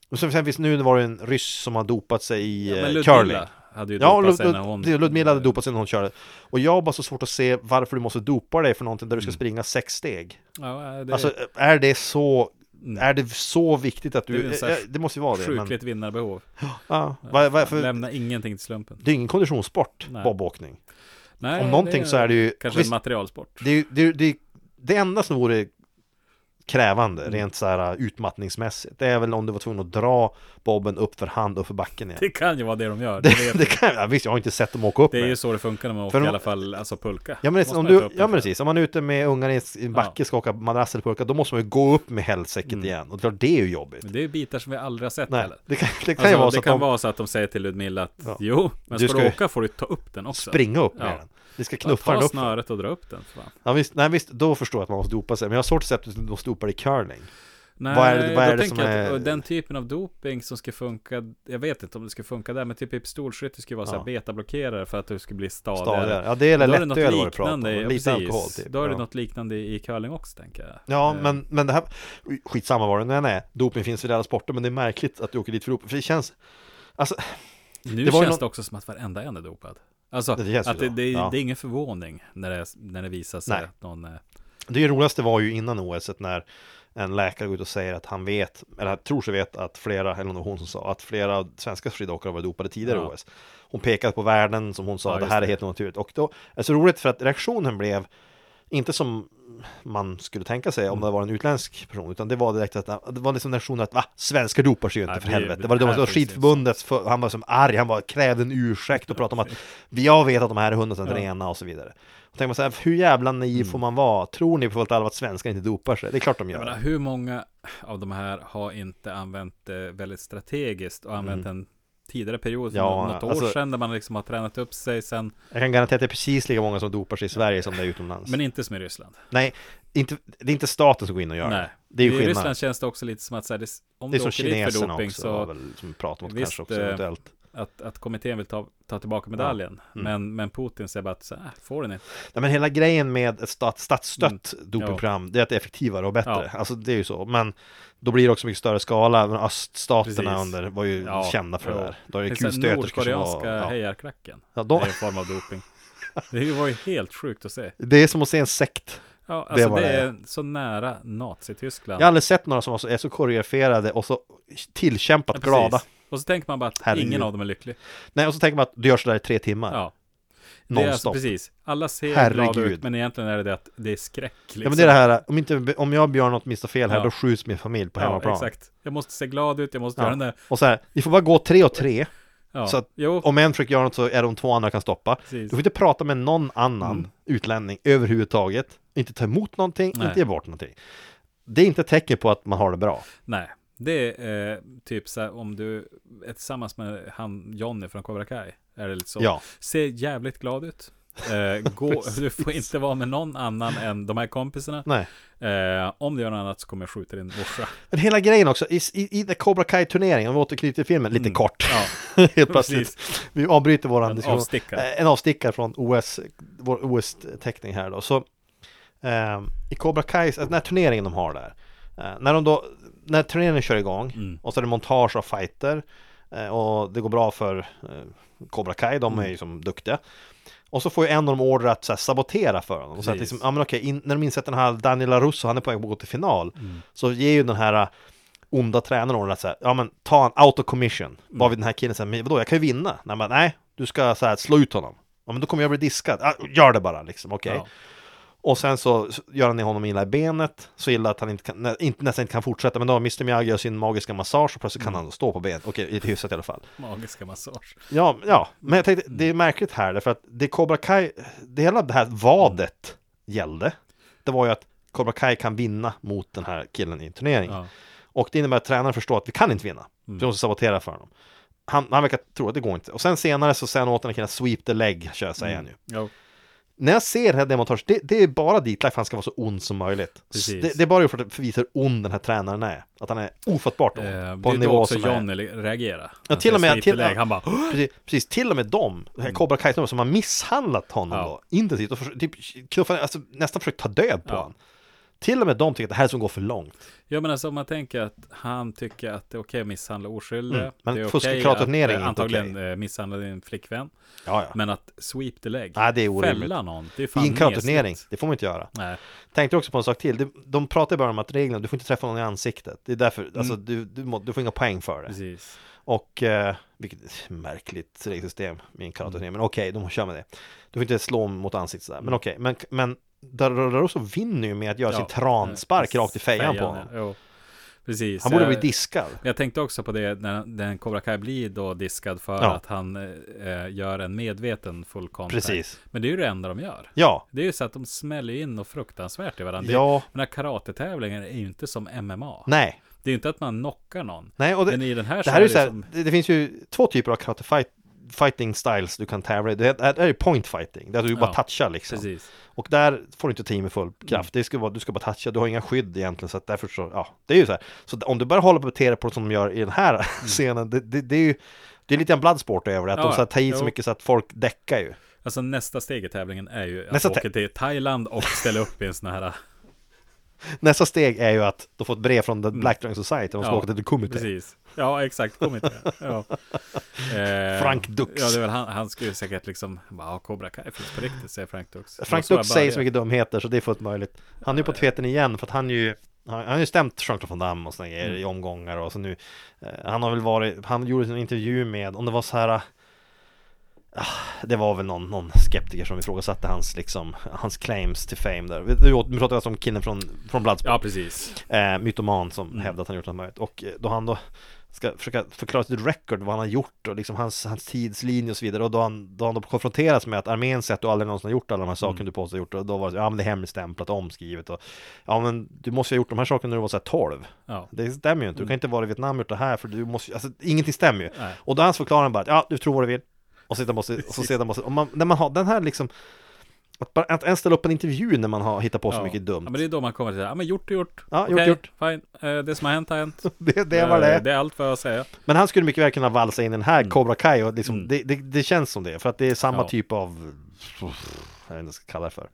E: Och så exempelvis nu var det en ryss som har dopat sig i
F: Men
E: eh,
F: Ludmilla
E: curling.
F: hade ju
E: Ja,
F: dopat sig
E: Lud-
F: när hon...
E: Lud- Ludmilla hade dopat sig när hon körde. Och jag har bara så svårt att se varför du måste dopa dig för någonting där du ska springa sex steg.
F: Ja, Mm. det
E: Alltså, är det så...
F: Mm.
E: Är det så viktigt att
F: Det är
E: du...
F: väl så
E: Det,
F: här
E: det måste ju vara det. men-
F: Sjukligt vinnarbehov.
E: Ja, vad- vad- för-
F: Lämna ingenting till slumpen.
E: det är ingen konditionssport,
F: Nej.
E: bobåkning.
F: Nej,
E: Om någonting så är det ju-
F: Kanske
E: visst-
F: en materialsport.
E: Det, är ju- det, är- det, är- det enda som vore krävande,
F: Mm.
E: rent så här äh, utmattningsmässigt, det är väl om du var tvungen att dra bobben upp för hand upp för backen igen.
F: Det kan ju vara det de gör. Det,
E: Det,
F: vet
E: det
F: jag.
E: kan jag, visst jag har inte sett dem åka upp
F: det är
E: med.
F: ju så det funkar när man
E: För
F: åker i
E: de-
F: alla fall, alltså pulka.
E: Ja men, liksom,
F: Måste
E: om
F: man ju ta
E: du,
F: upp
E: ja
F: den
E: men
F: för.
E: precis, om man är ute med ungarna i en backe ska åka madrass eller pulka, då måste man ju gå upp med hälsäcket igen. Och det är klart, det är ju jobbigt.
F: Mm. Men det är ju bitar som vi aldrig har sett
E: Nej,
F: heller.
E: det kan, det kan
F: Alltså,
E: ju vara
F: det
E: så att
F: kan
E: de
F: vara så att de säger till Ludmilla att
E: Ja.
F: jo, men
E: Du
F: ska
E: ska
F: du
E: ju
F: åka får du ta upp den också.
E: springa upp med
F: Ja.
E: den. Det ska
F: Ja,
E: knuffa den
F: Ta
E: upp.
F: snöret och dra upp den. Fan.
E: Ja, visst, nej visst, då förstår jag att man måste dopa sig. Men jag har svårt att se att du måste dopa dig i curling.
F: Nej,
E: Vad är det- vad
F: då
E: är det
F: tänker
E: som
F: jag att
E: är-
F: och den typen av doping som ska funka, jag vet inte om det ska funka där, men typ i pistolskytte ska ju vara så
E: Ja.
F: här betablockerare för att du ska bli stadigare.
E: Stadigare. Ja, det är
F: Då är det något
E: lättöl vad du pratar om.
F: liknande, ja,
E: Lite
F: precis.
E: alkohol typ.
F: Då är det
E: ja.
F: något liknande i curling också, tänker jag.
E: Ja,
F: Eh,
E: men, men det här, skitsamma vad det nu än är, doping finns väl i alla sporter, men det är märkligt att du åker dit för doping, för det känns, alltså,
F: Nu
E: det var ju
F: känns
E: någon-
F: det också som att varenda en är dopad. Alltså,
E: Det känns ju
F: att det,
E: så,
F: det, är-
E: ja.
F: det är ingen förvåning när det, när det visar sig
E: Nej.
F: att någon... eh,
E: det roligaste var ju innan OS et när en läkare går ut och säger att han vet, eller tror sig vet att flera, eller om det var hon som sa, att flera svenska skidåkare var dopade tidigare i
F: Ja.
E: OS. Hon pekade på världen som hon sa,
F: Ja,
E: det
F: just
E: här är
F: det.
E: helt naturligt. Och då, är det så roligt för att reaktionen blev, Inte som man skulle tänka sig
F: Mm.
E: om det var en utländsk person, utan det var direkt att det var liksom nationen att va, svenskar dopar sig ju inte
F: Nej,
E: för
F: vi-
E: helvete. Det var det
F: här
E: var
F: finns det
E: skidförbundet, för, han var som arg, han var, krävde en ursäkt och pratade om att vi- jag vet att de här är hundra procent rena och så vidare. Och tänker man så här, hur jävla naiv får man vara? Tror ni på fullt allvar att svenskar inte dopar sig? Det är klart de
F: Mm. Jag
E: gör.
F: menar, hur många av de här har inte använt det väldigt strategiskt och använt en tidigare period,
E: Mm. Ja,
F: ja, något år
E: alltså-
F: sedan, där man liksom har tränat upp sig sen,
E: Jag kan garantera att det är precis lika många som dopar sig i Sverige som det är utomlands.
F: men inte som i Ryssland.
E: Nej, inte, det är inte staten som går in och gör
F: Nej.
E: det. Det är ju
F: I
E: skillnad.
F: Ryssland känns det också lite som att så här, det, om
E: det är
F: du
E: som
F: åker dit för
E: kineserna
F: doping
E: också,
F: så
E: har väl, som vi pratar om
F: Visst,
E: kanske också
F: eh,
E: eventuellt.
F: att, att kommittén vill ta, ta tillbaka medaljen.
E: Mm.
F: Men, men Putin säger bara att så här, får den inte.
E: Nej, men hela grejen med ett stat, statsstött dopingprogram, det är att det är effektivare och bättre.
F: Mm. Ja.
E: Alltså det är ju så, men då blir det också mycket större skala. Men öststaterna
F: Precis.
E: under var ju
F: Ja,
E: kända för det
F: jo.
E: där. Då är det
F: Det är så här
E: kulstöterskor som var...
F: Nordkoreanska
E: Ja.
F: hejarklacken.
E: Ja, de,
F: Det är en form av doping. Det var ju helt sjukt att se.
E: det är som att se en sekt.
F: Ja, alltså
E: var
F: det,
E: det.
F: är så nära Nazityskland.
E: Jag har aldrig sett några som var så, är så koreograferade och så tillkämpat
F: Ja, precis.
E: glada.
F: Och så tänker man bara att
E: Herregud.
F: ingen av dem är lycklig.
E: Nej, och så tänker man att du gör sådär i tre timmar.
F: Ja. Det är alltså
E: Nonstop.
F: precis. Alla ser
E: Herregud.
F: glada ut, men egentligen är det det att det är skräck. Liksom.
E: Ja men det är det här, om, inte, om jag och Björn något missar fel här,
F: Ja.
E: då skjuts min familj på hemmaplan.
F: Ja, exakt. Jag måste se glad ut, jag måste
E: Ja.
F: göra den där.
E: Och så här, vi får bara gå tre och tre.
F: Ja.
E: Så att-
F: jo,
E: Om en försöker göra något så är de två andra kan stoppa. Du
F: precis. Mm.
E: får inte prata med någon annan utlänning överhuvudtaget. Inte ta emot någonting,
F: Nej.
E: inte ge bort någonting. Det är inte ett tecken på att man har det bra.
F: Nej. Det är eh, typ så här om du är tillsammans med han Johnny från Cobra Kai. Är det lite så?
E: Ja.
F: Se jävligt glad ut. Eh, gå, du får inte vara med någon annan än de här kompisarna.
E: Nej.
F: Eh, om du gör något annat så kommer jag skjuta din morsa.
E: Men hela grejen också, i, i, i den Cobra Kai-turneringen, om vi återknyter till filmen, lite
F: Mm.
E: kort.
F: Ja,
E: Helt plötsligt. Vi avbryter våran
F: En
E: diskussion.
F: avstickare.
E: Eh, En avstickare från OS, vår OS-teckning här då. Så eh, i Cobra Kai, alltså den här turneringen de har där. Eh, när de då, när turneringen kör igång
F: Mm.
E: och så är det montage av fighter eh, och det går bra för eh, Cobra Kai, de är ju som duktiga. Och så får ju en av dem order att så här, sabotera för honom. Och så att
F: Precis.
E: liksom, ja men okej, in, när de inser att den här Daniel LaRusso, han är på väg att gå till final. Så ger ju den här eh, onda tränaren order att så här, ja men ta en out of commission. Varvid den här killen säger, men vadå, jag kan ju vinna. Nej, men, nej du ska så här, slå ut honom. Ja men då kommer jag bli diskad. Ja, gör det bara liksom, okej.
F: Ja.
E: Och sen så gör han ner honom illa i benet, så illa att han inte kan, nä, inte, nästan inte kan fortsätta. Men då har Mr Miyagi gör sin magiska massage och plötsligt kan han då stå på benet. Okej, lite hyfsat i alla fall.
F: Magiska massage.
E: Ja, ja, men jag tänkte, det är märkligt här därför att det Cobra Kai, det hela det här vadet gällde. Det var ju att Cobra Kai kan vinna mot den här killen i en turnering.
F: Ja. Mm.
E: Och det innebär att tränaren förstår att vi kan inte vinna. Så vi måste sabotera för honom. Han, han verkar tro att det går inte. Och sen senare så säger han åt den här killen, sweep the leg, kör, säger
F: Mm.
E: han ju.
F: Jo.
E: När jag ser det här demontaget, det, det är bara ditlagt för att han ska vara så ond som möjligt.
F: Precis.
E: Det, det är bara för att visa hur ond den här tränaren är. Att han är ofattbart ond.
F: Eh,
E: på
F: det
E: en
F: är då
E: nivå
F: också
E: som är...
F: Johnny reagerar.
E: Ja,
F: Han
E: till och
F: Alltså, säger
E: med-
F: slip
E: till-
F: leg. Han bara, Mm.
E: Precis, precis, till och med dem, den här Cobra kai som har misshandlat honom
F: Ja.
E: då, intensivt och förs- typ knuffat, alltså, nästan försökt ta död på
F: Ja.
E: honom. Till och med de tycker att det här är som går för långt.
F: Ja men alltså om man tänker att han tycker att det är okej att misshandla oskyldiga.
E: Mm, men
F: det är
E: fuskekraturering är
F: att, eh,
E: inte
F: Antagligen
E: okej.
F: eh, misshandla din flickvän.
E: Ja, ja.
F: Men att sweep the leg.
E: Nej, det är orimligt.
F: Fälla någon. Det är fan
E: I en krafturnering,
F: nesligt.
E: det får man inte göra.
F: Nej.
E: Tänkte också på en sak till, de, de pratar ju bara om att reglerna, du får inte träffa någon i ansiktet. Det är därför, alltså du, du, må, du får inga poäng för det.
F: Mm. Precis.
E: Och, eh, vilket märkligt regelsystem med en karaturnering, men okej, de kör med det. Du får inte slå mot ansiktet sådär, men okej, men, men Dararoso vinner ju med att göra sin transpark rakt i fejan på honom.
F: eh, Jo. Precis.
E: Han borde
F: Jag-
E: bli diskad.
F: Jag tänkte också på det när den Cobra Kai blir då diskad för
E: Ja.
F: att han eh, gör en medveten full contact.
E: Precis.
F: Men det är ju det enda de gör.
E: Ja,
F: Det är ju så att de smäller ju in och fruktansvärt i varandra.
E: Ja.
F: Det, den här karatetävlingen är ju inte som MMA.
E: nej.
F: Det är ju inte att man knockar någon.
E: nej och det,
F: Men i den här
E: det här är ju
F: det
E: såhär,
F: som-
E: det, det finns ju två typer av karate fight, fighting styles du kan tävla i. Det här det här är ju point fighting, där du bara
F: Ja,
E: touchar liksom.
F: Precis.
E: Och där får du inte ta i med full kraft. Det ska vara, du ska bara toucha, du har inga skydd egentligen. Så att därför så, ja, det är ju så här. Så om du bara håller på och beter dig på det som de gör i den här
F: Mm.
E: scenen, det, det, det är ju det är lite en bloodsport över det, att
F: Ja,
E: de så här, tar i så
F: jo.
E: mycket så att folk däckar ju.
F: Alltså nästa steg i tävlingen är ju att
E: Nästa
F: åka
E: te-
F: till Thailand och ställa upp i en sån här...
E: Nästa steg är ju att de får ett brev från The Black Dragon Society, de ska åka till The Kumite.
F: Mm. Precis. Ja, exakt. Kom inte. Ja. Eh,
E: Frank Dux.
F: Ja, det är väl han, han skulle ju säkert liksom... Bara, "Ja, Cobra Kai finns på riktigt, säger Frank Dux.
E: Frank
F: Det var
E: Dux
F: jag
E: säger så
F: började.
E: mycket dumheter så det är fullt möjligt. Han är ju på tveten igen för att han ju han han har ju stämt Jean-Claude Van Damme och såna grejer i omgångar och så nu eh, Han har väl varit, han gjorde en intervju med, om det var så här eh, det var väl någon, någon skeptiker som ifrågasatte hans, liksom, hans claims till fame där. Vi- Vi pratade alltså om killen från, från Bloodsport,
F: Ja, precis.
E: eh, mytoman som
F: Mm.
E: hävdade att han gjort något möjligt. Och eh, då han då ska försöka förklara sitt record, vad han har gjort och liksom hans, hans tidslinje och så vidare. Och då han då, han då konfronteras med att armén säger att du aldrig någonsin har gjort alla de här
F: Mm.
E: sakerna du påstår har gjort. Och då var det så, ja men det är hemligstämplat, omskrivet och ja men du måste ju ha gjort de här sakerna när du var såhär 12.
F: Ja. Mm.
E: Det stämmer ju inte, du kan inte vara i Vietnam och gjort det här för du måste ju- alltså ingenting stämmer ju.
F: Nej.
E: Och då är hans förklaring bara att ja, du tror vad du vill. Och sedan måste, och så sedan måste, om man, när man har den här liksom att, bara, att ens ställa upp en intervju när man har hittat på så
F: Ja.
E: mycket dumt.
F: Ja, men det är då man kommer till det. här. Ja, men gjort är gjort.
E: Ja, gjort
F: Okej,
E: är gjort.
F: Fine. Eh, Det som har hänt har hänt.
E: det, det var
F: Eh,
E: det.
F: Det är allt vad jag har att säga.
E: Men han skulle mycket väl kunna valsa in i den här Cobra Kai och liksom, det, det, det känns som det, för att det är samma
F: Mm. Ja.
E: typ av, jag vet inte vad jag ska kalla det för.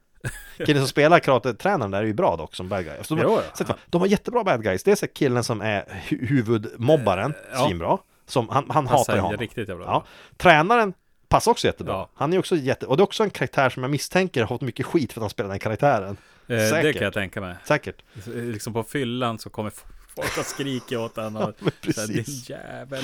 E: Killen som spelar karate-tränaren där är ju bra dock som bad guy. Eftersom
F: Jo,
E: De,
F: ja.
E: så att- de har jättebra bad guys, dels är killen som är hu- huvudmobbaren,
F: Eh, ja.
E: svinbra. Som, han, han
F: Passar
E: hatar ju honom.
F: riktigt jävla bra.
E: ja. Tränaren passar också jättebra.
F: Ja.
E: Han är också jätte, och det är också en karaktär som jag misstänker har fått mycket skit för att han spelar den karaktären.
F: Eh, Det
E: Säkert.
F: kan jag tänka mig.
E: Säkert.
F: Eh, Liksom på fyllan så kommer folk att skrika åt honom. Och,
E: men
F: så här,
E: precis.
F: Din jävel.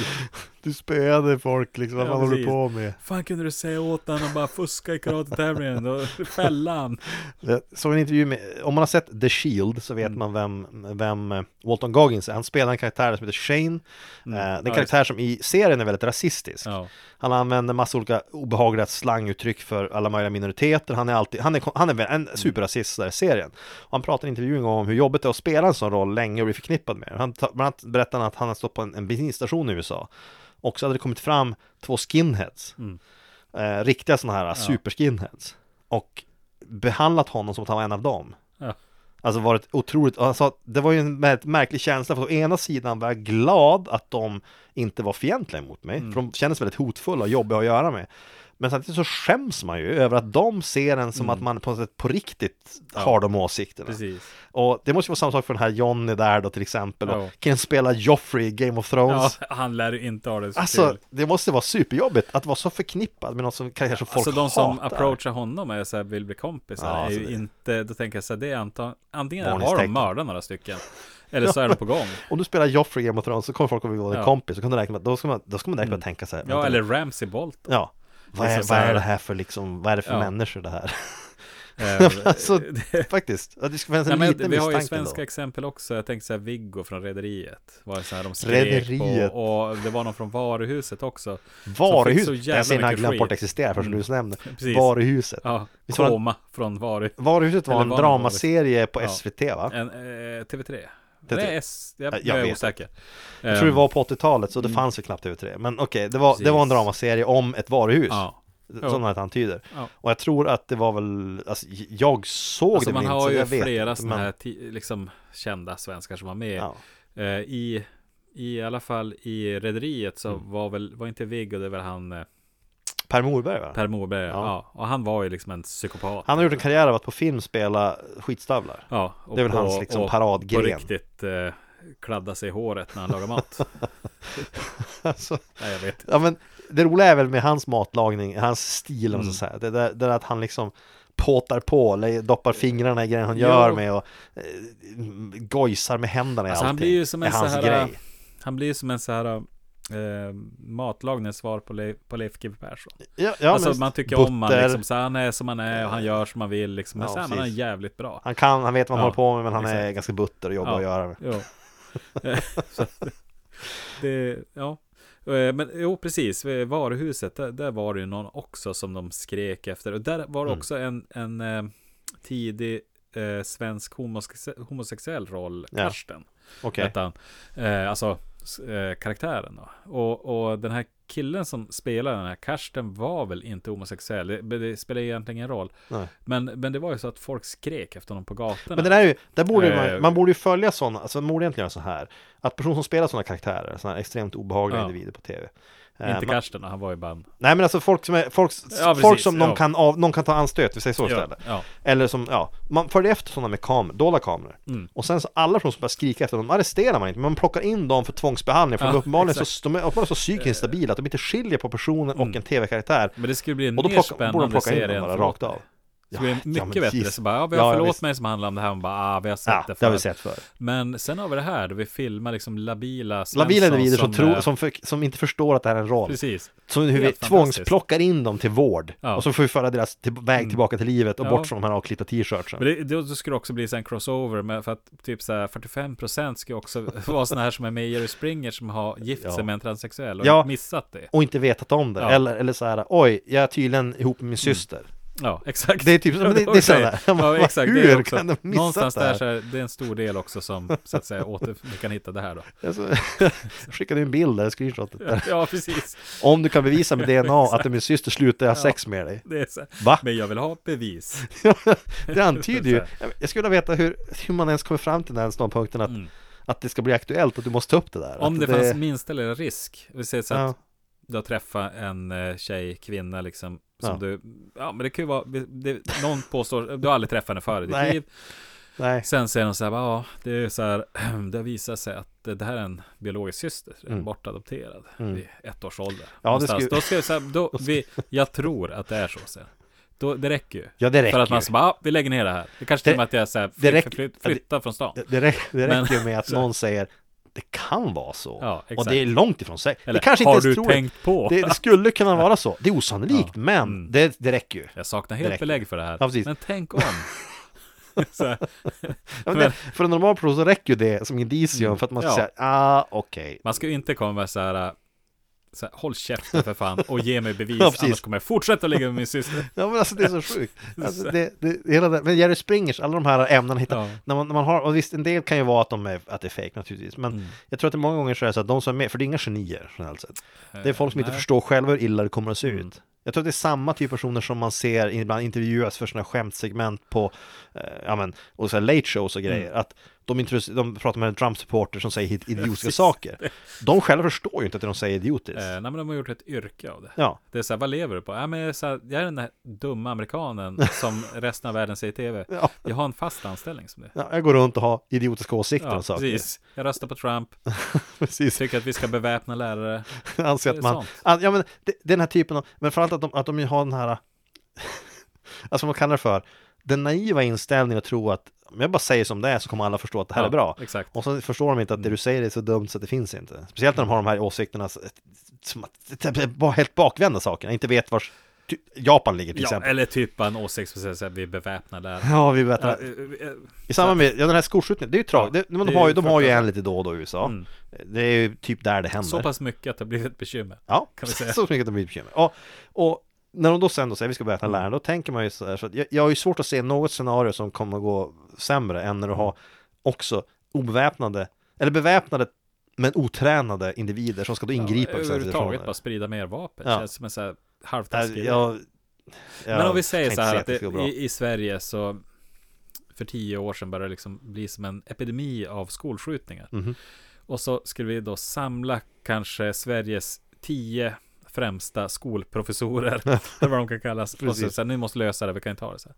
E: Du spöade folk liksom, vad
F: Ja,
E: fan håller du
F: precis.
E: på med?
F: Fan kunde du säga åt honom att bara fuska i karatetävlingen? Då fälla han.
E: Jag såg en intervju med, om man har sett The Shield så vet
F: Mm.
E: man vem, vem eh, Walton Goggins är. Han spelar en karaktär som heter Shane. Eh, den
F: Mm. Ja,
E: karaktär som i serien är väldigt rasistisk.
F: Ja.
E: Han använder massa olika obehagliga slanguttryck för alla möjliga minoriteter. Han är alltid, han är, han är
F: Mm.
E: en superrasist där i serien. Och han pratar i intervjun en gång om hur jobbigt det är att spela en sån roll länge och bli förknippad med. det. Han ta- bland annat berättar han att han har stått på en, en bensinstation i USA. Och så hade det kommit fram två skinheads.
F: Mm.
E: Eh, riktiga sådana här superskinheads. Och behandlat honom som att han var en av dem.
F: Ja.
E: Alltså varit otroligt, alltså, det var ju en väldigt märklig känsla för å ena sidan var jag glad att de inte var fientliga mot mig,
F: Mm.
E: för de kändes väldigt hotfulla och jobbiga att göra med. Men samtidigt så skäms man ju över att de ser en som att man på något sätt på riktigt har de åsikterna.
F: Mm. Precis.
E: Och det måste ju vara samma sak för den här Johnny där då till exempel.
F: Ja.
E: Och kan spela Joffrey i Game of
F: Ja,
E: Thrones.
F: han lär ju inte ha det så
E: Alltså,
F: kul.
E: det måste vara superjobbigt att vara så förknippad med någon som karaktär som folk
F: Alltså de som
E: hatar.
F: approachar honom och så här, vill bli kompisar
E: Ja,
F: är
E: alltså
F: ju
E: det-
F: inte, då tänker jag så här, det är anta, antingen har de
E: Varningstecken.
F: mördat några stycken, eller så är de på gång.
E: Om du spelar Joffrey i Game of Thrones så kommer folk att vilja vara din
F: Ja. Mm.
E: kompis. Så kan du räkna med, då ska man, då ska man direkt börja tänka så här.
F: Ja,
E: vänta
F: eller
E: nu.
F: Ramsey Bolt.
E: ja. Vad är,
F: liksom så
E: vad är
F: här-
E: det här för liksom, vad är det för
F: Ja.
E: människor det här?
F: Eh,
E: alltså,
F: det-
E: faktiskt. Ja, Det ska finnas
F: Nej,
E: en
F: men
E: liten
F: vi har ju
E: misstanke
F: svenska
E: ändå.
F: exempel också. Jag tänkte så här Viggo från Rederiet. Var det så här de skrek
E: Rederiet.
F: på. Och det var någon från Varuhuset också.
E: Varuhus,
F: så
E: den
F: jävla
E: scenen har jag
F: mycket
E: glömt bort
F: skit. Mm.
E: existerar förrän du nämnde.
F: precis.
E: Varuhuset.
F: Ja,
E: Visst var det-
F: Koma från Varuhuset.
E: Varuhuset var
F: Eller
E: en
F: var det
E: dramaserie på
F: Ja.
E: SVT va?
F: En, eh, TV3.
E: TV3.
F: Nej, S, jag,
E: Ja, jag
F: jag
E: vet
F: är
E: inte.
F: osäker. Ehm,
E: Jag tror det var på 80-talet så det fanns väl knappt TV3 Men okej, det, var, det var en
F: Mm. Precis.
E: dramaserie om ett varuhus
F: Ja. Jo.
E: Som namnet antyder
F: Ja.
E: Och jag tror att det var väl, alltså, j- jag såg
F: Alltså
E: det
F: man
E: väl
F: har
E: inte, så
F: ju
E: jag vet
F: flera
E: inte,
F: sådana
E: men-
F: här ti- liksom, kända svenskar som var med.
E: ja.
F: Eh, i, I alla fall i Rederiet så
E: Mm.
F: var väl, var inte Viggo, det var han eh,
E: Per Morberg va?
F: Per Morberg. Ja.
E: Ja.
F: och han var ju liksom en psykopat.
E: Han har gjort en karriär av att på film spela skitstövlar
F: Ja, och
E: Det är väl hans, liksom,
F: och
E: paradgren.
F: På riktigt eh, kladda sig i håret när han lagar mat.
E: alltså,
F: Nej, jag vet.
E: Ja men det roliga är väl med hans matlagning, hans stil
F: Mm.
E: och så säga. Det där, det där att han liksom påtar på, eller doppar fingrarna i grejen han
F: Ja.
E: gör med och eh, gojsar med händerna i
F: Alltså,
E: allting.
F: han blir ju som
E: Det
F: en
E: är
F: så
E: hans
F: här,
E: grej.
F: Han blir ju som en så här eh, matlagningssvar på, Le- på Leif GW Persson.
E: Ja, ja,
F: alltså
E: men
F: man tycker
E: butter,
F: om han liksom, så här, han är som han är och han gör som han vill liksom. Men
E: Ja,
F: så här, men han är
E: precis.
F: jävligt bra.
E: Han kan, han vet vad han
F: Ja,
E: håller på med men han är
F: exakt.
E: ganska butter och jobbar
F: Ja.
E: att göra med.
F: Jo. Eh, så att det, ja. Eh, Men jo, precis. Vid Varuhuset, där, där var det ju någon också som de skrek efter. Och där
E: Mm.
F: var det också en, en eh, tidig eh, svensk homose- homosexuell roll,
E: Ja.
F: Karsten.
E: Okej.
F: hette han. Eh, alltså s- eh, karaktären då. Och, och den här killen som spelar den här Karsten var väl inte homosexuell. Det, men det spelar egentligen ingen roll.
E: Nej.
F: Men, men det var ju så att folk skrek efter honom på gatorna.
E: Men det där är ju, där borde man,
F: Eh,
E: man borde ju följa sådana, alltså man borde egentligen göra så här. Att personer som spelar sådana karaktärer, sådana här extremt obehagliga
F: Ja.
E: individer på tv. eh,
F: inte
E: man-
F: Karsten, han var ju bara en...
E: Nej men alltså folk som, är, folk,
F: Ja,
E: folk
F: precis,
E: som någon,
F: ja.
E: kan av, någon kan ta anstöt, vi säger så
F: Ja,
E: istället.
F: ja.
E: Eller som, ja, man följer efter sådana med kam, dolda kameror.
F: Mm.
E: Och sen så alla personer som börjar skrika efter dem, de arresterar man inte, men man plockar in dem för tvångsbehandling. För
F: Ja,
E: de är uppenbarligen
F: exakt. Mm.
E: så, de är uppenbarligen så psykiskt stabila att de inte skiljer på personen och en tv-karaktär.
F: Men det skulle bli en
E: Och då
F: mer
E: plockar- borde de
F: spännande
E: plocka in
F: serie
E: dem
F: än
E: bara
F: Förlåt
E: rakt av.
F: mig. Så det är
E: ja, men
F: mycket bättre.
E: Jesus.
F: Så bara, ja, vi har
E: Ja, ja,
F: förlåt
E: visst.
F: mig som handlar om det här. Man bara, ah, vi har sett
E: Ja,
F: det
E: det har
F: förut.
E: vi sett förr.
F: Men sen har vi det här då vi filmar liksom labila Svensson
E: Labila individer som, tror-
F: eh,
E: som, för, som inte förstår att det här är en roll.
F: Precis.
E: Så hur vi
F: Helt fantastiskt.
E: tvångsplockar in dem till vård
F: Ja. Mm.
E: och så får vi föra deras till, väg tillbaka till livet och
F: Ja.
E: bort från de här avklippta t-shirtsen.
F: Men det, då då skulle det också bli så här en crossover med för att typ så här 45% ska ju också vara sådana här som är med i Jerry Springer som har gift
E: Ja.
F: sig med en transsexuell och
E: Ja.
F: missat det.
E: Och inte vetat om det.
F: Ja. Mm.
E: Eller, eller så här, oj, jag är tydligen ihop med min syster.
F: Ja, exakt.
E: Det är typ så-
F: Ja,
E: men det-
F: var
E: det är sådana
F: grejer.
E: där.
F: Ja,
E: Vad-
F: exakt.
E: hur
F: det är också,
E: kan de missa
F: någonstans
E: det här?
F: där så här, det är en stor del också som så att säga åter, vi kan hitta det här då.
E: Alltså, jag skickade en bild där, screenshotet där.
F: Ja, precis.
E: Om du kan bevisa med DNA att det är min syster slutar jag sex med dig.
F: Det är så här.
E: Va?
F: Men jag vill ha bevis.
E: det antyder ju, jag skulle vilja veta hur, hur man ens kommer fram till den här ståndpunkten att, att det ska bli aktuellt och du måste ta upp det där.
F: Mm. Om
E: att
F: det fanns minsta lilla risk. Vi säger så
E: Ja.
F: att du har träffat en eh, tjej, kvinna liksom. Som
E: Ja.
F: du, ja men det kan ju vara, det, någon påstår, du har aldrig träffat henne förr i ditt
E: Nej.
F: liv.
E: Nej,
F: Sen säger de så här, bara, ja, det är så här, det har visat sig att det här är en biologisk syster, en bortadopterad vid ett års ålder.
E: Mm. Ja, det
F: Någonstans.
E: skulle-
F: Då ska jag säga, då, vi, jag tror att det är så sen. Då, det räcker ju.
E: Ja, det räcker
F: För att man
E: ju.
F: ska bara, ah, vi lägger ner det här. Det kanske till
E: Det-
F: och med att jag så här,
E: det
F: fly,
E: räcker-
F: fly, flyttar från stan.
E: det, det, räck, det
F: Men-
E: räcker ju med att någon säger det kan vara så.
F: Ja, exakt.
E: och det är långt ifrån säkert.
F: Eller,
E: det kanske
F: har
E: inte
F: du
E: ens troligt.
F: tänkt på?
E: Det, det skulle kunna vara så. Det är osannolikt,
F: Ja.
E: men
F: Mm.
E: det, det räcker ju.
F: Jag saknar
E: Det
F: helt
E: räcker.
F: belägg för det här.
E: Ja, precis.
F: Men tänk om. så här,
E: Ja, men
F: Men- Mm.
E: det, för en normal person så räcker ju det som indicium för att man ska
F: Ja.
E: säga ah, okej.
F: man ska ju inte komma med så här, så här, håll käften för fan och ge mig bevis,
E: Ja, precis.
F: annars kommer jag fortsätta ligga med min syster.
E: Ja men alltså det är så sjukt. Alltså, det, det, hela det, men Jerry Springers, alla de här ämnena hittar,
F: Ja.
E: när, man, när man har, och visst en del kan ju vara att, de är, att det är fake naturligtvis, men
F: Mm.
E: jag tror att det många gånger så är det så att de som är med, för det är inga genier generellt sett, det är folk som inte
F: Eh, nej. Mm.
E: förstår själva hur illa det kommer att se ut. Jag tror att det är samma typ av personer som man ser ibland intervjuas för sina skämtsegment på, eh, ja men, och så här late shows
F: Mm.
E: och grejer, att de, intresse- de pratar med en Trump-supporter som säger hit idiotiska saker. De själva förstår ju inte att de säger idiotiskt.
F: Eh, nej, men de har gjort ett yrke av det.
E: Ja,
F: Det är så här, vad lever du på? Ja, men jag, är så här, jag är den där dumma amerikanen som resten av världen ser i tv.
E: Ja.
F: Jag har en fast anställning som det.
E: ja, jag går runt och har idiotiska åsikter om saker.
F: precis. Jag röstar på Trump,
E: precis.
F: tycker att vi ska beväpna lärare.
E: anser
F: Det
E: att
F: är
E: man,
F: sant.
E: an, ja men det, den här typen av, men framförallt att de, att de ju har den här, alltså vad man kallar det för, den naiva inställningen att tro att om jag bara säger som det är så kommer alla förstå att det här
F: Ja,
E: är bra.
F: exakt. Mm.
E: Och så förstår de inte att det du säger är så dumt så att det finns inte. Speciellt när de har de här åsikterna s- som att, typ bara helt bakvända sakerna, inte vet var Japan ligger till
F: Ja,
E: exempel.
F: eller typ bara en åsikt som säger så här, vi beväpnar lärare.
E: Ja, vi vet.
F: Ja, eh, eh,
E: I samband med ja, den här skolskjutningen, det är ju tragiskt.
F: Ja,
E: Det- men
F: det
E: de,
F: är
E: har
F: ju
E: ju, de har ju en
F: fruktansvärt.
E: lite då och då i USA.
F: Mm.
E: Det är ju typ där det händer.
F: Så pass mycket att det har blivit ett bekymmer.
E: Ja,
F: kan vi säga.
E: så mycket att de blir bekymmer. Och, och när de då sen då säger vi ska berätta
F: Mm.
E: en lärare, då tänker man ju så här, så att jag, jag har ju svårt att se något scenario som kommer att gå sämre än när du har också obeväpnade, eller beväpnade men otränade individer som ska då ingripa.
F: ja,
E: i sådana
F: överhuvudtaget
E: situationer.
F: bara sprida mer vapen.
E: Ja. Äh,
F: Känns som en så här
E: Ja,
F: halvtaskig idé.
E: jag, jag
F: Men om vi säger
E: kan inte
F: så här
E: se
F: att det,
E: ska gå bra.
F: i, i Sverige så för tio år sedan började det liksom bli som en epidemi av skolskjutningar.
E: Mhm.
F: Och så skulle vi då samla kanske Sveriges tio främsta skolprofessorer, eller vad de kan kallas. Och så,
E: Precis.
F: så här, ni måste lösa det, vi kan inte ha det så här.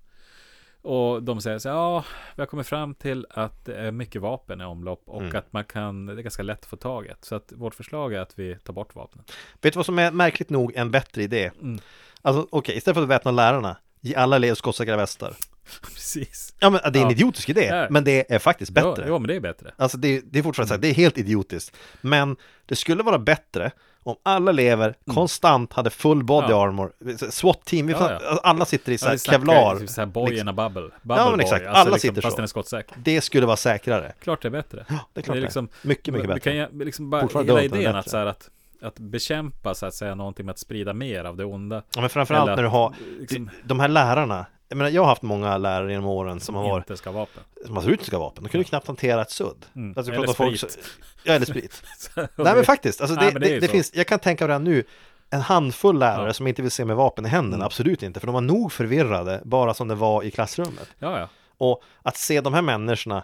F: Och de säger så här, ja, vi har kommit fram till att det är mycket vapen i omlopp och
E: Mm.
F: att man kan, det är ganska lätt att få tag i ett. Så att vårt förslag är att vi tar bort vapnen.
E: Vet du vad som är märkligt nog en bättre idé?
F: Mm.
E: Alltså okej, istället för att väpna lärarna, ge alla elever skottsäkra västar.
F: Precis.
E: Ja men det är en
F: Ja.
E: idiotisk idé,
F: Ja.
E: men det är faktiskt bättre.
F: Jo, jo, men det är bättre.
E: Alltså det, det är fortfarande så här,
F: Mm.
E: det är helt idiotiskt. Men det skulle vara bättre om alla elever konstant hade full body
F: Mm. Ja.
E: armor. SWAT-team, vi
F: Ja,
E: fan-
F: ja.
E: alla sitter i så
F: Ja,
E: här
F: vi snackar
E: kevlar.
F: ju Typ så här boy
E: Liksom.
F: in a bubble. bubble
E: Ja, men
F: boy.
E: exakt.
F: Alltså,
E: Alla
F: liksom,
E: sitter
F: Fast
E: så.
F: den är skottsäker.
E: Det skulle vara säkrare.
F: Klart det är bättre.
E: det är klart det är. Mycket, mycket
F: vi- vi
E: bättre.
F: Kan, ju- liksom bara,
E: Fortfarande
F: hela
E: dumt, men
F: idén att,
E: bättre.
F: så här, att, att bekämpa så att säga någonting med att sprida mer av det onda.
E: Ja, men framförallt
F: Eller
E: när du har
F: att, liksom,
E: de här lärarna. Jag menar, jag har haft många lärare genom åren som har varit,
F: inte ska ha vapen.
E: som har utländska vapen. De kunde knappt hantera ett sudd.
F: Mm.
E: Alltså, vi
F: Eller
E: pratar om
F: sprit.
E: ja, eller sprit.
F: Så-
E: Nej men faktiskt, alltså, det,
F: Nej, men det är
E: det,
F: ju
E: det
F: så.
E: finns, jag kan tänka mig redan nu en handfull lärare
F: Ja. Mm.
E: som inte vill se med vapen i händerna, absolut inte, för de var nog förvirrade bara som det var i klassrummet.
F: Ja, ja.
E: Och att se de här människorna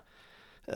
E: eh,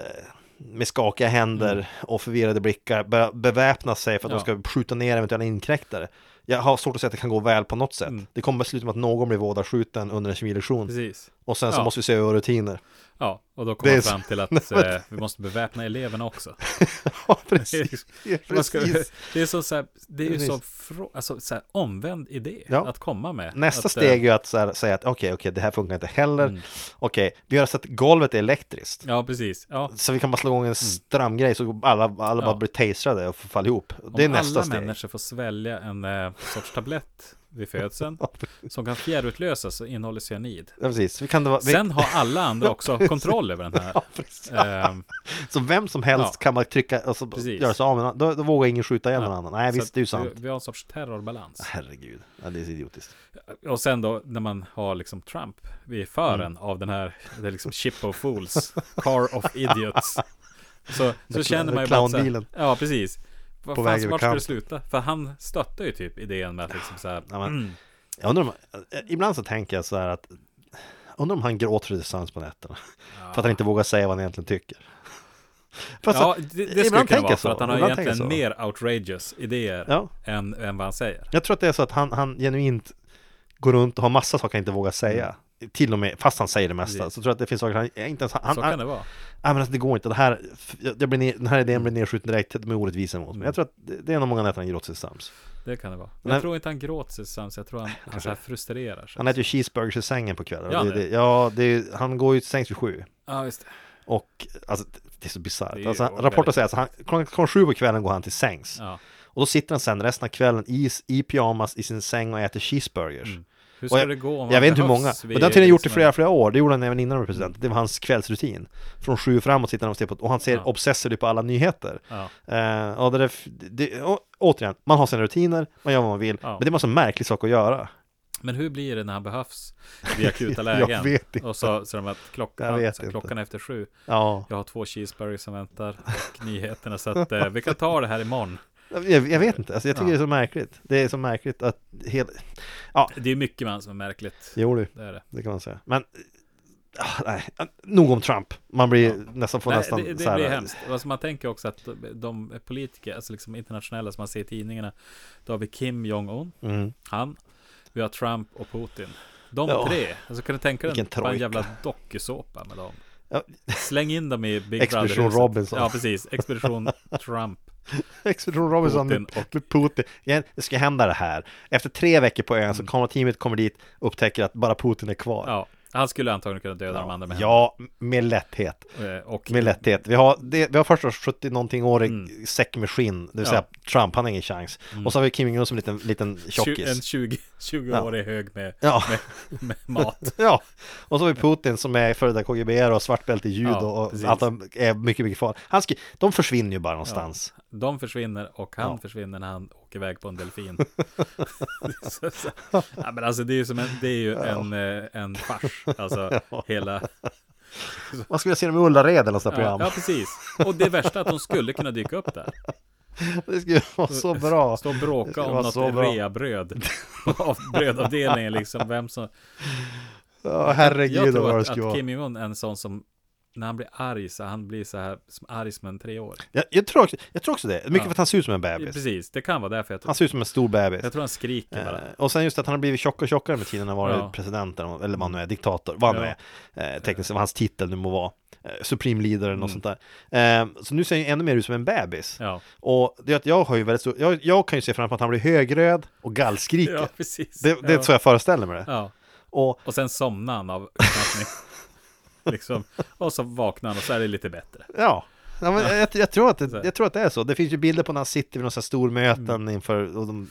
E: med skakiga händer och förvirrade blickar börja beväpna sig för att
F: Mm. Ja.
E: de ska skjuta ner eventuella inkräktare. Jag har svårt att se att det kan gå väl på något sätt. Det kommer sluta med att någon blir vådaskjuten under en kemilektion
F: Mm. Precis.
E: och sen så
F: Ja.
E: måste vi se över rutiner.
F: Ja, Och då
E: Det
F: kom
E: är
F: man
E: så-
F: fram till att eh, vi måste beväpna eleverna också.
E: ja,
F: Det är,
E: precis.
F: man ska,
E: precis.
F: det är, så, så här, det är ju så,
E: Precis.
F: frå, alltså, så här, omvänd idé
E: Ja.
F: att komma med.
E: Nästa
F: att,
E: steg är
F: Eh, Mm.
E: ju att så här, säga att okej, okej, det här funkar inte heller. Okej, vi gör så att golvet är elektriskt.
F: ja, precis. Ja.
E: Så vi kan bara slå igång en stramgrej så alla, alla bara
F: Ja.
E: blir taserade och faller ihop. Det är
F: Om
E: nästa
F: alla
E: steg.
F: människor får svälja en eh, sorts tablett vid födseln
E: Ja,
F: som kan fjärrutlösas och innehåller cyanid.
E: Ja, precis. Vi kan, det vara- vi,
F: Sen har alla andra också kontroll över den här.
E: ja, precis.
F: Ehm,
E: Så vem som helst
F: ja.
E: kan man trycka och så
F: Precis.
E: göra sig av med då, då vågar ingen skjuta ihjäl
F: Ja.
E: någon annan. Nej,
F: så
E: visst, det är ju
F: att
E: sant.
F: Vi, vi har en sorts terrorbalans.
E: Herregud, ja, det är så idiotiskt.
F: Och sen då när man har liksom Trump vid
E: Mm.
F: fören av den här, det är liksom Ship of Fools, Car of Idiots. Så, så
E: cl-
F: känner man ju bara så här,
E: clownbilen.
F: Ja, precis. Vad
E: På
F: fan,
E: väg
F: vart
E: över
F: ska det
E: Trump.
F: sluta? För han stöttar ju typ idén med att liksom så här,
E: Ja, men, Jag undrar om, eh, ibland så tänker jag så här att Undrar om han gråter tillsammans på nätterna För att han inte vågar säga vad han egentligen tycker Fast
F: Ja,
E: så-
F: det, det skulle
E: Alltså, ibland
F: kunna
E: tänker
F: vara
E: jag
F: för att han har
E: ibland tänker
F: egentligen
E: jag så.
F: mer outrageous idéer
E: Ja.
F: än, än vad han säger.
E: Jag tror att det är så att han, han genuint Går runt och har massa saker han inte vågar säga Till och med, fast han säger det mesta
F: Mm. Precis.
E: Så tror jag att det finns saker han inte ens han,
F: Så
E: han,
F: kan det vara.
E: Nej men alltså, det går inte, det här, jag blir ner, den här idén blir nedskjuten direkt med orättvisa mot
F: Mm.
E: mig Jag tror att det, det är nog många nätter han gråter tillsammans
F: Det kan det vara.
E: Men-
F: Jag tror inte han gråter tillsammans, jag tror han, han så här frustrerar sig.
E: Han äter ju cheeseburgers i sängen på kvällen
F: Ja,
E: ja, det,
F: men-
E: det, ja det, är- han går ju till sängs vid sju
F: Ja, just det.
E: Och alltså, det är så
F: Det är
E: bisarrt.
F: ju
E: Alltså,
F: väldigt-
E: rapporten säger att han, klockan, klockan sju på kvällen går han till sängs.
F: Ja.
E: Och då sitter han sen resten av kvällen i, i pyjamas i sin säng och äter cheeseburgers.
F: Hur ska
E: Och jag,
F: det gå om
E: jag
F: han
E: vet inte hur
F: behövs
E: många.
F: vid
E: Men det har till och med gjort i
F: liksom en-
E: flera, flera år. Det gjorde han även innan han blev president. Det var hans kvällsrutin. Från sju framåt sitter han och ser på, och han ser
F: Ja.
E: obsessivt på alla nyheter.
F: Ja.
E: Eh, och det, där- det, och, återigen, man har sina rutiner, man gör vad man vill.
F: Ja.
E: Men det är en massa märklig sak att göra.
F: Men hur blir det när han behövs vid akuta
E: Jag
F: lägen?
E: vet inte.
F: Och så, så de att
E: Jag
F: klockan,
E: vet
F: så här,
E: inte.
F: klockan är efter sju.
E: Ja,
F: Jag har två cheeseburgare som väntar och nyheterna. Så att eh, vi kan ta det här imorgon.
E: jag, jag vet inte. Alltså, jag tycker
F: Ja.
E: det är så märkligt. Det är så märkligt att hela... Ja,
F: Det är mycket man som är märkligt.
E: jo du.
F: Det är det.
E: Det kan man säga. Men, ah, nej, nog om Trump. Man blir nästan, får
F: Nej,
E: nästan
F: det,
E: så
F: det
E: här,
F: blir hemskt. Alltså man tänker också att de politiker, alltså liksom internationella som man ser i tidningarna. Då har vi Kim Jong-Un,
E: Mm.
F: han. Vi har Trump och Putin. De
E: Ja.
F: tre. Alltså kan du tänka dig
E: Vilken
F: en, bara en
E: trojka.
F: jävla dokusåpa med dem?
E: Ja.
F: Släng in dem i Big
E: Expedition
F: Brother-huset.
E: Robinson.
F: Ja, precis. Expedition Trump.
E: Expedition Robinson
F: Putin
E: med, med Putin. Igen, det ska hända det här. Efter tre veckor på ön så kommer teamet kommer dit upptäcker att bara Putin är kvar.
F: Mm. Ja, han skulle antagligen kunna döda de andra med
E: Ja, med lätthet.
F: händerna. Eh, Och
E: Med lätthet. Vi har, det, vi har först och 70 någonting år i säck med skinn, det vill
F: Mm. Ja. Mm.
E: säga Trump, han har ingen chans. Och så har vi Kim Jong-Un som en liten, liten
F: tju- en
E: tjockis.
F: 20, 20-årig hög med,
E: Ja.
F: med, med mat.
E: Ja, och så har vi Putin som är före detta KGB och svartbälte i judo
F: Ja, precis.
E: och allt han är mycket, mycket farlig. Han ska, de försvinner ju bara någonstans.
F: De försvinner och han
E: Ja.
F: försvinner när han åker iväg på en delfin. så, så. Ja, men alltså det är ju, som en, det är ju en, eh, en fars. Alltså hela...
E: Man skulle se dem i Ullared eller sådär
F: Ja,
E: program.
F: ja, precis. Och det värsta är att de skulle kunna dyka upp där.
E: Det skulle vara så bra.
F: Stå och
E: Det
F: bråka
E: skulle
F: om
E: vara
F: något
E: så bra.
F: reabröd. Av brödavdelningen liksom. Vem som...
E: Ja, herregud
F: jag
E: vad
F: tror
E: bra det
F: att,
E: skulle
F: att
E: vara.
F: Kim Jong-Un är en sån som när han blir arg så han blir så här som arg som en treåring.
E: Jag, jag, tror också, jag tror också det. Mycket
F: Ja.
E: för att han ser ut som en bebis.
F: Precis, det kan vara därför jag tror.
E: Han ser ut som en stor bebis.
F: Jag tror han skriker bara.
E: Eh, och sen just att han har blivit tjockare och tjockare med tiden han varit
F: Ja.
E: president eller eller vad han nu är, diktator, vad han
F: Ja. Mm.
E: nu är, eh, tekniskt sett, vad hans titel nu må vara, eh, supreme leader eller något sånt där. Eh, så nu ser han ju ännu mer ut som en bebis.
F: Ja.
E: Och det är att jag har ju väldigt stor, jag, jag kan ju se framför att han blir högröd och gallskriker.
F: Ja, precis.
E: Det, det är
F: ja.
E: så jag föreställer mig det.
F: Ja.
E: Och
F: Och sen somnar han av utmattning. liksom. Och så vaknar han och så är det lite bättre.
E: Ja, ja men jag, jag, tror att det, jag tror att det är så. Det finns ju bilder på när han sitter vid några så här stormöten inför, och de,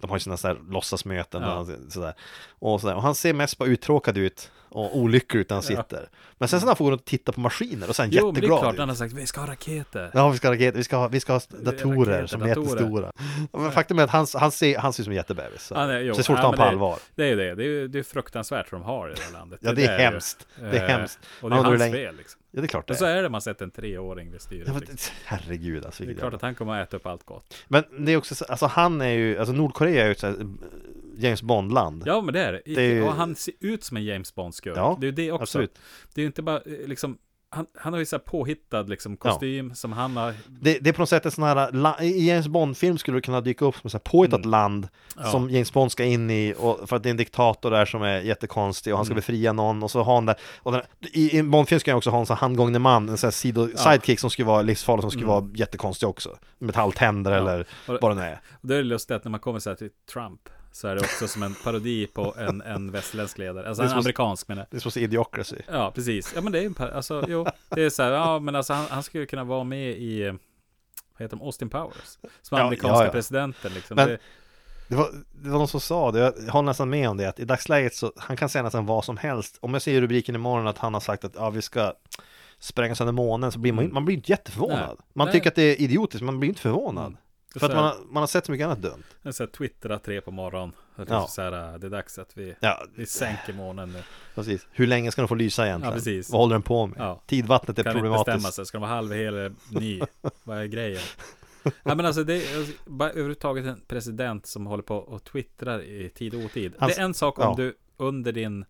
E: de har ju sina så här låtsasmöten
F: Mm. Ja.
E: och, han- så där. och sådär. Och han ser mest bara uttråkad ut och olycklig ut när han sitter. Men sen så när han får gå runt och titta på maskiner och sen
F: Jo, men det är
E: jätteglad
F: klart
E: ut.
F: han har sagt vi ska ha raketer.
E: Ja, vi ska ha, raket- vi ska ha, vi ska ha datorer
F: Raketer,
E: som är
F: datorer.
E: jättestora. Ja, Men faktum är att han, han, ser, han ser ut som en jättebebis. Så,
F: Ja, nej, jo.
E: så det är svårt
F: Ja,
E: att ta honom
F: men
E: på
F: det-
E: allvar.
F: Det är ju det. Det är, ju- det är fruktansvärt hur de har det i det här landet.
E: Ja, det är
F: ju.
E: hemskt. Det är
F: Eh,
E: hemskt. Han
F: Och det är
E: har
F: hans
E: dragit-
F: fel. Liksom.
E: Ja, det är klart det
F: Och så
E: är.
F: är det man sett en treåring vid styret.
E: Ja, men,
F: liksom.
E: herregud alltså.
F: Det är
E: vilket
F: klart
E: jävla-
F: att han kommer att äta upp allt gott.
E: Men det är också så, alltså han är ju, alltså Nordkorea är ju ett så här, eh, James Bond-land.
F: Ja, men det är det.
E: Det är ju-
F: Och han ser ut som en James Bond-skurk.
E: Ja,
F: det är ju det också.
E: absolut.
F: Det är ju inte bara eh, liksom han, han har ju så här påhittad liksom, kostym som han har
E: Det, det är på något sätt en sån här, la- i James Bond-film skulle det kunna dyka upp som ett påhittat land som James Bond ska in i, och, för att det är en diktator där som är jättekonstig och han ska befria någon och så har han det, och den, i, i en Bond-film ska han också ha en sån här handgångne man, en sån här sido, sidekick som skulle vara livsfarlig, som skulle vara jättekonstig också, metalltänder eller
F: Och-
E: vad det nu är.
F: Och då är det lustigt att när man kommer så här till Trump så är det också som en parodi på en, en västerländsk ledare. Alltså
E: Det är
F: en
E: som-
F: amerikansk menar jag.
E: Det är som att se Idiocracy.
F: Ja, precis. Ja, men det är ju en par- alltså, jo, det är så här, ja, men alltså han, han skulle kunna vara med i, eh, vad heter de, Austin Powers? Som
E: Ja,
F: amerikanska
E: ja, ja.
F: presidenten liksom.
E: Men-
F: det,
E: Det var, det var någon som sa det, jag håller nästan med om det, att i dagsläget så, han kan säga nästan vad som helst. Om jag ser i rubriken imorgon att han har sagt att ja, vi ska spränga sönder månen, så blir man, man blir inte jätteförvånad.
F: Mm. Nej.
E: Man
F: Nej. Mm.
E: tycker att det är idiotiskt, men man blir inte förvånad. För
F: så
E: att
F: här-
E: man har, man har sett så mycket annat dumt.
F: en så här twittra tre på morgonen. Att
E: Ja.
F: liksom så här, det är dags att vi,
E: Ja,
F: vi sänker månen nu.
E: precis. Hur länge ska de få lysa egentligen?
F: Ja, precis.
E: Vad håller den på med?
F: Ja.
E: Tidvattnet är
F: kan inte bestämma
E: problematiskt.
F: sig. Ska de vara halv, hel eller ny? Vad är grejen? Nej men alltså det är alltså, bara överhuvudtaget en president som håller på och twittrar i tid och otid.
E: Hans-
F: det är en sak om
E: ja.
F: du under din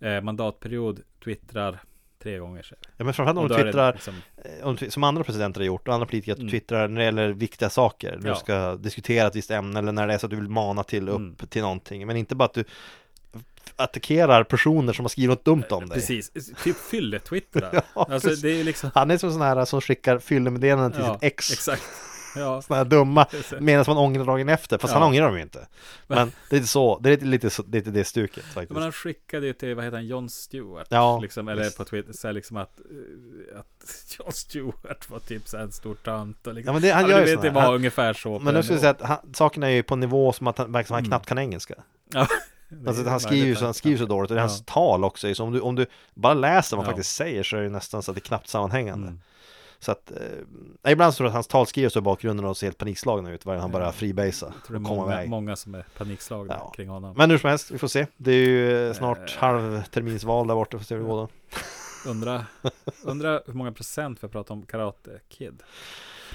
F: eh, mandatperiod twittrar tre gånger. säger vi.
E: Ja, men framförallt om
F: Och
E: de
F: då är det
E: twittrar,
F: liksom-
E: eh, om de twi- som andra presidenter har gjort, och andra politiker mm. twittrar när det gäller viktiga saker, när
F: Ja. Mm.
E: du ska diskutera ett visst ämne, eller när det är så att du vill mana till upp till någonting. Men inte bara att du attackerar personer som har skrivit något dumt om dig.
F: Precis, typ fylletwittrar.
E: Ja,
F: alltså
E: precis.
F: det är liksom...
E: Han är som sån här som skickar fyllemeddelanden till
F: ja,
E: sitt ex.
F: Exakt. Ja,
E: Såna här dumma, medan man ångrar dagen efter, fast
F: Ja.
E: han ångrar dem ju inte. Men det är lite så, det är lite, lite, så- lite det stuket faktiskt.
F: men han skickade ju till, vad heter han, Jon Stewart.
E: Ja,
F: liksom, eller
E: visst.
F: på Twitter, så här liksom att, eh, att Jon Stewart var typ så här en stor tönt. och Liksom.
E: Ja, men det- han
F: du
E: gör ju
F: vet,
E: såna
F: det
E: här.
F: var
E: Han-
F: ungefär så. på
E: Men nu
F: den
E: skulle jag säga
F: nivån.
E: att han, saken är ju på en nivå som att han, verkar som
F: Mm.
E: han knappt kan engelska.
F: Ja.
E: Alltså,
F: Det är
E: han skriver ju
F: möjligt,
E: så, han skriver så dåligt och det är hans tal också. Så om, du, om du bara läser vad han
F: Ja. Mm.
E: faktiskt säger så är det nästan så att det är knappt sammanhängande. Så att, eh, nej, ibland så tror jag att hans tal skrivs så i bakgrunden och ser helt panikslagna ut varje gång han börjar freebasea
F: Jag tror
E: och
F: det är
E: komma
F: många,
E: iväg.
F: många som är panikslagna
E: Ja.
F: kring honom.
E: Men hur som helst, vi får se. Det är ju eh, snart halvterminsval där borta, får se hur det går då.
F: Undra, undra hur många procent vi pratar om Karate Kid.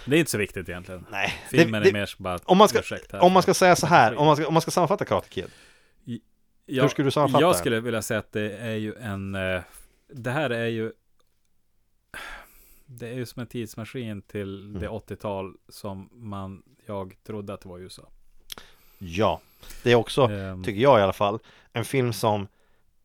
F: Det är inte så viktigt egentligen.
E: Nej,
F: Filmen
E: det,
F: är
E: det,
F: mer som bara
E: om man, ska,
F: ursäkt här.
E: om man ska säga så här, om man ska, om man ska sammanfatta Karate Kid.
F: Ja,
E: Hur skulle du sammanfatta
F: Jag
E: det?
F: skulle vilja säga att det är ju en... eh, Det här är ju... Det är ju som en tidsmaskin till
E: Mm.
F: det 80-tal som man, jag trodde att det var i USA.
E: Ja, det är också,
F: Ehm.
E: tycker jag i alla fall, en film som,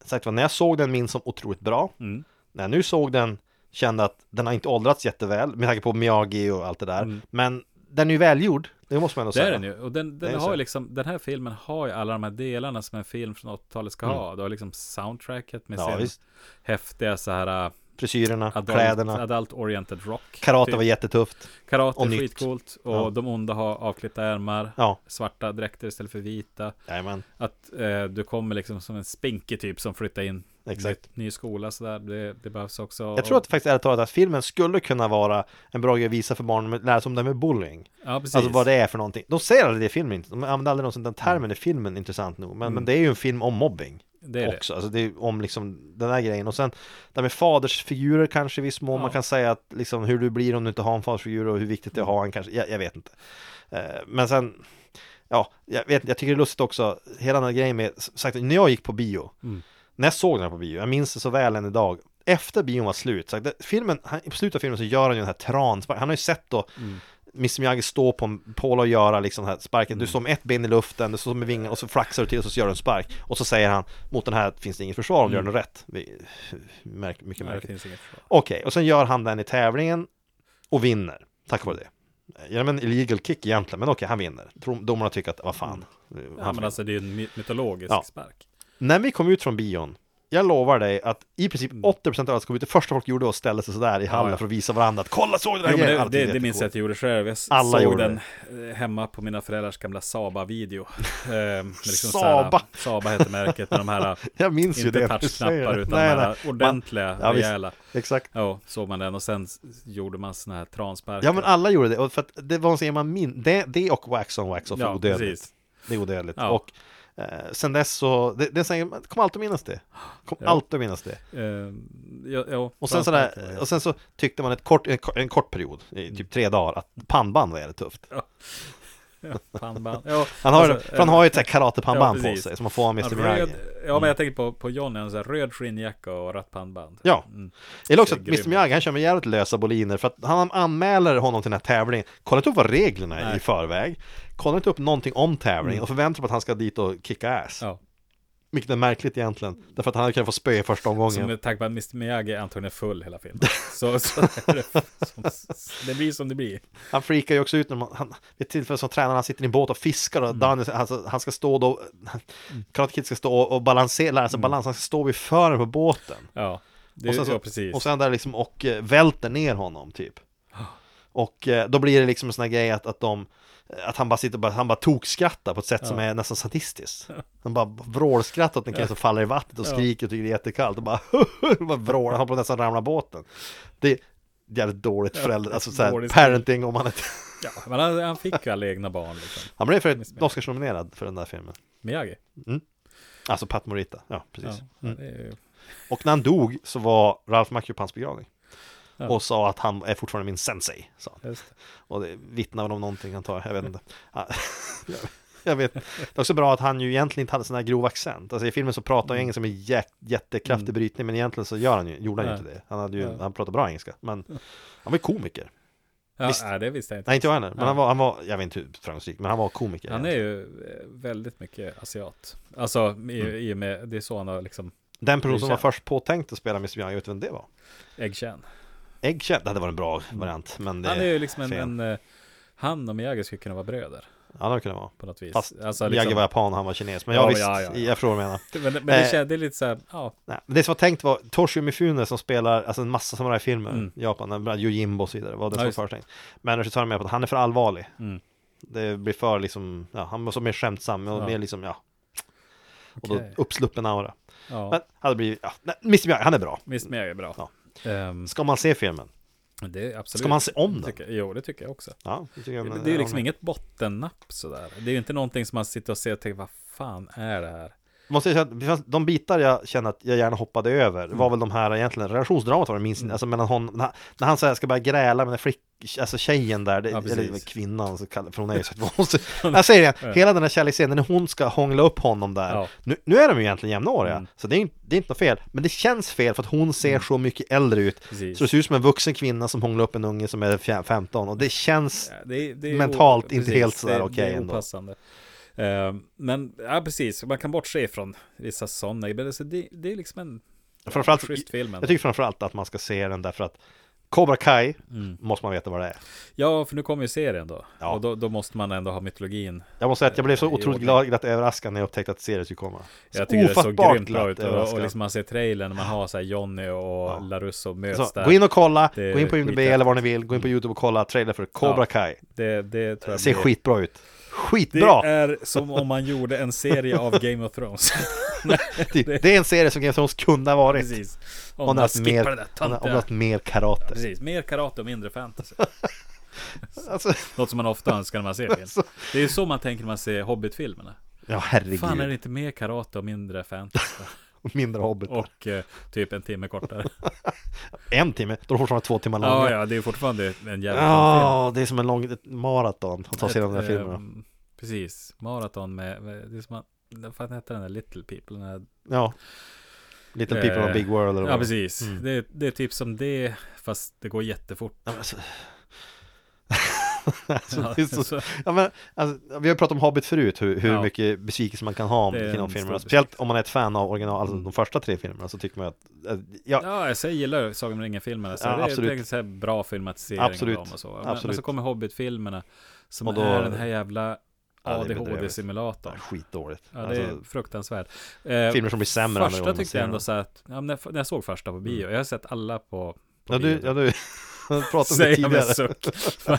E: sagt var, när jag såg den minns som otroligt bra.
F: Mm.
E: När jag nu såg den kände att den har inte åldrats jätteväl, med tanke på Miyagi och allt det där.
F: Mm.
E: Men den är ju välgjord, det måste man ändå
F: Det
E: säga.
F: är den ju. Och den,
E: Det är
F: den, har
E: så.
F: ju liksom, den här filmen har ju alla de här delarna som en film från 80-talet ska ha. Du har liksom soundtracket med
E: Mm. Ja,
F: sin
E: visst.
F: häftiga så här eh,
E: Frisyrerna,
F: adult,
E: kläderna,
F: adult oriented rock.
E: karate
F: typ.
E: var jättetufft.
F: Karate
E: och
F: är
E: nytt.
F: skitcoolt. Och
E: Ja.
F: de onda har avklippta ärmar.
E: Ja,
F: Svarta dräkter istället för vita.
E: jajamän.
F: Att eh, du kommer liksom som en spinkig typ som flyttar in.
E: Exakt.
F: Ny, ny skola sådär. Det, det behövs också.
E: Jag tror att faktiskt ärligt talat att filmen skulle kunna vara en bra grej att visa för barnen, att lära sig om det här med bullying.
F: Ja, precis.
E: Alltså vad det är för någonting. De säger aldrig det i filmen, inte. de använder aldrig någonsin den termen i filmen, intressant nog. Men, men det är ju en film om mobbing.
F: Mm. Det är det.
E: också. Alltså det är om liksom den här grejen. Och sen det här med fadersfigurer kanske i viss mån.
F: Ja.
E: Man kan säga att liksom hur du blir om du inte har en fadersfigur och hur viktigt det är att ha en kanske. Jag, jag vet inte. Eh, men sen, ja, jag, vet, jag tycker det är lustigt också. Hela den här grejen med, som sagt, när jag gick på bio. När jag såg den här på bio, jag minns det så väl än idag. Efter bion var slut, så att det, filmen, han, i slutet av filmen så gör han ju den här transparken. Han har ju sett då Miss Miyagi stå på en pål och göra liksom den här sparken. Du står med ett ben i luften, du står med vingarna och så flaxar du till och så gör du en spark. Och så säger han, mot den här finns det inget försvar om du gör den rätt. Vi, märk, mycket
F: Nej, det
E: märkligt.
F: finns inget försvar.
E: Okej, och sen gör han den i tävlingen och vinner, tack vare det. Genom en illegal kick egentligen, men okej, han vinner. Dom- Domarna tycker att, vad fan.
F: Ja,
E: han
F: men alltså det är ju en my- mytologisk
E: Ja.
F: spark.
E: när vi kom ut från bion, jag lovar dig att i princip 80% av alla som kom ut, det första folk gjorde var att ställa sig sådär i hallen
F: Mm. Ja, ja.
E: för att visa varandra att kolla såg du den här
F: Jo, men
E: grejen?"
F: det,
E: Alltid
F: det, det minns jag
E: jättecoolt.
F: att jag gjorde själv. Jag s-
E: Alla
F: såg
E: gjorde
F: den eh, hemma på mina föräldrars gamla Saba-video. Ehm, med liksom så
E: Saba.
F: Här, Saba hette märket med de här,
E: Jag minns ju
F: inte
E: det. när du säger
F: touchknappar
E: det.
F: utan de här ordentliga,
E: Ja, visst.
F: rejäla.
E: Exakt.
F: Ja, såg man den och sen s- gjorde man sådana här transparker.
E: Ja men alla gjorde det, och för att det var en sån man min det, det och Wax on Wax off är
F: Ja,
E: odödligt.
F: precis.
E: Det är odödligt.
F: Ja.
E: Och eh, sen dess så, det, det är sån här- man kommer alltid minnas det. Kommer
F: Ja.
E: alltid minnas det.
F: Ehm, ja, ja, Mm.
E: Och sen,
F: transparker var
E: sådär,
F: det.
E: och sen så tyckte man ett kort, en, ko- en kort period, i typ tre dagar, att pannband var jävligt tufft.
F: Ja. Pannband. Ja,
E: Han har,
F: alltså,
E: för han har ju ett sånt här karatepannband på
F: precis.
E: sig som man får av Mr. Miyagi. Mm.
F: röd, ja, men jag tänker på, på Johnny, han har en röd skinnjacka och rött pannband.
E: Ja.
F: Mm.
E: Det är också att
F: Ser grym
E: Mr. Miyagi, han kör med jävligt lösa boliner för att han anmäler honom till den här tävlingen. Kollar inte upp vad reglerna är
F: Nej. Mm.
E: i förväg. Kollar inte upp någonting om tävlingen och förväntar sig på att han ska dit och kicka ass.
F: Ja.
E: Vilket är märkligt egentligen. Därför att han kan få spö i första
F: Som
E: omgången.
F: med tanke på att Mr. Miyagi antagligen är full hela filmen. Så, så är det, som, det blir som det blir.
E: Han freakar ju också ut när man, han, vid ett tillfälle som tränare, han sitter i en båt och fiskar och Daniel, alltså, han ska stå då, Karate Kid ska stå och, och balansera, lära sig balans, han ska stå vid fören på båten.
F: Ja, det,
E: och sen, så,
F: ja precis.
E: och sen där liksom och eh, välter ner honom typ. Och eh, då blir det liksom en sån här grej att, att de att han bara sitter och bara, han bara tokskrattar på ett sätt som är nästan sadistiskt. Han bara vrålskrattar åt en kille som faller i vattnet och
F: Ja.
E: skriker och tycker det är jättekallt och bara, bara vrålar, han på nästan ramla båten. Det är jävligt dåligt förälder, alltså såhär
F: dåligt.
E: parenting om man inte...
F: ja, men han, han fick ju alla egna barn liksom.
E: Han blev för Oscarsnominerad för den där filmen.
F: Miyagi.
E: Mm. Alltså Pat Morita, ja precis.
F: Ja, det är ju...
E: Och när han dog så var Ralph Macchio på hans begravning.
F: Ja.
E: Och sa att han är fortfarande min sensei, sa han.
F: Just det.
E: Och det vittnar väl om någonting antar jag, jag vet inte. Ja, jag vet. Det är också bra att han ju egentligen inte hade sån här grov accent. Alltså i filmen så pratar
F: Mm.
E: han ju engelska med jä- jättekraftig brytning, men egentligen så gör han ju, gjorde han ju
F: Nej.
E: inte det. Han, hade ju,
F: Ja.
E: han pratade bra engelska, men han var ju komiker.
F: Ja,
E: Visst.
F: nej, det visste jag inte.
E: Nej, inte jag heller, men
F: Ja.
E: han var, han var, jag vet inte hur framgångsrik, men han var komiker.
F: Han är ju eh, väldigt mycket asiat. Alltså, i,
E: Mm.
F: i och med, det är så han har liksom
E: Den person som var
F: känd.
E: först påtänkt att spela Mr. Young, jag vet vem det var.
F: äggkärn.
E: Eggkött, det hade varit en bra variant, men det
F: Mm. Han är ju liksom en,
E: fel.
F: en eh, han och Miyagi skulle kunna vara bröder
E: Ja, det kunde vara.
F: på något vis.
E: Fast
F: alltså,
E: Miyagi
F: liksom,
E: var japan, han var kines. Men
F: Ja,
E: jag
F: men
E: visst,
F: ja, ja, ja.
E: jag förstår vad du menar.
F: men, men det
E: eh,
F: kändes lite så här, ja,
E: Nej, men det som var tänkt var Toshio Mifune som spelar alltså en massa samurajfilmer
F: Mm.
E: i Japan, bland annat Yojimbo och så vidare, var det som
F: Ja,
E: var
F: just det.
E: förtänkt. Men regissören med på att han är för allvarlig.
F: Mm.
E: Det blir för liksom, ja, han måste vara mer skämtsam och
F: Ja.
E: mer liksom, ja. Och
F: Okej.
E: då uppsluppen aura.
F: ja. Mm.
E: Men han hade blivit, ja, nej, Mr. Miyagi, han är bra.
F: Miss Mary är bra.
E: Ja.
F: Ehm,
E: Ska man se filmen?
F: det är absolut.
E: Ska man se om
F: det
E: den?
F: tycker, jag- Jo, det tycker jag också.
E: Ja, det, tycker jag,
F: Det,
E: men-
F: det är ju
E: jag
F: liksom
E: håller med.
F: inget bottennapp sådär. Det är ju inte någonting som man sitter och ser och tänker, vad fan är det här?
E: Måste jag säga att det fanns- de bitar jag känner att jag gärna hoppade över
F: Mm.
E: var väl de här egentligen, relationsdramat var det minst, alltså mellan hon, när han, när han så här ska börja gräla med den flick, alltså tjejen där, det,
F: Ja, precis.
E: eller kvinnan, så kallar, för hon är ju så konstig. Jag säger det, igen, hela den här kärleksscenen, när hon ska hångla upp honom där,
F: Ja.
E: nu, nu är de ju egentligen jämnåriga,
F: Mm.
E: så det är, ju- det är inte något fel, men det känns fel för att hon ser så mycket äldre ut,
F: Precis.
E: så det ser ut som en vuxen kvinna som hånglar upp en unge som är fjär- 15, och det känns,
F: Ja, det, är- det är
E: Mentalt inte
F: precis,
E: helt sådär
F: det-
E: okej
F: Det är
E: ändå.
F: opassande. Ehm, men ja, precis, man kan bortse från vissa sådana. Men alltså, det, det är liksom en
E: framförallt,
F: schysst film. ändå.
E: jag tycker framförallt att man ska se den därför att Cobra Kai
F: Mm.
E: måste man veta vad det är.
F: Ja, för nu kommer ju serien då.
E: Ja.
F: Och då, då måste man ändå ha mytologin.
E: Jag måste säga att jag blev så
F: Eh, i
E: otroligt
F: ordning.
E: glad, glatt överraskad när jag upptäckte att serien skulle komma. Så
F: Jag tycker det såg
E: ofattbart
F: grymt bra
E: glatt
F: ut. Och, och
E: överraskad.
F: liksom man ser trailern, man har så här Johnny och Larusso möts
E: så,
F: där.
E: Alltså, gå in och kolla,
F: Det är
E: gå in på IMDB
F: skithäftigt.
E: eller vad ni vill, gå in på YouTube och kolla trailer för Cobra
F: Ja,
E: Kai.
F: Det, det tror
E: Det
F: jag
E: ser
F: blir-
E: skitbra ut.
F: Det
E: Skitbra! Det är,
F: är som om man gjorde en serie av Game of Thrones.
E: det, är en serie som Game of Thrones kunde ha varit.
F: precis.
E: Om
F: Om
E: det
F: man
E: haft mer,
F: skippar det där
E: om det
F: töntiga.
E: haft mer karate.
F: Precis, mer karate och mindre fantasy.
E: alltså,
F: Något som man ofta önskar när man ser film. Det är ju så man tänker när man ser Hobbit-filmerna.
E: ja, herregud.
F: Fan är det inte mer karate och mindre fantasy?
E: Mindre hobbit.
F: Och eh, typ en timme kortare.
E: En timme, då är det fortfarande två timmar
F: Ja,
E: långa.
F: ja, det är fortfarande en jävla film.
E: Ja, det är som en lång ett maraton att ta sig igenom den här
F: Ett,
E: filmen.
F: ehm, Precis, maraton med, med det är som man, vad fan heter den där Little People? Den här,
E: Ja. Little people on
F: eh,
E: a big world. Eller
F: ja,
E: vad det Mm.
F: precis. Det, det är typ som det, fast det går jättefort.
E: Ja, men Alltså, alltså, det är så,
F: så-
E: ja, men, alltså, vi har ju pratat om Hobbit förut, hur, hur
F: Ja.
E: mycket besvikelse man kan ha om
F: Det är en
E: kinofilmerna.
F: stor Mm.
E: Speciellt om man är ett fan av original, alltså de första tre filmerna, så tycker man ju att, eh, ja,
F: Ja, jag säger, gillar Sagan om ringen-filmerna. Så
E: Ja,
F: det, är-
E: absolut.
F: det är så här bra filmatisering
E: Absolut.
F: av dem och så. Men,
E: Absolut.
F: men så kommer Hobbit-filmerna som
E: Och då-
F: är den här jävla
E: det är
F: ADHD-simulatorn.
E: skitdåligt.
F: Ja, det är
E: alltså,
F: fruktansvärt. Eh,
E: filmer som blir sämre andra
F: Första
E: gången man
F: tyckte
E: ser
F: jag ändå
E: dem.
F: så här att, ja, men när, när jag såg första på bio, jag har sett alla på, på
E: Mm. ja, du,
F: bio.
E: ja, du pratade om det
F: Säger jag med
E: tidigare.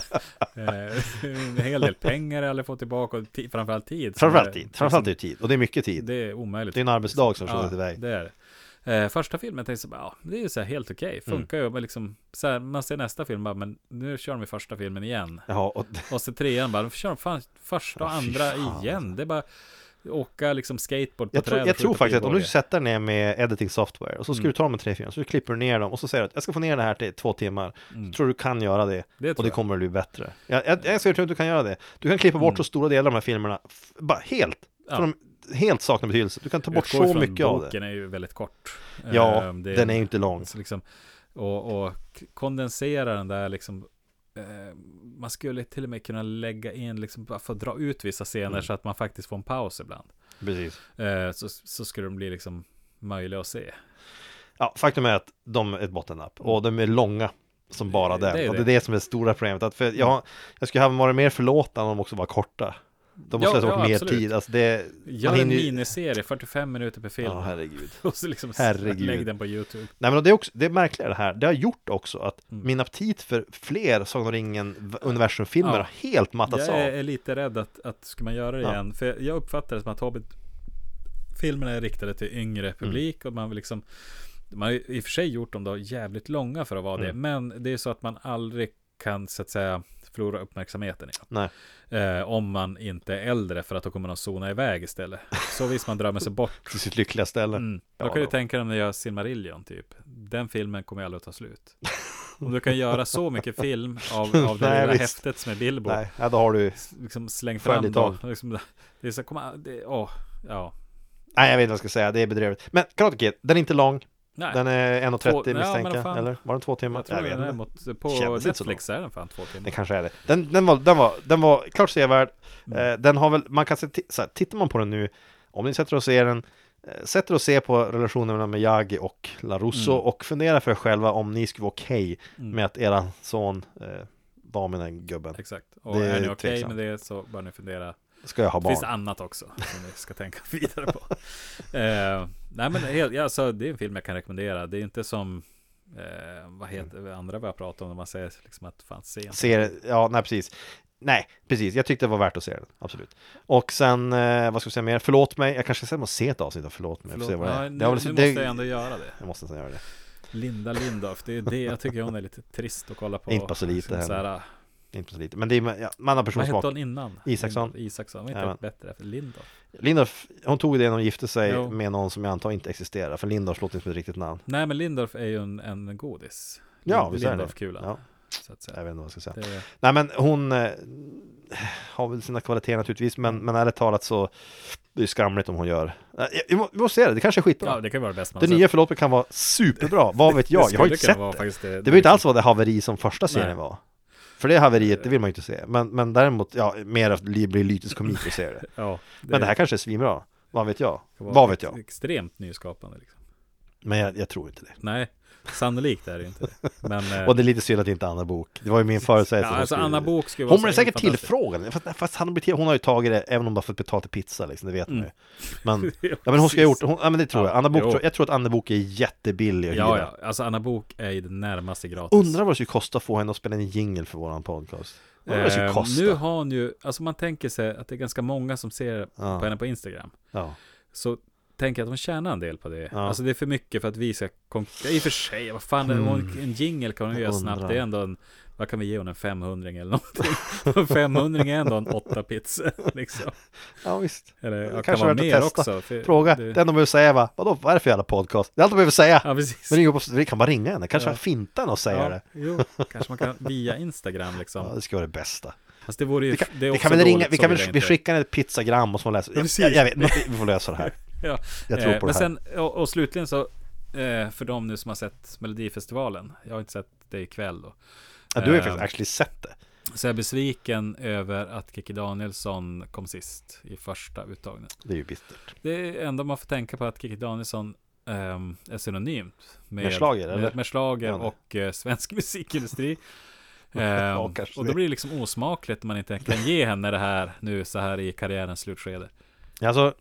F: suck. Eh, en hel del pengar jag aldrig fått tillbaka och ti- framförallt tid. som är- liksom
E: Framförallt tid, framförallt är det tid, och det är mycket tid.
F: Det är omöjligt.
E: Det är en arbetsdag som slår
F: Ja,
E: iväg.
F: det är det. Eh, första filmen tänkte jag så bara, ja, det är ju så här helt okej,
E: Mm.
F: funkar ju, men liksom, så här, man ser nästa film bara, men nu kör de i första filmen igen.
E: Jaha, och
F: Och så trean bara, de kör de fan första och
E: Ja, fy
F: andra
E: fan, alltså.
F: igen. Det är bara, åka liksom skateboard på
E: Jag, tror-
F: träd och
E: jag tror
F: skjuta
E: faktiskt att om du
F: pilbåge.
E: sätter ner med editing software och så ska
F: Mm.
E: du ta de här tre, fyra, så klipper du ner dem och så säger du att jag ska få ner det här till två timmar.
F: Mm.
E: Tror du kan göra det
F: Det
E: och
F: tror
E: det
F: jag.
E: kommer att bli bättre. Jag, jag, jag ser att du kan göra det. Du kan klippa bort så stora delar av de här filmerna, f- bara helt.
F: Mm. Ja.
E: För de helt saknar betydelse. Du kan ta bort
F: Utgår
E: så
F: ifrån
E: mycket av det.
F: Boken är ju väldigt kort.
E: Ja,
F: Ehm, det
E: den är ju inte lång.
F: Så liksom, och, och kondensera den där liksom. Eh, man skulle till och med kunna lägga in, liksom, bara för att dra ut vissa scener
E: Mm.
F: så att man faktiskt får en paus ibland.
E: Precis.
F: Eh, så, så skulle de bli liksom möjliga att se.
E: Ja, faktum är att de är ett bottennapp och de är långa som bara
F: Mm. Det är
E: den. och det
F: det.
E: är det som är det stora problemet. Att för jag, jag skulle ha varit mer förlåtande om de också var korta. De måste
F: Ja,
E: ha tagit
F: ja,
E: mer
F: absolut.
E: tid. Alltså det,
F: Gör
E: man
F: en
E: hinner ju-
F: miniserie, 45 minuter per film.
E: Ja, herregud.
F: och så liksom
E: herregud.
F: lägg den på YouTube.
E: Nej men det är också, det är märkliga det här, det har gjort också att
F: Mm.
E: min aptit för fler Sagan om ringen-universumfilmer
F: Ja.
E: har helt mattats
F: Jag är,
E: av.
F: är lite rädd att, att ska man göra det
E: Ja.
F: igen. För jag uppfattar det som att Hobbit filmerna är riktade till yngre
E: Mm.
F: publik och man vill liksom man har ju i och för sig gjort dem då jävligt långa för att vara
E: Mm.
F: det. Men det är så att man aldrig kan så att säga förlora uppmärksamheten i dem.
E: Nej.
F: Eh, om man inte är äldre för att då kommer de zona iväg istället. Så visst man drömmer sig bort.
E: Till sitt lyckliga ställe.
F: Mm.
E: Ja,
F: då kan du
E: då.
F: tänka dig om du gör Silmarillion typ. Den filmen kommer ju aldrig att ta slut. Om du kan göra så mycket film av, av det
E: Nej,
F: lilla
E: visst.
F: häftet som är Bilbo
E: Nej, ja, då har du...
F: liksom släng
E: Får jag
F: fram
E: lite
F: dem.
E: av?
F: Liksom, det är så, kom, an- det, åh, ja.
E: Nej jag vet inte vad jag ska säga, det är bedrövligt. Men Karate Kid, den är inte lång,
F: Nej,
E: den är 1.30
F: Två- ja, men
E: misstänker
F: vad fan.
E: jag. Eller var den två timmar?
F: jag tror den är
E: inte.
F: mot, på
E: Kändes inte så
F: Netflix är den fan två timmar.
E: Det kanske är det. Den, den, var, den, var, den var klart sevärd.
F: Mm.
E: Eh, Den har väl, man kan se, ti- så här, tittar man på den nu, om ni sätter och ser den, eh, sätter och ser på relationerna med Yagi och Larusso
F: Mm.
E: och fundera för er själva om ni skulle vara okej med att era son eh, var med den gubben.
F: Exakt. Och
E: Det
F: är ni
E: är
F: okej
E: tveksamt.
F: med det så bör ni fundera.
E: Ska jag ha
F: Det
E: barn?
F: finns annat också som ni ska tänka vidare på. eh, nej men helt, ja, alltså, det är en film jag kan rekommendera. Det är inte som eh, vad heter det andra vi har pratat om när man säger liksom att fan se inte.
E: Ser, ja, nej precis. Nej, precis. Jag tyckte det var värt att se den, absolut. Och sen, eh, vad ska vi säga mer? Förlåt mig, jag kanske ska se ett avsnitt av Förlåt mig. Förlåt, se
F: Förlåt,
E: vad det
F: ja,
E: är.
F: nu,
E: Det
F: nu
E: har väl-
F: måste
E: det-
F: jag ändå göra det.
E: Jag måste nästan göra det.
F: Linda Lindorff, det är det jag tycker hon är lite trist att kolla på.
E: Inte så lite
F: Liksom så här,
E: Inte så lite. Men det är, ja, man har
F: Vad hette
E: personsmak.
F: hon innan?
E: Isaksson.
F: Lindorff, Isaksson, var inte
E: Jajamän.
F: bättre? Lindorff.
E: Lindorff, hon tog det när hon gifte sig
F: Jo.
E: med någon som jag antar inte existerar, för Lindorff låter inte som ett riktigt namn.
F: Nej, men Lindorff är ju en, en godis.
E: Ja, visst är det.
F: Lindorff-kulan.
E: Ja.
F: Så att
E: Jag
F: säga.
E: vet inte vad jag ska säga.
F: Det,
E: Nej men hon eh, har väl sina kvaliteter naturligtvis,
F: Mm.
E: men, men ärligt talat så det är skamligt om hon gör. Eh, Vi må- vi måste se det, det kanske är skitbra.
F: ja, det kan vara det bästa man
E: det
F: har
E: nya Förlåt mig kan vara superbra, vad vet jag?
F: Det
E: Jag har
F: skulle
E: inte
F: kunna
E: sett
F: vara
E: det.
F: faktiskt
E: Det var ju inte alls vad det haveri som första serien
F: Nej.
E: var. För det haveriet, det vill man ju inte se. Men, men däremot, ja, mer att det blir lytisk komik att se det.
F: Ja, det
E: Men det här kanske är svinbra. Vad vet jag?
F: kan vara
E: Vad vet jag?
F: Extremt nyskapande. Liksom.
E: Men jag, jag tror inte det.
F: Nej, sannolikt är det ju inte. det. Men, eh,
E: Och det är lite synd att det inte är Anna Bok. Det var ju min förutsägelse.
F: ja, alltså Anna Bok skulle
E: Hon
F: så
E: blev säkert
F: fantastisk.
E: tillfrågad. Fast, fast han blir till, hon har ju tagit det, även om hon bara fått betalt i pizza, liksom, det vet man ju. Men,
F: Mm. Ja,
E: ja, men hon ska ha gjort
F: precis.
E: det. Hon- Ja, men det tror
F: Ja,
E: jag. Anna Bok,
F: jo.
E: tror, jag tror att Anna Bok är jättebillig att
F: Ja,
E: hyra.
F: ja, alltså Anna Bok är ju det närmaste gratis.
E: Undrar vad det skulle kosta att få henne att spela en jingle för våran podcast. Undrar vad det skulle
F: Eh,
E: kosta.
F: nu har hon ju, alltså man tänker sig att det är ganska många som ser
E: Ja.
F: på henne på Instagram.
E: Ja.
F: så tänker jag att hon tjänar en del på det.
E: Ja.
F: Alltså det är för mycket för att vi ska konkurrera. I och för sig, vad fan, hon, en jingle kan hon göra
E: Mm. undrar.
F: snabbt. Det är ändå en, vad kan vi ge hon, en 500 eller någonting? En 500 är ändå en åtta pizza liksom.
E: ja, visst.
F: Eller Eh, jag kan
E: kanske
F: vara
E: värt att
F: mer
E: testa.
F: också. för
E: Fråga. Det
F: det-
E: enda de behöver säga va, vadå, vad är det för jävla podcast? Det är allt de behöver säga.
F: Ja, precis.
E: Men det går på, vi kan bara ringa henne, kanske
F: Ja.
E: finta henne och säga
F: Ja,
E: det.
F: jo, kanske man kan via Instagram liksom.
E: Ja, det skulle vara det bästa.
F: Fast det vore ju...
E: Vi kan,
F: det
E: vi
F: är också
E: kan väl
F: dåligt,
E: ringa, vi
F: så
E: kan
F: vill
E: väl
F: jag
E: vi
F: inte.
E: skickar ett pizzagram och så får hon läsa. Jag,
F: precis.
E: jag, jag vet, vi får lösa det här.
F: Ja. Eh,
E: Jag tror på
F: men
E: det här.
F: sen, och, och slutligen så, eh, för de nu som har sett Melodifestivalen, jag har inte sett det ikväll då.
E: Ja, du har ju
F: Eh,
E: faktiskt actually sett det.
F: Så jag är besviken över att Kikki Danielsson kom sist i första uttagningen.
E: Det är ju bittert.
F: Det enda man får tänka på är att Kikki Danielsson ehm, är synonymt med,
E: Med schlager, eller?
F: med, med schlager
E: Ja, nej.
F: och eh, svensk musikindustri. Ehm,
E: Ja, kanske
F: och
E: det.
F: då blir det liksom osmakligt när man inte kan ge henne det här nu så här i karriärens slutskede.
E: Alltså,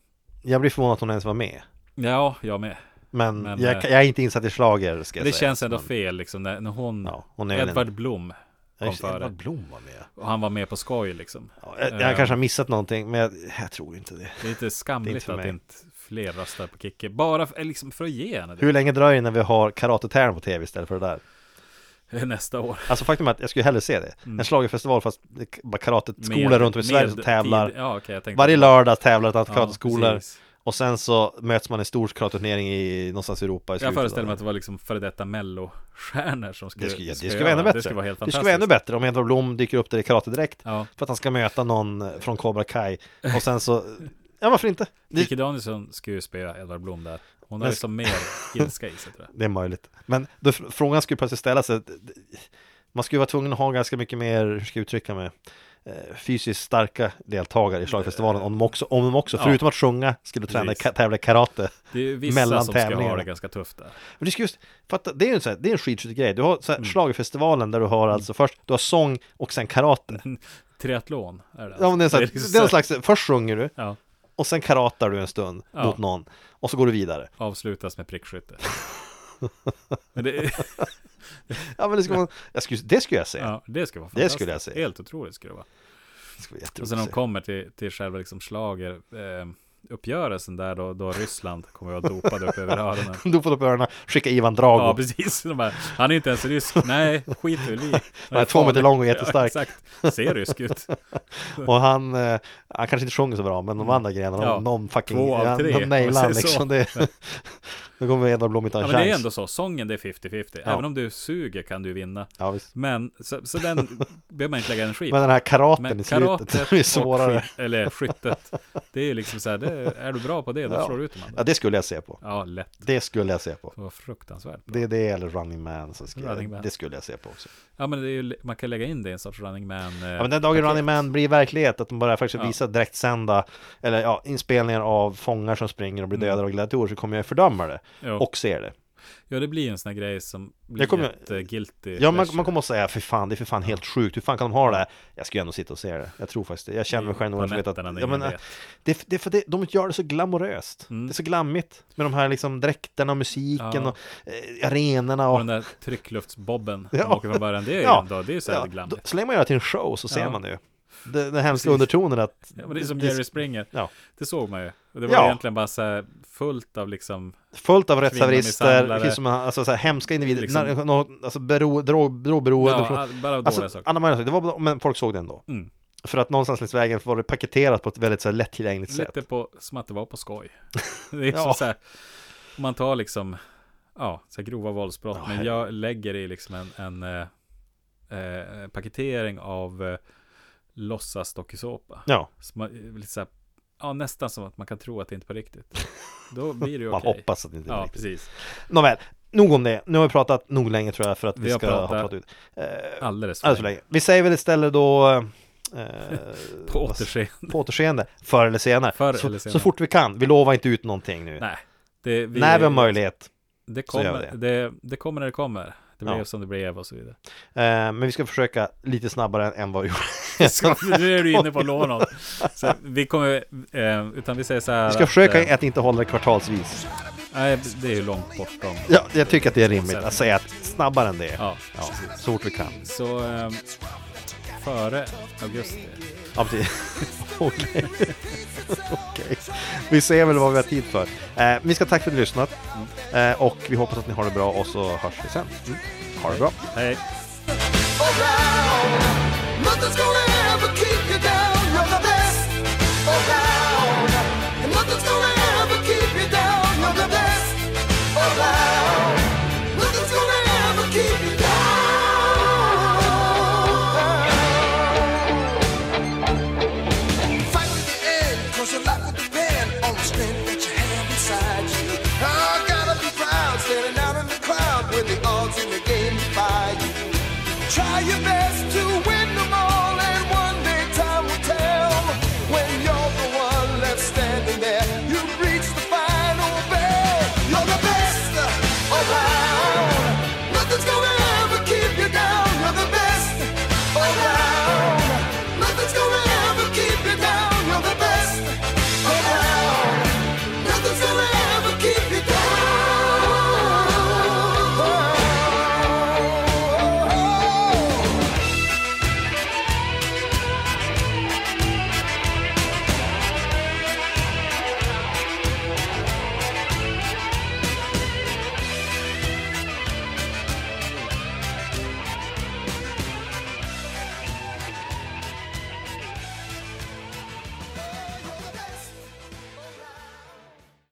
E: jag blir förvånad att hon ens var med.
F: Ja, jag med.
E: Men,
F: Men,
E: jag,
F: eh,
E: jag är inte insatt i schlager ska jag
F: det
E: säga.
F: känns ändå
E: Men-
F: fel liksom när, när hon,
E: Ja, hon är väl en-
F: Edvard Blom
E: Ja,
F: kom
E: just det,
F: före.
E: Edvard Blom var med.
F: Och han var med på skoj liksom.
E: Ja, jag jag
F: Ehm.
E: kanske har missat någonting, men jag, jag tror inte det.
F: Det är lite skamligt
E: för
F: att
E: mig.
F: inte fler röstar på Kikki. Bara för, liksom för att ge henne det.
E: Hur länge dröjer det innan vi har karatetävling på tv istället för det där?
F: eh, nästa år.
E: Alltså faktum är att jag skulle hellre se det. En schlagerfestival fast det är bara karateskolor
F: Mm. Med-
E: runt om i Sverige som
F: med
E: tävlar.
F: tid- ja, okej, jag tänkte-
E: Varje lördag tävlar ett antal
F: Ja,
E: karateskolor.
F: precis.
E: Och sen så möts man i en stor karateturnering i någonstans i Europa i
F: Jag
E: slutet
F: föreställer mig
E: av
F: att det var liksom före detta mellostjärnor som skulle
E: det skulle, ja, det
F: skulle
E: skulle vara ännu
F: göra.
E: bättre.
F: Det skulle vara helt
E: det
F: fantastiskt.
E: skulle vara ännu bättre om Edvard Blom dyker upp där i karatedräkt
F: Ja.
E: för att han ska möta någon från Cobra Kai och sen så, ja varför inte? Det,
F: Kikki Danielsson skulle ju spela Edvard Blom där. Hon har
E: Men-
F: liksom mer ilska i sig tror jag.
E: det är möjligt. Men då, fr- frågan skulle plötsligt ställa sig, d- d- man skulle vara tvungen att ha ganska mycket mer, hur ska jag uttrycka mig, eh, fysiskt starka deltagare i slagfestivalen om de också, om de också
F: Ja.
E: förutom att sjunga, skulle träna i
F: Precis.
E: ka- tävla i karate.
F: Det är ju vissa
E: Mellan
F: som ska ha
E: tävlingarna.
F: det ganska tufft där.
E: Men det, ska just, fatta, det är ju en, sån här- det är en skidskyttegrej. grej. Du har så här,
F: Mm.
E: schlagerfestivalen där du har alltså först, du har sång och sen karate.
F: Mm. Triathlon är det.
E: Ja, men det är, så här,
F: liksom
E: det är
F: så-
E: en slags, först sjunger du
F: Ja,
E: och sen karatar du en stund
F: Ja.
E: mot någon och så går du vidare.
F: avslutas med prickskytte. Men det,
E: Ja, men det, ska man, jag skulle, det skulle jag säga.
F: ja, det skulle vara
E: Det
F: fantastiskt.
E: skulle jag säga.
F: Helt otroligt skulle det vara.
E: Det skulle vara jätteroligt
F: Och sen när
E: att
F: de
E: se.
F: kommer till, till själva liksom slager, eh, uppgörelsen där då, då Ryssland kommer att vara dopad upp över öronen.
E: Du får upp öronen, skicka Ivan Drago.
F: Ja, precis. De bara, han är inte ens rysk. Nej, skit väl i.
E: Han är två meter lång och jättestark.
F: exakt. Ser rysk ut.
E: och han, eh, han kanske inte sjunger så bra, men de andra grejerna,
F: Mm. Ja.
E: de, de fucking,
F: Två av
E: ja,
F: tre,
E: de
F: om
E: nailar
F: man
E: han
F: säger så.
E: liksom. Det, då kommer Edvard Blom inte ha
F: Ja,
E: en
F: men det är
E: chans.
F: ändå så. Sången, det är 50-50.
E: Ja.
F: Även om du suger kan du vinna.
E: Ja, visst.
F: Men, så, så den behöver man inte lägga
E: Men
F: energi på.
E: den här karaten
F: Men
E: i slutet, det är svårare.
F: och skyt, eller skyttet, det är liksom så här, det, är du bra på det, då
E: Ja.
F: slår du ut de andra.
E: Ja, det skulle jag se på.
F: Ja, lätt.
E: Det skulle jag se på.
F: Det var fruktansvärt. bra.
E: Det är det eller Running Man, som ska,
F: Running Man.
E: det skulle jag se på också.
F: Ja, men det är ju, man kan lägga in det i en sorts running man. eh,
E: Ja, men den dagen
F: paket.
E: Running Man blir verklighet, att de bara faktiskt
F: Ja.
E: visar direktsända, eller ja, inspelningar av fångar som springer och blir
F: Mm.
E: dödade av gladiatorer, så kommer jag fördöma det
F: Jo.
E: och se det.
F: Ja, det blir en sån här grej som blir
E: Jag kommer-
F: ett eh, guilty
E: Ja, man,
F: pleasure.
E: man kommer att säga, för fan, det är för fan helt sjukt, hur fan kan de ha det här? Jag ska ju ändå sitta och se det, jag tror faktiskt det. Jag känner mig själv nog
F: På
E: att jag vet att,
F: nätterna när
E: ja, men,
F: ingen
E: äh,
F: vet. Mm.
E: det, är- det är för det, de gör det så glamoröst. Det är så glammigt med de här liksom dräkterna och musiken
F: Ja.
E: och eh, arenorna
F: Och
E: och...
F: den där tryckluftsbobben som
E: Ja.
F: åker från början, det är ju
E: Ja.
F: ändå, det är ju så
E: ja,
F: här
E: då,
F: glammigt.
E: så länge man gör det till en show så ser
F: Ja.
E: man det ju. Den den hemska
F: Precis.
E: undertonen att...
F: Ja, men det är som Jerry Springer,
E: Ja.
F: det såg man ju. Och det var
E: Ja.
F: egentligen bara så här fullt av liksom,
E: Fullt av
F: Kvinnomisshandlare.
E: rättshaverister, det finns som, alltså, så här, hemska individer,
F: Liksom-
E: när, nå- alltså, bero, drog, drogberoende.
F: ja,
E: från-
F: all- bara dåliga
E: alltså,
F: saker.
E: alla möjliga saker. Det var, bara- men folk såg det ändå.
F: Mm.
E: För att någonstans längs vägen var det paketerat på ett väldigt så här, lättillgängligt sätt.
F: Lite på, som att det var på skoj. Det är
E: Ja.
F: som så här, om man tar liksom, ja, så här grova våldsbrott, men jag lägger i liksom en, en eh, eh, paketering av eh, låtsas dokusåpa.
E: Ja,
F: Så man, eh, lite så här, ja, nästan som att man kan tro att det inte är på riktigt. Då blir det ju
E: man
F: okej.
E: hoppas att det inte är
F: Ja,
E: riktigt.
F: precis.
E: Nåväl, nog om det. Nu har vi pratat nog länge tror jag för att vi,
F: Vi har
E: ska
F: pratat
E: ha pratat ut. Eh,
F: Alldeles för
E: alldeles för länge. Vi säger väl istället då... Eh,
F: På
E: vad-
F: återseende.
E: På återseende, förr eller senare.
F: Förr
E: så,
F: eller senare.
E: så fort vi kan. Vi lovar inte ut någonting nu.
F: Nej. Det, vi,
E: När vi har möjlighet.
F: det
E: så gör
F: kommer,
E: vi
F: det. Det, kommer när det kommer. Det blev
E: Ja.
F: som det blev och så vidare.
E: Eh, men vi ska försöka lite snabbare än vad vi gjorde.
F: Så, nu är du inne på lånen. Så vi kommer, eh, utan vi säger så här.
E: Vi ska försöka
F: eh,
E: att inte hålla det kvartalsvis.
F: Nej, det är ju långt bortom.
E: Ja, jag tycker att det är rimligt att säga att snabbare än det.
F: Ja.
E: så fort vi kan.
F: Så eh, före augusti.
E: Ja, precis. Okej. Okej. Vi ser väl vad vi har tid för. Eh, vi ska tacka för att ni har lyssnat.
F: Mm.
E: Eh, och vi hoppas att ni har det bra och så hörs vi sen. Mm. Ha det bra.
F: Hej.
G: around. Nothing's gonna